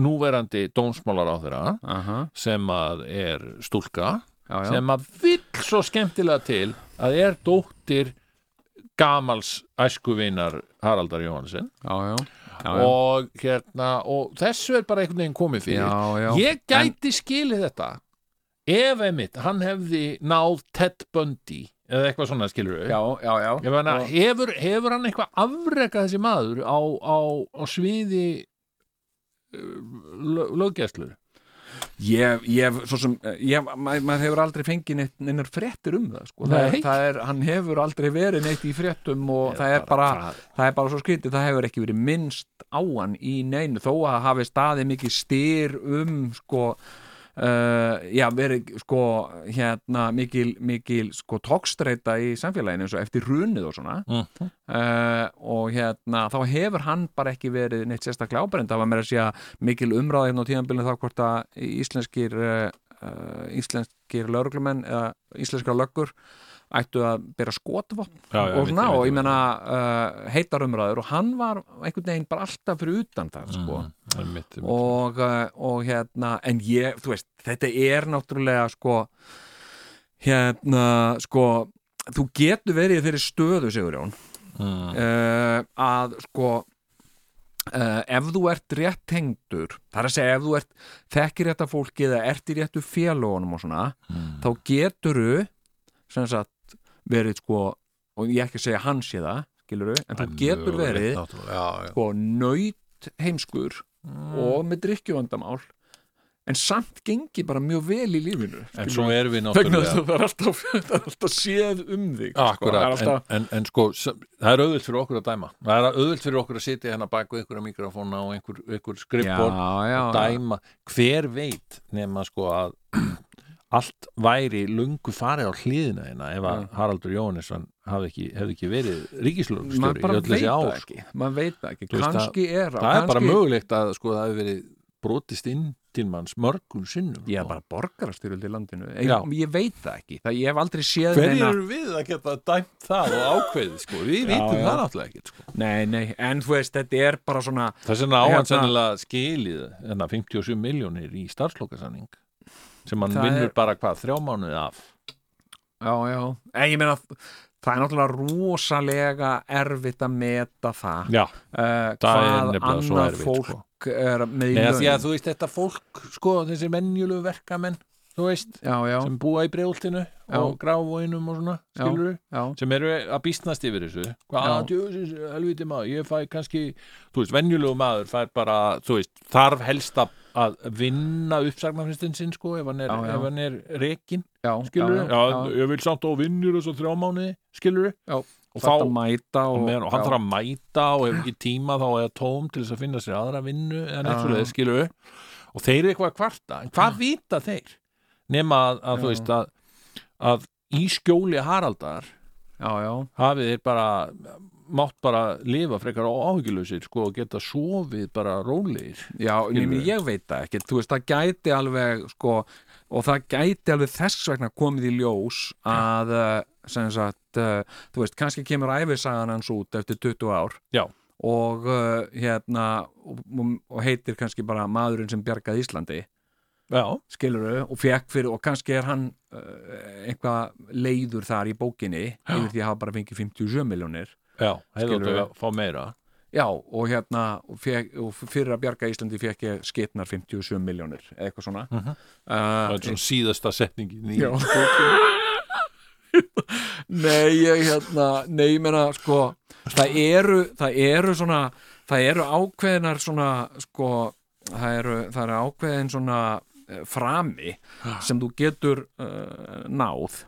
Speaker 3: núverandi dómsmálar á þeirra
Speaker 4: Aha,
Speaker 3: sem að er stúlka
Speaker 4: já, já,
Speaker 3: sem að vill svo skemmtilega til að er dóttir gamals æskuvinar Haraldar Jóhansen
Speaker 4: já, já, já, já.
Speaker 3: og, hérna, og þessu er bara einhvern veginn komið fyrir
Speaker 4: Já, já.
Speaker 3: ég gæti skilið þetta ef einmitt hann hefði náð Ted Bundy eða eitthvað svona skilur
Speaker 4: Já, já, já
Speaker 3: Ég meina, hefur, hefur hann eitthvað afrekað þessi maður á, á, á sviði uh, löggæslu?
Speaker 4: Ég, ég, svo sem, ég, maður, maður hefur aldrei fengið neitt, neinar fréttir um það, sko. Það,
Speaker 3: Nei.
Speaker 4: er- það er, hann hefur aldrei verið neitt í fréttum og það er bara, það er bara svo skrítið, það hefur ekki verið minnst á hann í neinu, þó að hafi staðið mikið styr um, sko, uh, já, verið, sko, hérna, mikil, mikil, sko, tókstreita í samfélaginu eins og eftir runið og svona. Uh, og hérna, þá hefur hann bara ekki verið neitt sérstaklega ábærind það var meira að segja mikil umræði hérna á tíðanbylun þá hvort að íslenskir uh, uh, íslenskir lauruglumenn eða íslenskar löggur ættu að byrja skotvopn
Speaker 3: Já, já,
Speaker 4: og,
Speaker 3: veit
Speaker 4: ná,
Speaker 3: ég, veit
Speaker 4: og
Speaker 3: ég.
Speaker 4: ég meina uh, heitar umræður og hann var einhvern veginn bara alltaf fyrir utan
Speaker 3: Mm.
Speaker 4: það sko.
Speaker 3: Einmitt, einmitt.
Speaker 4: og, uh, og hérna en ég, þú veist, þetta er náttúrulega sko hérna, sko þú getur verið í þeirri stöðu, Sigurjón
Speaker 3: Ah.
Speaker 4: mm. að sko uh, ef þú ert rétt tengdur það er að segja ef þú ert þekkir rétta fólki eða ert í réttu félagunum og svona,
Speaker 3: Hmm.
Speaker 4: þá geturu sem sagt verið sko, og ég ekki að segja hans ég það skiluru, en þú getur verið
Speaker 3: Náttúrulega, já, já. Mm.
Speaker 4: sko nöyt heimskur og með drikkjuvandamál en samt gengi bara mjög vel í lífinu
Speaker 3: en
Speaker 4: skilurðu.
Speaker 3: svo erum við
Speaker 4: vegna þess
Speaker 3: náttúrulega
Speaker 4: að það er alltaf, það er alltaf séð um þig
Speaker 3: Akkurat,
Speaker 4: sko. Það er alltaf,
Speaker 3: en, en, en sko s- það er auðvilt fyrir okkur að dæma það er auðvilt fyrir okkur að sitja hérna bak við einhverja mikrofóna og einhver, einhver skrifbord
Speaker 4: já, já,
Speaker 3: og dæma, hver veit nema sko að allt væri lungu farið á hliðina hérna ef að
Speaker 4: Já.
Speaker 3: Haraldur Jóhannesson hafði ekki, hefði ekki verið ríkislögstjóri
Speaker 4: maður
Speaker 3: í
Speaker 4: bara
Speaker 3: öll
Speaker 4: veit
Speaker 3: þessi
Speaker 4: það
Speaker 3: ár sko.
Speaker 4: ekki maður veit það ekki,
Speaker 3: Þú veist,
Speaker 4: kannski er
Speaker 3: það er bara mögulegt að sko það hefði verið brotist inn til manns mörgum sinnum sko.
Speaker 4: ég er bara borgarastyrjöld í landinu ég,
Speaker 3: Já.
Speaker 4: ég veit það ekki, það, ég hef aldrei séð
Speaker 3: Hverjir
Speaker 4: neina-
Speaker 3: eru við að geta dæmt það og ákveðið sko, við vitum
Speaker 4: já.
Speaker 3: það náttúrulega ekkert sko.
Speaker 4: nei, nei, en þú veist, þetta er bara svona
Speaker 3: Þess vegna á hann
Speaker 4: Hérna-
Speaker 3: sennilega skilið enna 57 miljónir í starfslokasanning sem hann
Speaker 4: Það
Speaker 3: vinnur
Speaker 4: er-
Speaker 3: bara hvað, þrjá mánuði af
Speaker 4: já, já, en ég meina það er náttúrulega rosalega erfitt að meta það
Speaker 3: Já,
Speaker 4: uh,
Speaker 3: það er
Speaker 4: hvað
Speaker 3: nefnilega svo
Speaker 4: annað
Speaker 3: erfitt,
Speaker 4: fólk
Speaker 3: sko.
Speaker 4: er með í
Speaker 3: Eða því
Speaker 4: laun.
Speaker 3: að þú veist þetta fólk sko, þessi menjulegu verkamenn þú veist,
Speaker 4: já, já,
Speaker 3: sem búa í bregultinu og gráfóinum og svona,
Speaker 4: Já.
Speaker 3: skilur
Speaker 4: já,
Speaker 3: sem eru að býstnast yfir þessu hvað,
Speaker 4: Já.
Speaker 3: djöfisins, helviti maður, ég fæ kannski þú veist, venjulegu maður fær bara þú veist, þarf helst að að vinna uppsagnarfristin sinn sko ef hann er,
Speaker 4: Já, já.
Speaker 3: ef hann er rekin
Speaker 4: já,
Speaker 3: skilur
Speaker 4: já,
Speaker 3: já, ég vil samt á vinnur þess að þrjá mánuði skilur
Speaker 4: Já.
Speaker 3: og
Speaker 4: Þarft
Speaker 3: þá
Speaker 4: að mæta og,
Speaker 3: og, meðan, og hann
Speaker 4: já.
Speaker 3: þarf að mæta og ef ekki tíma þá eða tóm til þess að finna sér aðra vinnu eða neitt
Speaker 4: Já.
Speaker 3: svo leið, skilur og þeir eru eitthvað að kvarta, en hvað vita þeir nema að, að þú
Speaker 4: Já.
Speaker 3: veist að, að í skjóli Haraldar
Speaker 4: já, já,
Speaker 3: hafið þeir bara mátt bara lifa frekar á áhyggjulausir sko og geta sofið bara rólegir
Speaker 4: já, nefnir
Speaker 3: Skilurðu?
Speaker 4: ég veit það ekki þú veist, það gæti alveg sko, og það gæti alveg þess vegna komið í ljós að eh, sem sagt, uh, þú veist, kannski kemur æfisagan hans út eftir 20 ár
Speaker 3: Já.
Speaker 4: og uh, hérna og, og heitir kannski bara maðurinn sem bjargaði Íslandi
Speaker 3: Já,
Speaker 4: skiluru og fekk fyrir og kannski er hann uh, eitthvað leiður þar í bókinni yfir því að hafa bara fengið 57 miljónir
Speaker 3: já, hefur
Speaker 4: Skilurðu?
Speaker 3: þú að fá meira
Speaker 4: Já, og hérna og fekk, og fyrir að bjarga Íslandi fekk ég skitnar 57 miljónir eða eitthvað svona uh
Speaker 3: það er svona síðasta setningin í
Speaker 4: Já Nei, ég hérna Nei, ég meina, sko Það eru, það eru svona Það eru ákveðinar svona sko, það, eru, það eru ákveðin svona eh, frami sem þú getur uh, náð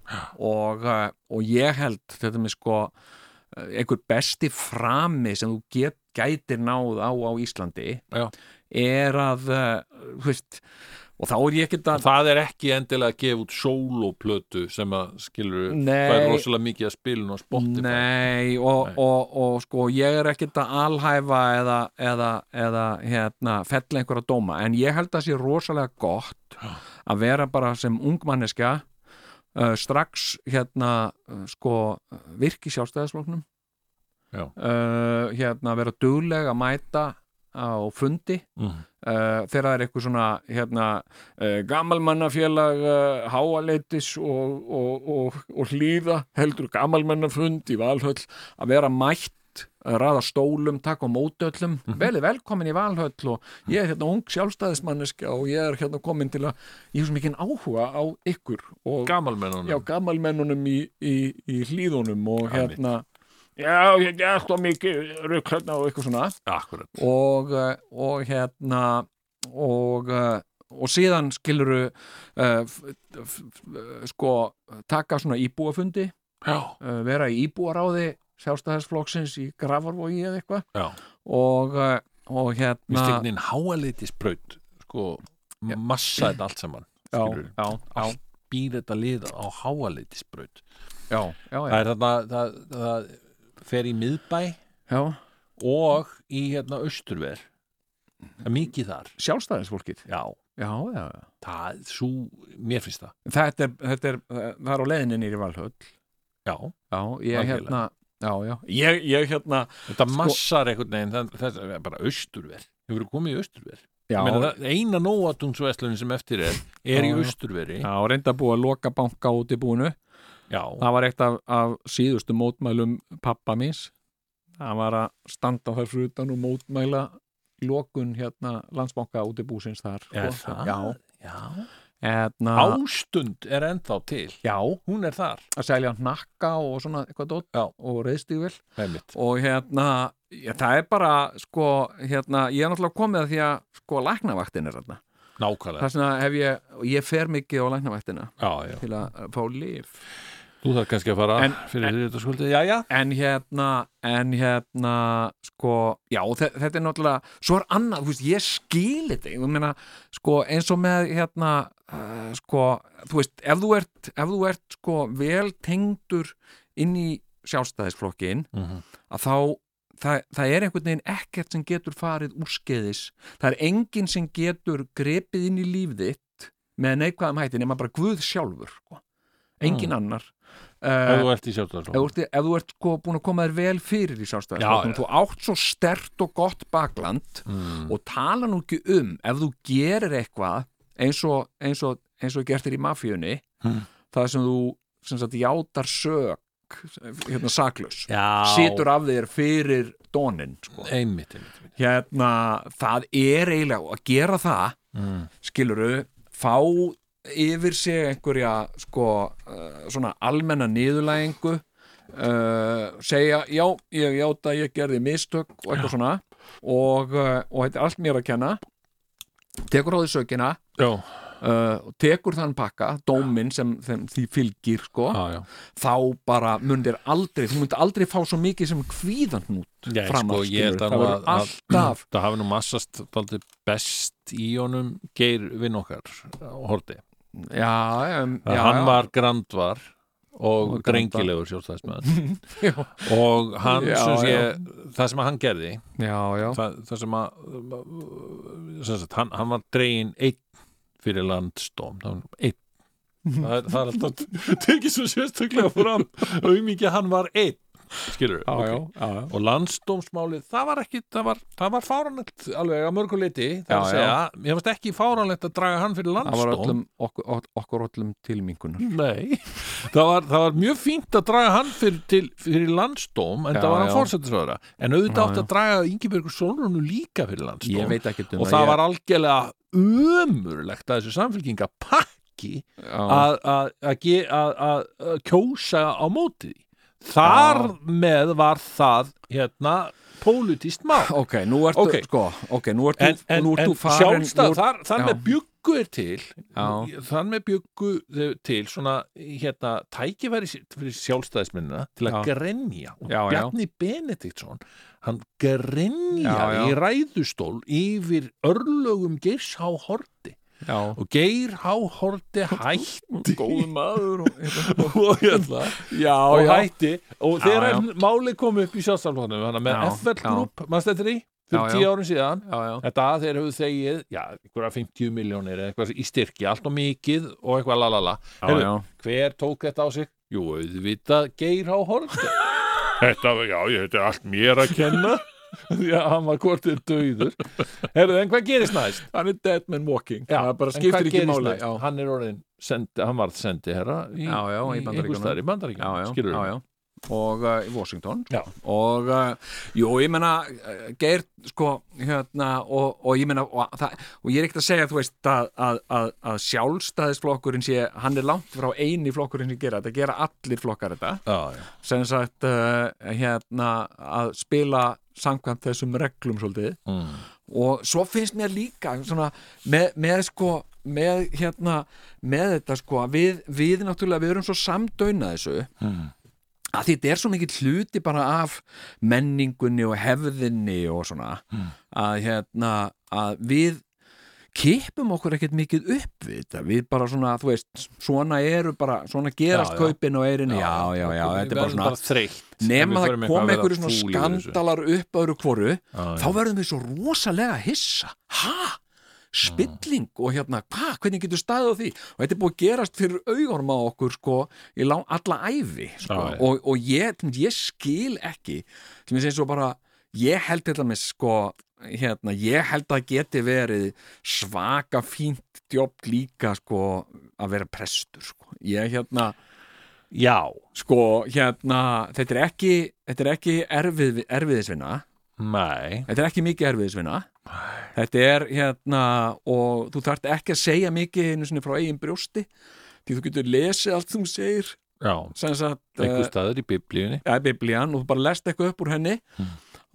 Speaker 4: og, uh, og ég held þetta með sko eh, einhver besti frami sem þú get, gætir náð á á Íslandi
Speaker 3: Já.
Speaker 4: er að uh, veist, og þá er ég ekkert að
Speaker 3: Það er ekki endilega að gefa út sólóplötu sem að skilur
Speaker 4: Nei.
Speaker 3: það er rosalega mikið að spilun á Spotify
Speaker 4: Nei, og,
Speaker 3: Nei.
Speaker 4: Og, og sko ég er ekkert að alhæfa eða, eða, eða hérna, fella einhverja dóma en ég held að sé rosalega gott að vera bara sem ungmanneska uh, strax hérna uh, sko virki sjálfstæðisflóknum
Speaker 3: Já.
Speaker 4: uh, hérna vera dugleg að mæta á fundi
Speaker 3: Mhm.
Speaker 4: Uh, þegar það er eitthvað svona hérna, uh, gamalmannafélag uh, háaleitis og, og, og, og hlýða heldur gamalmannafund í Valhöll að vera mætt að ræða stólum, taka á móti öllum
Speaker 7: Mhm.
Speaker 4: vel er velkomin í Valhöll og ég er hérna ung sjálfstæðismanneska og ég er hérna komin til að ég er svo mikið áhuga á ykkur og já,
Speaker 3: Gamalmennunum
Speaker 4: gamalmennunum í, í, í hlýðunum og hérna
Speaker 7: Já, ég er alltaf mikið rugg hérna og
Speaker 4: eitthvað svona
Speaker 3: Akkurat
Speaker 4: og, eh, og hérna og, eh, og síðan skiluru uh, sko taka svona íbúafundi
Speaker 3: Já,
Speaker 4: uh, vera í íbúaráði sjálfstæðisflokksins í Grafarvogi eða eitthvað
Speaker 3: já
Speaker 4: og, uh, og
Speaker 3: Við
Speaker 4: hérna
Speaker 3: stegnin háalitisbraut sko, massa þetta allt saman
Speaker 4: já,
Speaker 3: skilurðu.
Speaker 4: já, já,
Speaker 3: býr þetta lið á háalitisbraut
Speaker 4: já, já,
Speaker 3: Það
Speaker 4: já,
Speaker 3: er þarna það, það fer í miðbæ
Speaker 4: já
Speaker 3: og í hérna austurver það er mikið þar
Speaker 4: sjálfstæðisfólkið,
Speaker 3: Já,
Speaker 4: já, já já.
Speaker 3: það, svo, mér finnst það
Speaker 4: þetta er, þetta er, það er á leiðinni nýri Valhöll
Speaker 3: Já,
Speaker 4: já, ég
Speaker 3: Algjörlega.
Speaker 4: hérna já, já, ég, ég hérna
Speaker 3: þetta massar einhvern veginn það- það það er bara austurver Hefur komið í austurver
Speaker 4: já,
Speaker 3: Meina, það, eina nóatungsveslun sem eftir er er í
Speaker 4: Já, já.
Speaker 3: austurveri
Speaker 4: já, reynda búið að loka banka út í búinu
Speaker 3: já,
Speaker 4: það var eitt af, af síðustu mótmælum pappa míns það var að standa þar fyrir utan og mótmæla lokun hérna landsbanka út í búsins þar
Speaker 3: Er
Speaker 4: sko.
Speaker 3: það?
Speaker 4: já,
Speaker 3: já.
Speaker 4: hérna,
Speaker 3: ástund er ennþá til
Speaker 4: já,
Speaker 3: hún er þar
Speaker 4: að selja hnakka og svona eitthvað dótt
Speaker 3: Já.
Speaker 4: og reyðstíðvel
Speaker 3: Einmitt.
Speaker 4: og hérna já, það er bara sko, hérna, ég er náttúrulega komið að því að sko læknavaktin er þarna
Speaker 3: nákvæmlega
Speaker 4: þess vegna hef ég, og ég fer mikið á læknavættina
Speaker 3: já, já.
Speaker 4: til að fá líf
Speaker 3: Þú þarf kannski að fara
Speaker 4: En-
Speaker 3: fyrir en, þetta skuldið, já, já
Speaker 4: en hérna, en hérna sko, já, þe þetta er náttúrulega svo er annað, þú veist, ég skil þetta ég meina, sko, eins og með hérna, uh, sko, þú veist ef þú ert, ef þú ert, sko vel tengdur inn í sjálfstæðisflokkin,
Speaker 3: Mhm.
Speaker 4: að þá það, það er einhvern veginn ekkert sem getur farið úrskeiðis, það er enginn sem getur grepið inn í líf þitt með neikvæðum hætti nema bara Guð sjálfur, sko, enginn annar uh,
Speaker 3: Mm. Ef þú ert í
Speaker 4: ef þú
Speaker 3: sjálfstæðarflokk
Speaker 4: ert, ef þú ert sko búin að koma þér vel fyrir í sjálfstæðisflokknum,
Speaker 3: Já, já.
Speaker 4: þú átt svo stert og gott bakland
Speaker 3: Mm.
Speaker 4: og tala nú ekki um ef þú gerir eitthvað eins og, eins og, eins og gertir í mafíunni
Speaker 3: Mm.
Speaker 4: það sem þú sem sagt, játar sök hérna saklaus situr af þér fyrir dónin sko.
Speaker 3: Einmitt, einmitt, einmitt.
Speaker 4: hérna, það er eiginlega að gera það
Speaker 3: Mm.
Speaker 4: skiluru, fá yfir sig einhverja sko, uh, svona almenna niðurlægingu uh, segja já, ég játa, ég gerði mistök og eitthvað svona og, uh, og þetta er allt mér að kenna tekur á því sökina
Speaker 3: Já,
Speaker 4: uh, og tekur þann pakka, dóminn sem, sem því fylgir sko,
Speaker 3: já, já
Speaker 4: þá bara mundir aldrei, þú mundir aldrei fá svo mikið sem kvíðan út
Speaker 3: Nei,
Speaker 4: fram
Speaker 3: sko,
Speaker 4: af,
Speaker 3: ég held
Speaker 4: skilurðu.
Speaker 3: að
Speaker 4: það
Speaker 3: nú
Speaker 4: verður
Speaker 3: að-
Speaker 4: alltaf
Speaker 3: Það hafi nú massast daldið best í honum geir vinn okkar og horti.
Speaker 4: já, um, já,
Speaker 3: Hann
Speaker 4: já.
Speaker 3: var grandvar og,
Speaker 4: Og grandvar.
Speaker 3: drengilegur sjálfstæðismæður.
Speaker 4: Já.
Speaker 3: og hann,
Speaker 4: Já,
Speaker 3: sem sé, það sem hann gerði,
Speaker 4: já, já,
Speaker 3: það, það sem að, sem sagt, hann, hann var dregin einn fyrir landsdóm, það var einn.
Speaker 4: Mhm.
Speaker 3: Það er, það er alltaf tekið svo sérstaklega fram auðmikið hann var einn skilur við,
Speaker 4: já, já, já, já.
Speaker 3: og landsdómsmálið, það var ekki það var, það var fáranlegt alveg að mörgu liti það er
Speaker 4: Já,
Speaker 3: að segja, ég varst ekki fáranlegt að draga hann fyrir
Speaker 4: það var
Speaker 3: landsdóm
Speaker 4: öllum, okkur, ok- okkur öllum tilmingunar
Speaker 3: Nei, það var, það var mjög fínt að draga hann fyrir, til, fyrir landsdóm en
Speaker 4: Já,
Speaker 3: það var
Speaker 4: já.
Speaker 3: hann fórsetisraðara en auðvitað
Speaker 4: Já,
Speaker 3: átt að draga Ingebergur Solrunu líka fyrir
Speaker 4: ég
Speaker 3: landsdóm
Speaker 4: veit ekki um
Speaker 3: og það var algjörlega umurlegt að þessu samfélkinga pakki
Speaker 4: já,
Speaker 3: að- að að ge- að- að- að kjósa á móti því. Þar með var það hérna pólitist mál
Speaker 4: ok, nú ertu
Speaker 3: Ok.
Speaker 4: sko, ok, nú ertu,
Speaker 3: en, en,
Speaker 4: nú
Speaker 3: en
Speaker 4: ertu farin
Speaker 3: sjálfstæð
Speaker 4: nú ert-
Speaker 3: þar, þar
Speaker 4: já.
Speaker 3: með bjuggu er til
Speaker 4: Já.
Speaker 3: þar með bjuggu þau til svona hérna, tækifæri s- fyrir sjálfstæðismennina til að
Speaker 4: Já.
Speaker 3: grenja og
Speaker 4: Já, já.
Speaker 3: Bjarni Benediktsson hann grenjar
Speaker 4: Já, já.
Speaker 3: í ræðustól yfir örlögum Geirs H. Horti
Speaker 4: já,
Speaker 3: og Geir H. Horti hætti
Speaker 4: góð maður og,
Speaker 3: og, hérna,
Speaker 4: já,
Speaker 3: og
Speaker 4: já,
Speaker 3: hætti og
Speaker 4: Já,
Speaker 3: þegar
Speaker 4: já.
Speaker 3: máli kom upp í sjálfstæðismennum hann með
Speaker 4: Já,
Speaker 3: FL
Speaker 4: já.
Speaker 3: Group, maður stættir í
Speaker 4: Já,
Speaker 3: fyrir
Speaker 4: já.
Speaker 3: tíu árum síðan
Speaker 4: já, já,
Speaker 3: Þetta að þeir höfðu þegið, já, einhverja 50 miljónir eða eitthvað í styrki, allt og mikið og eitthvað lalala.
Speaker 4: já,
Speaker 3: Heyrðu,
Speaker 4: já.
Speaker 3: Hver tók þetta á sig? Jú, auðvitað Geir á horfi. þetta, var- já, ég, þetta er allt mér að kenna. já, hann var kortið döður. Herðu, en hvað gerist næst?
Speaker 4: hann er dead man walking
Speaker 3: Já,
Speaker 4: það bara
Speaker 3: En
Speaker 4: skiptir
Speaker 3: hvað
Speaker 4: ekki
Speaker 3: gerist
Speaker 4: máli
Speaker 3: næst?
Speaker 4: já,
Speaker 3: Hann er orðin, sendi, hann varð sendi herra í,
Speaker 4: Já, já, í Bandaríkjunum.
Speaker 3: einhvers staðar í
Speaker 4: já, já,
Speaker 3: bandaríkjum, skilur
Speaker 4: já, já. og uh, í Washington
Speaker 3: Já.
Speaker 4: og uh, jú, ég meina uh, Geir, sko, hérna og, og ég meina, og, það, og ég er ekkert að segja þú veist að, að, að, að sjálfstæðisflokkurinn sé, hann er langt frá eini flokkurinn sem gera þetta, gera allir flokkar þetta
Speaker 3: já, já.
Speaker 4: sem sagt uh, hérna að spila samkvæmt þessum reglum svolítið
Speaker 3: Mm.
Speaker 4: og svo finnst mér líka svona, með, með sko með hérna með þetta sko að við, við náttúrulega við erum svo samdöina þessu að þetta er svo mikill hluti bara af menningunni og hefðinni og svona að hérna að við kippum okkur ekkert mikið upp við þetta við bara svona, þú veist, svona eru bara, svona gerast
Speaker 3: Já, já.
Speaker 4: kaupin og eirinn já, já, já, þetta er bara svona
Speaker 3: þreytt.
Speaker 4: nema það kom einhverju svona skandalar upp öðru hvoru, þá verðum við svo rosalega hissa, ha? spilling og hérna, hvað, hvernig getur staðið á því og þetta er búið að gerast fyrir augunum á okkur sko, í lá, alla æfi sko.
Speaker 3: Já, já.
Speaker 4: og, og ég, til dæmis, ég skil ekki sem ég segi svo bara ég held þetta með sko hérna, ég held að það geti verið svaka fínt jobb líka sko að vera prestur sko. ég hérna
Speaker 3: Já.
Speaker 4: sko, hérna, þetta er ekki, þetta er ekki erfið, erfiðisvinna
Speaker 3: Nei.
Speaker 4: þetta er ekki mikið erfiðisvinna þetta er, hérna, og þú þarft ekki að segja mikið einu sinni frá eigin brjósti því þú getur lesið allt sem þú segir
Speaker 3: Já.
Speaker 4: sem sagt,
Speaker 3: Eh,
Speaker 4: eh,
Speaker 3: Einhver staður í biblíunni.
Speaker 4: ja, biblían og eh, þú bara lest eitthvað upp úr henni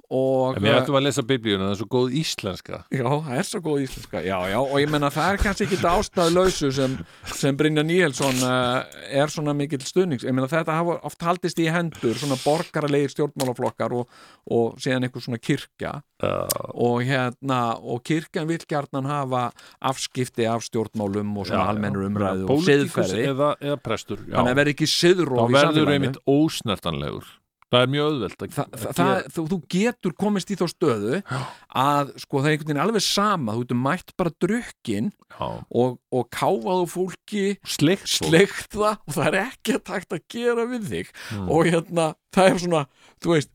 Speaker 4: og
Speaker 3: En við ættum að lesa biblíuna, það er svo góð íslenska
Speaker 4: Já, það er svo góð íslenska Já, já, og ég menna það er kannski ekki ástæðlausu sem, sem Brynja Níelsson uh, er svona mikill stuðnings ég menna þetta hafa oft haldist í hendur svona borgaralegir stjórnmálaflokkar og, og síðan einhver svona kirkja og hérna og kirkjan vil gjarnan hafa afskipti af stjórnmálum og svona almennur umræðu og
Speaker 3: Pólitíkus
Speaker 4: siðferði
Speaker 3: eða, eða prestur já.
Speaker 4: þannig að verði ekki siðróf
Speaker 3: Þá
Speaker 4: í
Speaker 3: verður
Speaker 4: samfélaginu
Speaker 3: einmitt ósnertanlegur Það er mjög auðvelt að,
Speaker 4: Þa,
Speaker 3: að
Speaker 4: það, það, þú, þú getur komist í þá stöðu að sko það er einhvern veginn alveg sama þú getur mætt bara drukkin
Speaker 3: gera já.
Speaker 4: og, og káfaðu fólki
Speaker 3: Sleikt fólk.
Speaker 4: sleikt það og það er ekki takt að gera við þig
Speaker 3: Mm.
Speaker 4: og hérna, það er svona þú veist,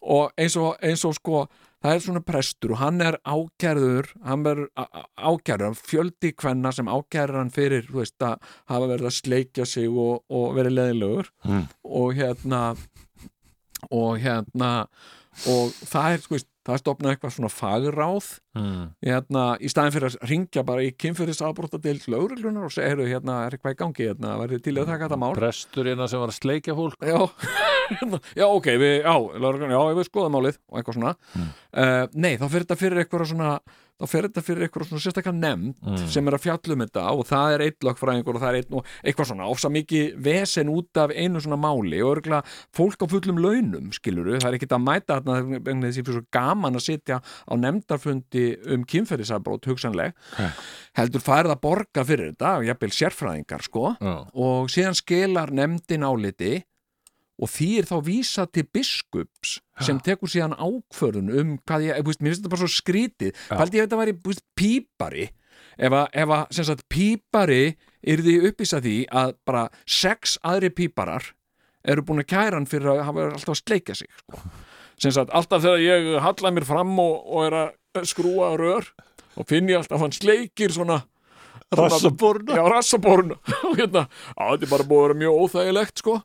Speaker 4: og eins og, eins og sko það er svona prestur og hann er ákærður hann er ákærður, fjöldi kvenna sem ákærður hann fyrir, þú veist, að hafa verið að sleikja sig og, og verið leðilegur
Speaker 3: Mm.
Speaker 4: og hérna og hérna og það er, sko, það stopnaði eitthvað svona fagráð
Speaker 3: mm.
Speaker 4: hérna, í staðin fyrir að ringja bara í kynfyrirsaðbróta til lögreglunar og segja, heyrðu, hérna, er eitthvað í gangi, hérna, verður til að taka þetta mál?
Speaker 3: Prestur hérna sem var að sleikja fólk
Speaker 4: Já, hérna, já, ok, við, já, lögreglunar, já, við skoðum málið og eitthvað svona. Uh, nei, þá fyrir þetta fyrir eitthvað svona, þá fyrir þetta fyrir eitthvað svona sérstakar nefnd sem er að fjalla um þetta og það er einn lögfræðingur og það er einn og eitthvað svona, ofsa mikið vesen út af einu svona máli og örgulega fólk á fullum launum, skiluru, það er ekkit að mæta þarna vegna þess að ég fyrir svo gaman að sitja á nefndarfundi um kynferðisabrót hugsanleg, heldur færð að borga fyrir þetta, jafnvel sérfræðingar sko,
Speaker 3: Já.
Speaker 4: og síðan skilar nefndin áliti og því er þá vísa til biskups sem tekur síðan ákvörðun um hvað ég, veist, mér finnst þetta bara svo skrítið paldi ég að þetta væri veist, pípari ef að, ef að sem sagt, pípari yrði uppvísa því að bara sex aðri píparar eru búin að kæra hann fyrir að hafa alltaf að sleika sig sko. sem sagt, alltaf þegar ég halla mér fram og, og er að skrúa rör og finn ég alltaf að hann sleikir svona rassaborna já, rassaborna og hérna, á, þetta er bara búið að vera mjög óþægilegt sko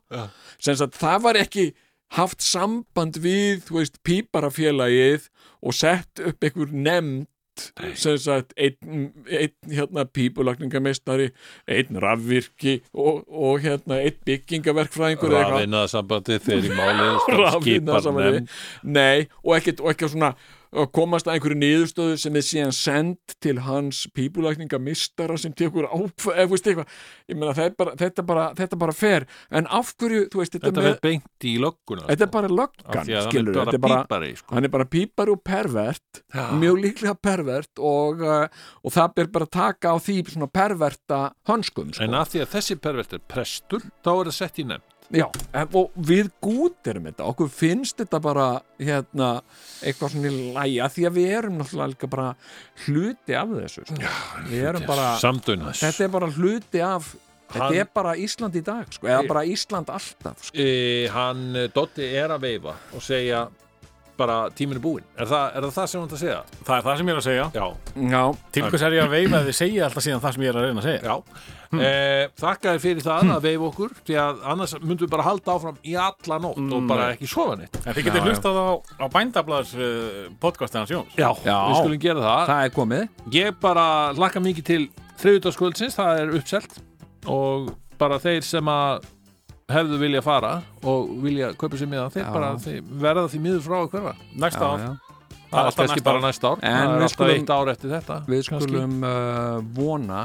Speaker 4: sem sagt það var ekki haft samband við, þú veist, píparafélagið og sett upp einhver nefnd sem sagt einn, einn hérna pípulagningamistar einn rafvirki og, og hérna einn byggingaverkfræðingur eða eitthvað.
Speaker 3: Rafinnaða sambandi þegar í máli
Speaker 4: Rafvinna
Speaker 3: skipar
Speaker 4: saman
Speaker 3: nefnd
Speaker 4: við. Nei, og ekkert, og ekkert svona að komast að einhverju niðurstöðu sem er síðan send til hans pípulækninga mistara sem tekur áfæð, eða veist eitthvað ég meina þetta bara, þetta bara, þetta bara fer en af hverju, þú veist, þetta,
Speaker 3: Þetta
Speaker 4: með
Speaker 3: verð beint í lögguna
Speaker 4: þetta er bara
Speaker 3: Af
Speaker 4: löggan,
Speaker 3: því að hann
Speaker 4: skilur
Speaker 3: er
Speaker 4: þetta
Speaker 3: bara
Speaker 4: er bara,
Speaker 3: pípari sko.
Speaker 4: hann er bara pípar og pervert
Speaker 3: Já.
Speaker 4: mjög líklega pervert og, uh, og það ber bara að taka á því svona perverta hönskum sko.
Speaker 3: En af því að þessi pervert er prestur þá er það sett í nefnd
Speaker 4: Já, en- og við gútirum þetta, okkur finnst þetta bara hérna, eitthvað svona í læja því að við erum náttúrulega líka bara hluti af þessu sko. við erum bara,
Speaker 3: Samdunans
Speaker 4: þetta er bara hluti af
Speaker 3: Hann-
Speaker 4: þetta er bara Ísland í dag, sko, eða bara Ísland alltaf, sko.
Speaker 3: e, Hann, eh, Dotti er að veifa og segja bara tíminu búinn er, þa, er það það sem hann ætlar að segja?
Speaker 2: Það er það sem ég er að segja.
Speaker 3: Já,
Speaker 4: Já,
Speaker 2: Til hvers er ég að veifa að þið segja alltaf síðan það sem ég er að reyna að segja?
Speaker 3: já hm. Þakka þér fyrir
Speaker 4: Hm.
Speaker 3: það að veifa okkur því að annars myndum við bara halda áfram í alla nótt og bara
Speaker 4: Mm.
Speaker 3: ekki sofa neitt
Speaker 2: En þið getur hlustað á, á bændablaðs uh, podcastið hans Jóns.
Speaker 3: Já,
Speaker 4: Já.
Speaker 3: við skulum gera það
Speaker 4: það er komið
Speaker 3: Ég bara lakka mikið til þriðutaskvöldsins, það er uppselt og bara þeir sem að hefðu vilja fara og vilja kaupa sér miðan, þeir
Speaker 4: Já.
Speaker 3: bara þeir verða því miður frá að hverfa.
Speaker 2: Næsta ár.
Speaker 4: já,
Speaker 3: Það er
Speaker 2: alltaf
Speaker 3: kannski
Speaker 2: næsta
Speaker 3: bara
Speaker 2: ár.
Speaker 3: næsta ár,
Speaker 4: En
Speaker 3: það er
Speaker 4: við
Speaker 3: alltaf
Speaker 4: skulum-
Speaker 3: eitt ár eftir þetta.
Speaker 4: við
Speaker 3: kannski.
Speaker 4: skulum uh, vona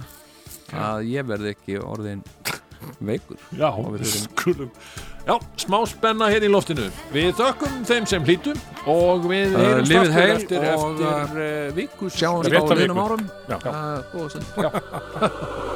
Speaker 4: að ég verði ekki orðin veikur
Speaker 3: Já,
Speaker 4: og við
Speaker 3: við
Speaker 4: þurfum-
Speaker 3: skulum. Já, smá spenna hér í loftinu. Við þökkum þeim sem hlítum og við
Speaker 4: Uh,
Speaker 3: heyrumst
Speaker 4: lifið
Speaker 3: aftur
Speaker 4: heil
Speaker 3: eftir,
Speaker 4: og, eh,
Speaker 3: eftir uh, vikus.
Speaker 4: sjáum við á
Speaker 2: Rétta
Speaker 4: liðnum
Speaker 2: viku.
Speaker 4: árum
Speaker 2: Já.
Speaker 4: uh, góða stund